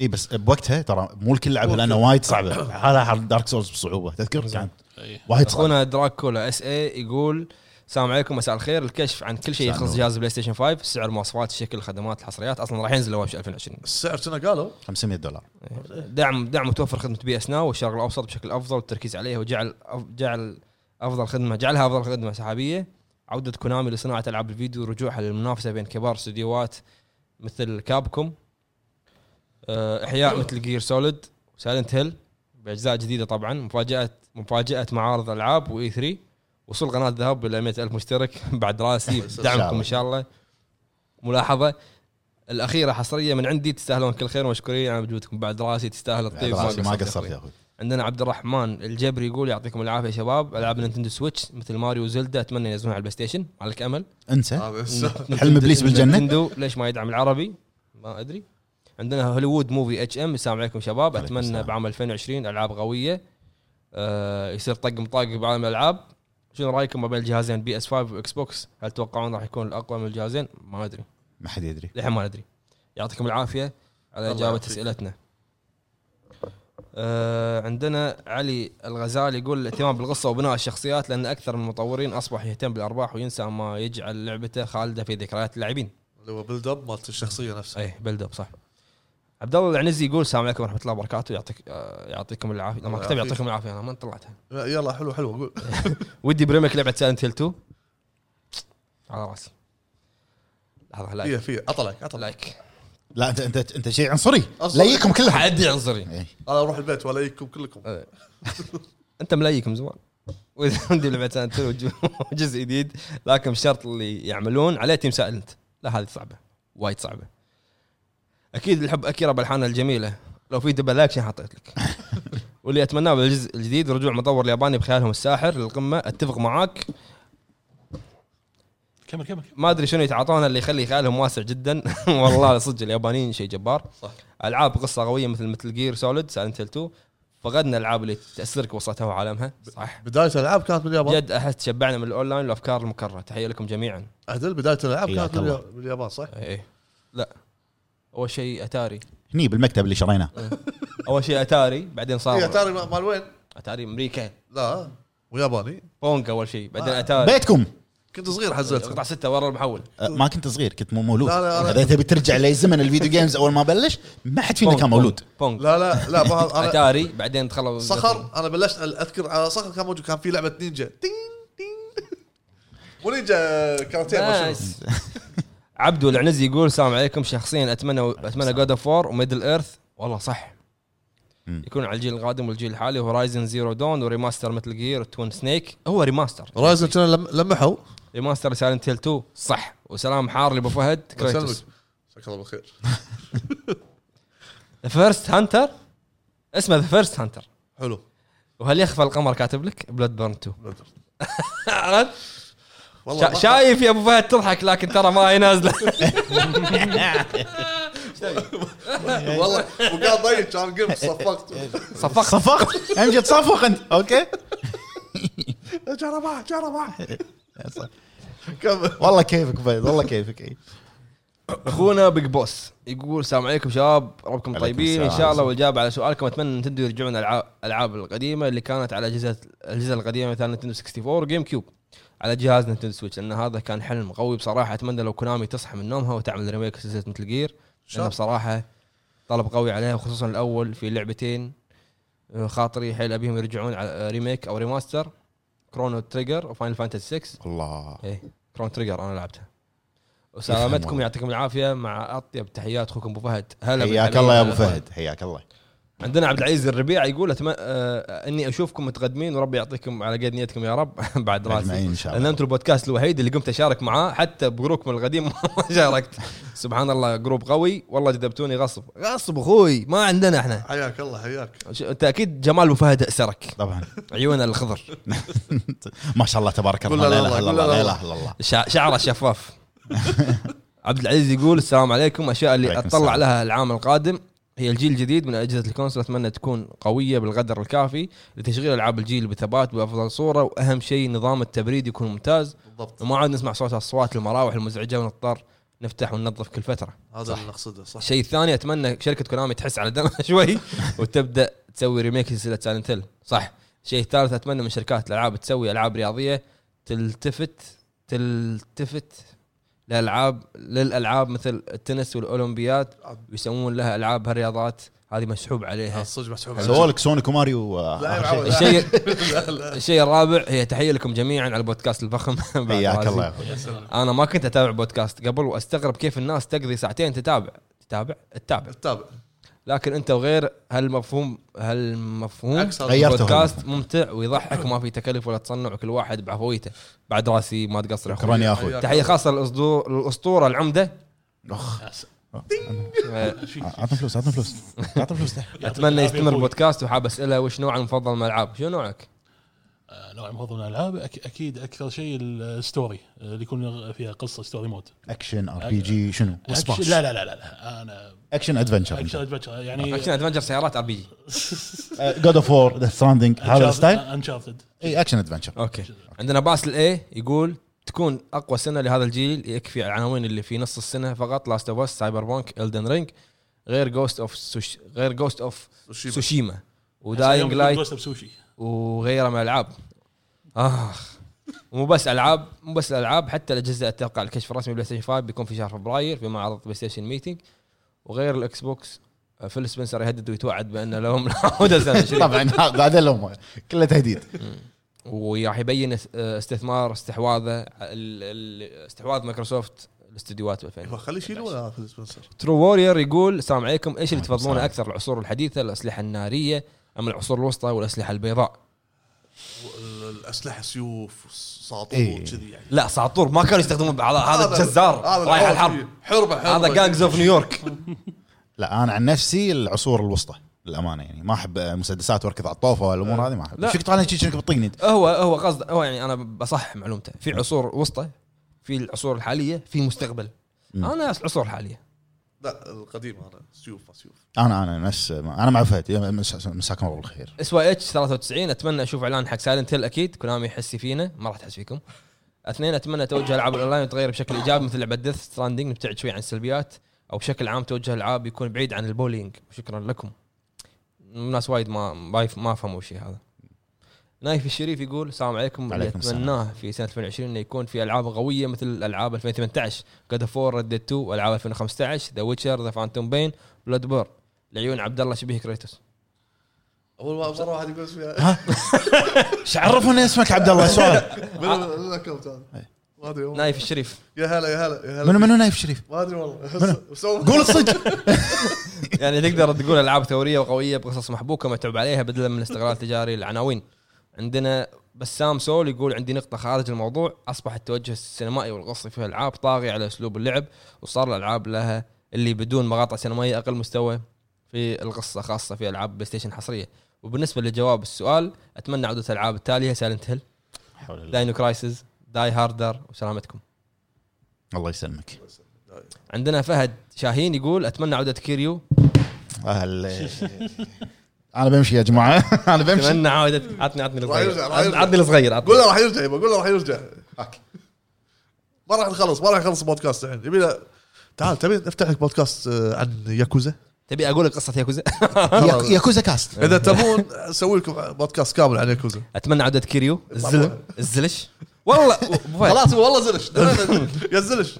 إيه، بس بوقتها ترى مو الكل لعبها لانها وايد صعبه هذا حر دارك سولز بصعوبه تذكر كان
إيه.
وايد صعبه
اخونا دراكولا اس اي يقول السلام عليكم مساء الخير الكشف عن كل شيء
مساء
يخص
النور.
جهاز بلاي ستيشن 5 السعر المواصفات الشكل الخدمات الحصريات اصلا راح ينزل اول شيء 2020
السعر كنا قالوا
500 دولار
دعم دعم متوفر خدمه بي اس ناو والشرق الاوسط بشكل افضل والتركيز عليها وجعل أف- جعل افضل خدمه جعلها افضل خدمه سحابيه عوده كونامي لصناعه العاب الفيديو ورجوعها للمنافسه بين كبار استديوهات مثل كابكوم آه، احياء مثل جير سوليد وسايلنت هيل باجزاء جديده طبعا مفاجاه مفاجاه معارض E العاب واي 3 وصول قناه ذهب الى 100000 مشترك بعد راسي دعمكم ان شاء الله ملاحظه الاخيره حصريه من عندي تستاهلون كل خير ومشكورين على مجهودكم بعد راسي تستاهل
بعد
الطيب
راسي ما
يا
قصرت
أخوي.
يا اخوي
عندنا عبد الرحمن الجبري يقول يعطيكم العافيه يا شباب العاب نينتندو سويتش مثل ماريو وزلدا اتمنى ينزلونها على البلاي ستيشن ما لك امل
انسى
آه،
إيه.
بس.
حلم ابليس بالجنه
نينتندو ليش ما يدعم العربي ما ادري عندنا هوليوود موفي اتش ام السلام عليكم شباب
عليكم
اتمنى
السلام.
بعام 2020 العاب قويه آه يصير طقم طاق بعالم الالعاب شنو رايكم ما بين الجهازين بي اس 5 واكس بوكس هل تتوقعون راح يكون الاقوى من الجهازين ما ادري
ما حد يدري
للحين ما ندري يعطيكم العافيه على
الله
اجابه
يعافيك.
اسئلتنا آه عندنا علي الغزالي يقول الاهتمام بالقصه وبناء الشخصيات لان اكثر من المطورين اصبح يهتم بالارباح وينسى ما يجعل لعبته خالده في ذكريات اللاعبين
اللي هو بيلد اب مالت الشخصيه نفسها
اي بيلد اب صح عبد الله العنزي يقول السلام عليكم ورحمه الله وبركاته يعطيك آه، يعطيكم العافيه لما
الله
كتب
يعافيك.
يعطيكم العافيه انا ما طلعتها
يلا حلو حلو قول
ودي بريمك لعبه سايلنت هيل 2 على راسي لحظه
فيها
لايك
فيها اطلعك اطلعك
لايك
لا انت انت انت شيء عنصري
أصلاً.
ليكم إيه. كلهم
عدي عنصري
انا اروح البيت ولا يكم كلكم
انت ملايك من زمان ودي لعبه سايلنت هيل وجزء جديد لكن بشرط اللي يعملون عليه تيم سايلنت لا هذه صعبه وايد صعبه اكيد الحب اكيرا بالحانه الجميله لو في دبل اكشن حطيت لك واللي اتمناه بالجزء الجديد رجوع مطور الياباني بخيالهم الساحر للقمه اتفق معاك
كمل كمل
ما ادري شنو يتعاطونه اللي يخلي خيالهم واسع جدا والله صدق اليابانيين شيء جبار
صح.
العاب قصه قويه مثل مثل جير سوليد سالنت 2 فقدنا الالعاب اللي تاثرك وسطها وعالمها صح
بدايه الالعاب كانت باليابان
جد احس شبعنا من الاونلاين والافكار المكرره تحيه لكم جميعا
عدل بدايه الالعاب
حياك
كانت
الله.
باليا- باليابان صح؟
ايه لا اول شيء اتاري
هني بالمكتب اللي شريناه
اول شيء اتاري بعدين
هي
صار
تاري ما- مال وين؟
اتاري امريكا
لا وياباني
بونج اول شيء بعدين
آه.
اتاري
بيتكم
كنت صغير حزتها
قطع سته ورا المحول
أه، ما كنت صغير كنت مو مولود
لا، لا، لا.
اذا تبي ترجع لزمن الفيديو جيمز اول ما بلش ما حد فينا
بونج،
كان مولود
بونج بونج.
لا لا لا ما هذا- انا
اتاري بعدين دخلوا
صخر انا بلشت اذكر على صخر كان موجود كان في لعبه نينجا تين تين مو نينجا كاراتيه ما شنو.
نايس. عبدو العنزي يقول السلام عليكم شخصيا اتمنى اتمنى جود اوف وور وميدل ايرث والله صح
مم.
يكون على الجيل القادم والجيل الحالي هورايزن زيرو دون وريماستر مثل جير توين سنيك هو ريماستر
رايزن كانوا لم- لمحوا
ريماستر سايلنت هيل 2 صح وسلام حار لابو فهد كريتوس
يسلمك. جزاك الله بالخير
ذا فيرست هانتر اسمه ذا فيرست هانتر
حلو
وهل يخفى القمر كاتب لك بلاد بيرن 2 عرفت؟
والله
شا-
ما-
شايف يا ابو فهد تضحك لكن ترى ما هي نازله
والله وقال ضيق كان قمت صفقت
صفقت
صفقت امجد تصفق انت اوكي
جربع جربع كمل
والله كيفك فهد والله كيفك اي
اخونا بيج بوس يقول السلام عليكم شباب ربكم
عليكم
طيبين ان
السلام.
شاء الله والاجابه على سؤالكم اتمنى نتندو يرجعون العاب الالعاب القديمه اللي كانت على اجهزه الاجهزه القديمه مثل نتندو 64 وجيم كيوب على جهاز نتندو سويتش لان هذا كان حلم قوي بصراحه اتمنى لو كونامي تصحى من نومها وتعمل ريميك سلسله مثل جير لانه
شاف.
بصراحه طلب قوي عليها وخصوصا الاول في لعبتين آه، خاطري حيل ابيهم يرجعون على آه، ريميك او ريماستر كرونو تريجر وفاينل فانتسي 6
الله
ايه كرون تريجر انا لعبتها
يفهم
وسلامتكم
والله.
يعطيكم العافيه مع اطيب تحيات اخوكم ابو فهد هلا
حياك
بالحبيب.
الله يا ابو فهد حياك الله
عندنا عبد العزيز الربيع يقول أتم... آه اني اشوفكم متقدمين وربي يعطيكم على قد نيتكم يا رب بعد راسي
اجمعين ان شاء
لان
الله
انتم البودكاست الوحيد اللي قمت اشارك معاه حتى بجروبكم القديم ما شاركت سبحان الله جروب قوي والله جذبتوني غصب غصب اخوي ما عندنا احنا
حياك الله حياك
ش- انت اكيد جمال ابو فهد اسرك
طبعا
عيونه الخضر
ما شاء الله تبارك
قول
الله لا
لا
اله
الله،
الا
قول لا
الله لا
الله.
اله الا الله
شع- شعره شفاف عبد العزيز يقول السلام عليكم اشياء اللي
عليكم
اطلع
السلام.
لها العام القادم هي الجيل الجديد من اجهزه الكونسول اتمنى تكون قويه بالقدر الكافي لتشغيل العاب الجيل بثبات بافضل صوره واهم شيء نظام التبريد يكون ممتاز
بالضبط
وما عاد نسمع صوت اصوات المراوح المزعجه ونضطر نفتح وننظف كل فتره
هذا اللي نقصده صح
الشيء الثاني اتمنى شركه كونامي تحس على دمها شوي وتبدا تسوي ريميك لسلسله سايلنت هيل صح الشيء الثالث اتمنى من شركات الالعاب تسوي العاب رياضيه تلتفت تلتفت للالعاب للالعاب مثل التنس والاولمبياد ويسوون لها العاب هالرياضات هذه مسحوب عليها
هذا صدق مسحوب
سووا لك سونيك وماريو
لا يا
آخر
معود،
شيء.
لا.
الشيء
لا لا
الشيء الرابع هي تحيه لكم جميعا على البودكاست الفخم بعد
حياك
رازي.
الله يا اخوي
يا سلام
انا ما كنت اتابع بودكاست قبل واستغرب كيف الناس تقضي ساعتين تتابع تتابع تتابع
تتابع
لكن انت وغير هالمفهوم هالمفهوم
عكس هذا.
غيرته.
بودكاست ممتع ويضحك وما في تكلف ولا تصنع وكل واحد بعفويته بعد راسي ما تقصر يا
شكرا
اخوي
يا اخوي
حياك.
تحيه خاصه للأصدو- الاسطوره العمده
اخ
يا سلام.
أه،
شي-
اعطهم فلوس اعطهم فلوس اعطهم فلوس ده.
يعطيك
اتمنى
العافية
يستمر
أخوي.
البودكاست وحاب اساله وش نوع المفضل من الالعاب شنو نوعك؟
آه، نوع مفضل من الالعاب أك- اكيد اكثر شيء الستوري آه، اللي يكون فيها قصه ستوري مود
اكشن ار بي جي شنو
أكشن-
سباش.
لا لا لا لا لا انا
اكشن ادفنشر
اكشن أدفنتشر، يعني
اكشن ادفنجر سيارات ار بي جي
جود اوف وور ذا ستراندنج هذا الستايل
انشارتد
اي اكشن ادفنشر
اوكي عندنا باسل اي يقول تكون اقوى سنه لهذا الجيل يكفي العناوين اللي في نص السنه فقط لاست اوف اس سايبر بانك الدن رينج غير جوست اوف غير جوست اوف
سوشيما.
سوشيما
يعني
وداينج لايت
بسوشي
وغيرها من الالعاب اخ مو بس العاب مو بس الالعاب حتى الاجهزه اتوقع الكشف الرسمي بلاي ستيشن 5 بيكون في شهر فبراير في معرض بلاي ستيشن ميتنج وغير الاكس بوكس آه، فيل سبنسر يهدد ويتوعد بان لهم العوده سنه 20.
طبعا هذا لهم كله تهديد
وراح يبين اس- آه، استثمار استحواذه ال- ال- استحواذ مايكروسوفت الاستديوهات
يبا
2000
خليه يشيلونه في السبنسر
ترو وورير يقول السلام عليكم ايش اللي
وعليكم
تفضلونه
السلام.
اكثر العصور الحديثه الاسلحه الناريه ام العصور الوسطى والاسلحه البيضاء؟
الاسلحه سيوف
إيه.
صاطور كذي يعني
لا ساطور ما كانوا يستخدمون بعض هذا جزار
هذا
رايح
العوض
الحرب
فيه. حربه حربه
هذا جانجز اوف نيويورك
لا انا عن نفسي العصور الوسطى للامانه يعني ما احب مسدسات واركض على الطوفه والامور هذه ما احب
لا.
شفت طالع شي كأنك بتطقني
هو هو قصد هو يعني انا بصح معلومته في عصور وسطى في العصور الحاليه في مستقبل
مم.
انا العصور الحاليه
لا القديم انا سيوف سيوف
انا انا نفس انا مع فهد يا مس- مساكم الله بالخير
اس واي اتش 93 اتمنى اشوف اعلان حق سايلنت هيل اكيد كونامي يحس فينا ما راح تحس فيكم اثنين اتمنى توجه العاب الاونلاين تتغير بشكل ايجابي مثل لعبه ديث ستراندنج نبتعد شوي عن السلبيات او بشكل عام توجه الالعاب يكون بعيد عن البولينج شكرا لكم الناس وايد ما ما يف- ما فهموا الشيء هذا نايف الشريف يقول السلام عليكم اللي
عليكم السلام.
اتمناه في سنه 2020 انه يكون في العاب قويه مثل العاب 2018 جاد اوف 4 ريد 2 والعاب 2015 ذا ويتشر ذا فانتوم بين بلاد بور لعيون عبد الله شبيه كريتوس
اول ما مره واحد يقول اسمها
ايش عرفنا ان اسمك عبد الله سؤال
من الاكونت
إيه.
هذا ما ادري والله.
نايف الشريف
يا هلا يا هلا يا
منو
هلا
منو نايف شريف
ما ادري والله سو-
قول الصدق
يعني تقدر تقول العاب ثوريه وقويه بقصص محبوكه متعوب عليها بدلا من استغلال تجاري العناوين عندنا بسام سول يقول عندي نقطه خارج الموضوع اصبح التوجه السينمائي والقصي في الالعاب طاغي على اسلوب اللعب وصار الالعاب لها اللي بدون مقاطع سينمائيه اقل مستوى في القصه خاصه في العاب بلاي ستيشن حصريه وبالنسبه لجواب السؤال اتمنى عوده الالعاب التاليه سايلنت هيل داينو كرايسز داي هاردر وسلامتكم
الله يسلمك
عندنا فهد شاهين يقول اتمنى عوده كيريو
اهل انا بمشي يا جماعه انا بمشي
اتمنى عوده عطني عطني
راح
الصغير
يرجع- راح يرجع.
عطني الصغير عطني
قول له راح يرجع يبا قول له راح يرجع
أوكي.
ما راح نخلص ما راح نخلص البودكاست الحين يبي له- تعال تبي نفتح لك بودكاست آه، عن ياكوزا
تبي اقول لك قصه ياكوزا
ياك- ياكوزا كاست
اذا تبون اسوي لكم بودكاست كامل عن ياكوزا
اتمنى عوده كيريو الزلم الزلش والله أبو
طيب.
فهد،
خلاص والله زلش يا زلش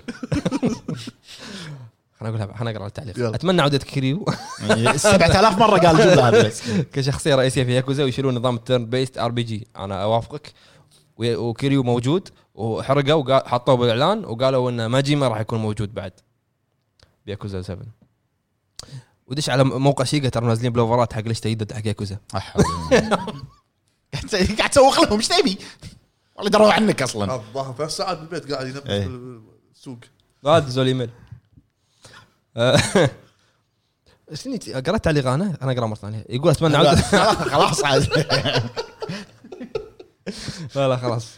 خليني اقولها خليني اقرا التعليق
يلا.
اتمنى عوده كيريو
7000 مره قال جمله هذه بس
كشخصيه رئيسيه في ياكوزا ويشيلون نظام التيرن بيست ار بي جي انا اوافقك و- وكيريو موجود وحرقه وحطوه بالاعلان وقالوا ان ماجيما راح يكون موجود بعد بياكوزا 7 ودش على موقع شيجا ترى منزلين بلوفرات حق ليش تجدد حق ياكوزا
قاعد قاعد تسوق لهم ايش تبي؟ والله دروا عنك اصلا
الظاهر ثلاث ساعات بالبيت قاعد ينبش
إيه.
بالسوق
لا دزوا الايميل آه، شنو يت- قرأت تعليق انا انا اقرا مره ثانيه يقول اتمنى عوده
خلاص عاد
لا لا خلاص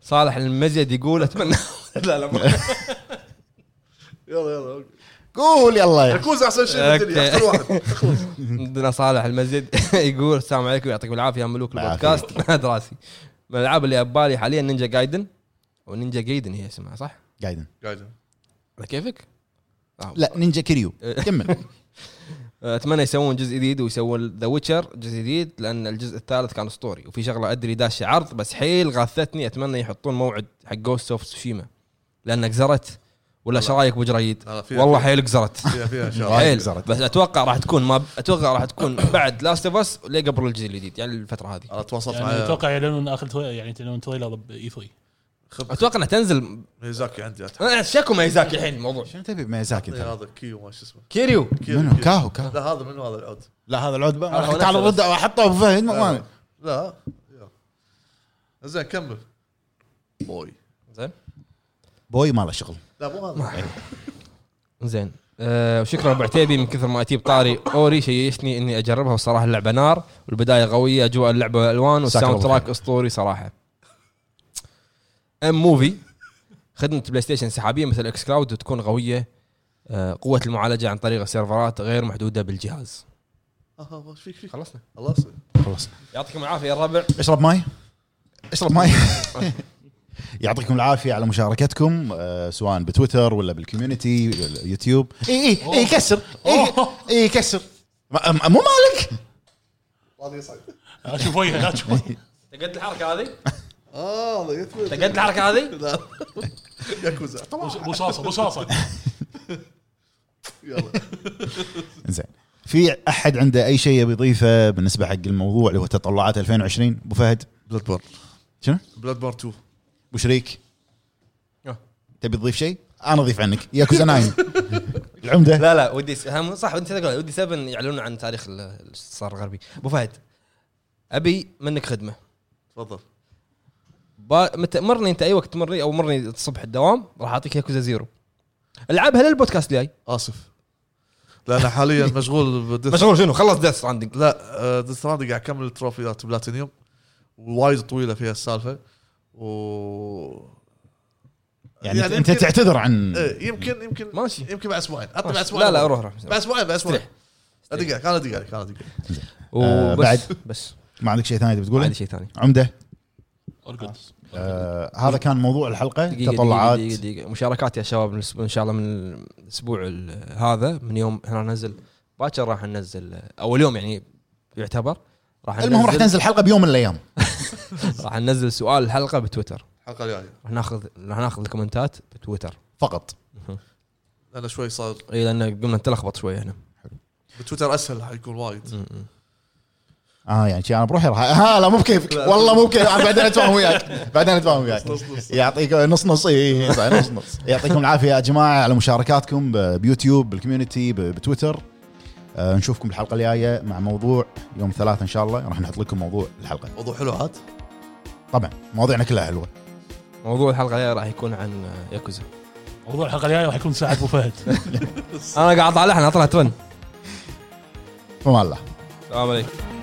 صالح المزيد يقول اتمنى لا لا ما-
يلا يلا
قول يلا
ياكوزا احسن شيء بالدنيا احسن واحد
عندنا صالح المزيد يقول السلام عليكم يعطيكم العافيه يا ملوك البودكاست دراسي من الالعاب اللي ببالي حاليا نينجا جايدن او نينجا جايدن هي اسمها صح؟
قايدن
قاعد
على كيفك؟ آه.
لا نينجا كيريو كمل
اتمنى يسوون جزء جديد ويسوون ذا ويتشر جزء جديد لان الجزء الثالث كان اسطوري وفي شغله ادري داشه عرض بس حيل غاثتني اتمنى يحطون موعد حق جوست اوف تسوشيما لانها قزرت ولا ايش رايك بجريد؟
لا، لا، فيها-
والله حيل قزرت
فيها فيها شغل
رايك
حيل
قزرت.
بس اتوقع راح تكون ما اتوقع راح تكون بعد لاست اوف اس ليه قبل الجيل الجديد يعني الفتره هذه
انا تواصلت
يعني
مع
اتوقع يعلنون اخر تريلر يعني يعلنون تريلر باي 3
خب
اتوقع انها تنزل
ميزاكي عندي أتح-
أنا شكو ميزاكي الحين الموضوع
شنو تبي ميازاكي
إيه،
انت؟
هذا كيو ما شو اسمه
كيريو
كيو-
منو
كيو.
كاهو كاهو
لا هذا منو هذا العود
لا هذا العود
هذا آه. هو
تعال
نفسه
رده حطه ابو فهد ما- ما-
لا يلا. زين كمل بوي
زين
بوي ما له شغل
لا مو هذا آه،
زين أه وشكرا ابو عتيبي من كثر ما اتيب طاري اوري شيشتني اني اجربها والصراحه اللعبه نار والبدايه قويه اجواء اللعبه والالوان والساوند
الله
تراك اسطوري صراحه ام موفي خدمه بلاي ستيشن سحابيه مثل اكس كلاود وتكون قويه أه قوه المعالجه عن طريق السيرفرات غير محدوده بالجهاز
آه، ايش فيك فيك
خلصنا
خلاص
خلاص
يعطيكم العافيه يا الربع
اشرب ماي اشرب ماي يعطيكم العافيه على مشاركتكم آه، سواء بتويتر ولا بالكوميونتي يوتيوب اي اي اي كسر اي اي كسر ما- ما- مو مالك
هذا يصعد
اشوف وجهه لا تشوف وجهه.
تقد الحركه هذه
اه هذا يثبت
تقد الحركه هذه
لا ياكوزا
بصاصه بصاصه
يلا
زين في احد عنده اي شيء يبي يضيفه بالنسبه حق الموضوع اللي هو تطلعات 2020 ابو فهد
بلاد بور
شنو
بلاد بور 2
ابو شريك
آه.
تبي تضيف شيء انا اضيف عنك ياكوزا ناين العمده
لا لا ودي س- هم صح انت تقول ودي 7 يعلنون عن تاريخ ال- الاستثمار الغربي ابو فهد ابي منك خدمه
تفضل
با... مت... مرني انت اي وقت تمرني او مرني الصبح الدوام راح اعطيك ياكوزا زيرو العبها للبودكاست الجاي
اسف لا انا حاليا مشغول بديث
مشغول شنو خلص ديث ستراندنج
لا ديث قاعد اكمل تروفيات بلاتينيوم وايد طويله فيها السالفه و يعني
يعني, يعني انت
يمكن-
تعتذر عن
إيه، يمكن يمكن
ماشي.
يمكن بعد اسبوعين حتى بعد
ماشي.
اسبوعين
لا لا روح روح
بعد اسبوعين بعد اسبوعين
استريح.
ادق عليك انا ادق عليك انا ادق عليك
آه،
وبس
بعد.
بس
ما عندك شيء ثاني تبي
ما
تقوله
عندي شيء ثاني
عمده
أرقد.
آه هذا كان موضوع الحلقه
دقيقة،
تطلعات
دقيقة، دقيقة، دقيقة. مشاركات يا شباب بالنسبة- ان شاء الله من الاسبوع ال- هذا من يوم احنا ننزل باكر راح ننزل اول يوم يعني يعتبر راح
المهم راح تنزل حلقه بيوم من الايام
راح ننزل سؤال الحلقه بتويتر
الحلقه الجايه
راح ناخذ راح ناخذ الكومنتات بتويتر
فقط
انا شوي صار
اي لان قمنا نتلخبط شوي يعني. هنا
بتويتر اسهل حيكون وايد
اه يعني شي انا بروحي راح ها لا مو بكيفك
لا.
والله مو بكيفك أنا بعدين اتفاهم وياك بعدين اتفاهم وياك
نص نص.
يعطيك نص نص اي نص نص يعطيكم العافيه يا جماعه على مشاركاتكم ب- بيوتيوب بالكوميونتي ب- بتويتر آه نشوفكم الحلقه الجايه مع موضوع يوم ثلاثة ان شاء الله راح نحط لكم موضوع الحلقه
موضوع حلو عاد
طبعا مواضيعنا كلها حلوه
موضوع الحلقه الجايه راح يكون عن آه، ياكوزا
موضوع الحلقه الجايه راح يكون ساعه ابو فهد
انا قاعد اطلع لحن اطلع ترند
فما الله
السلام عليكم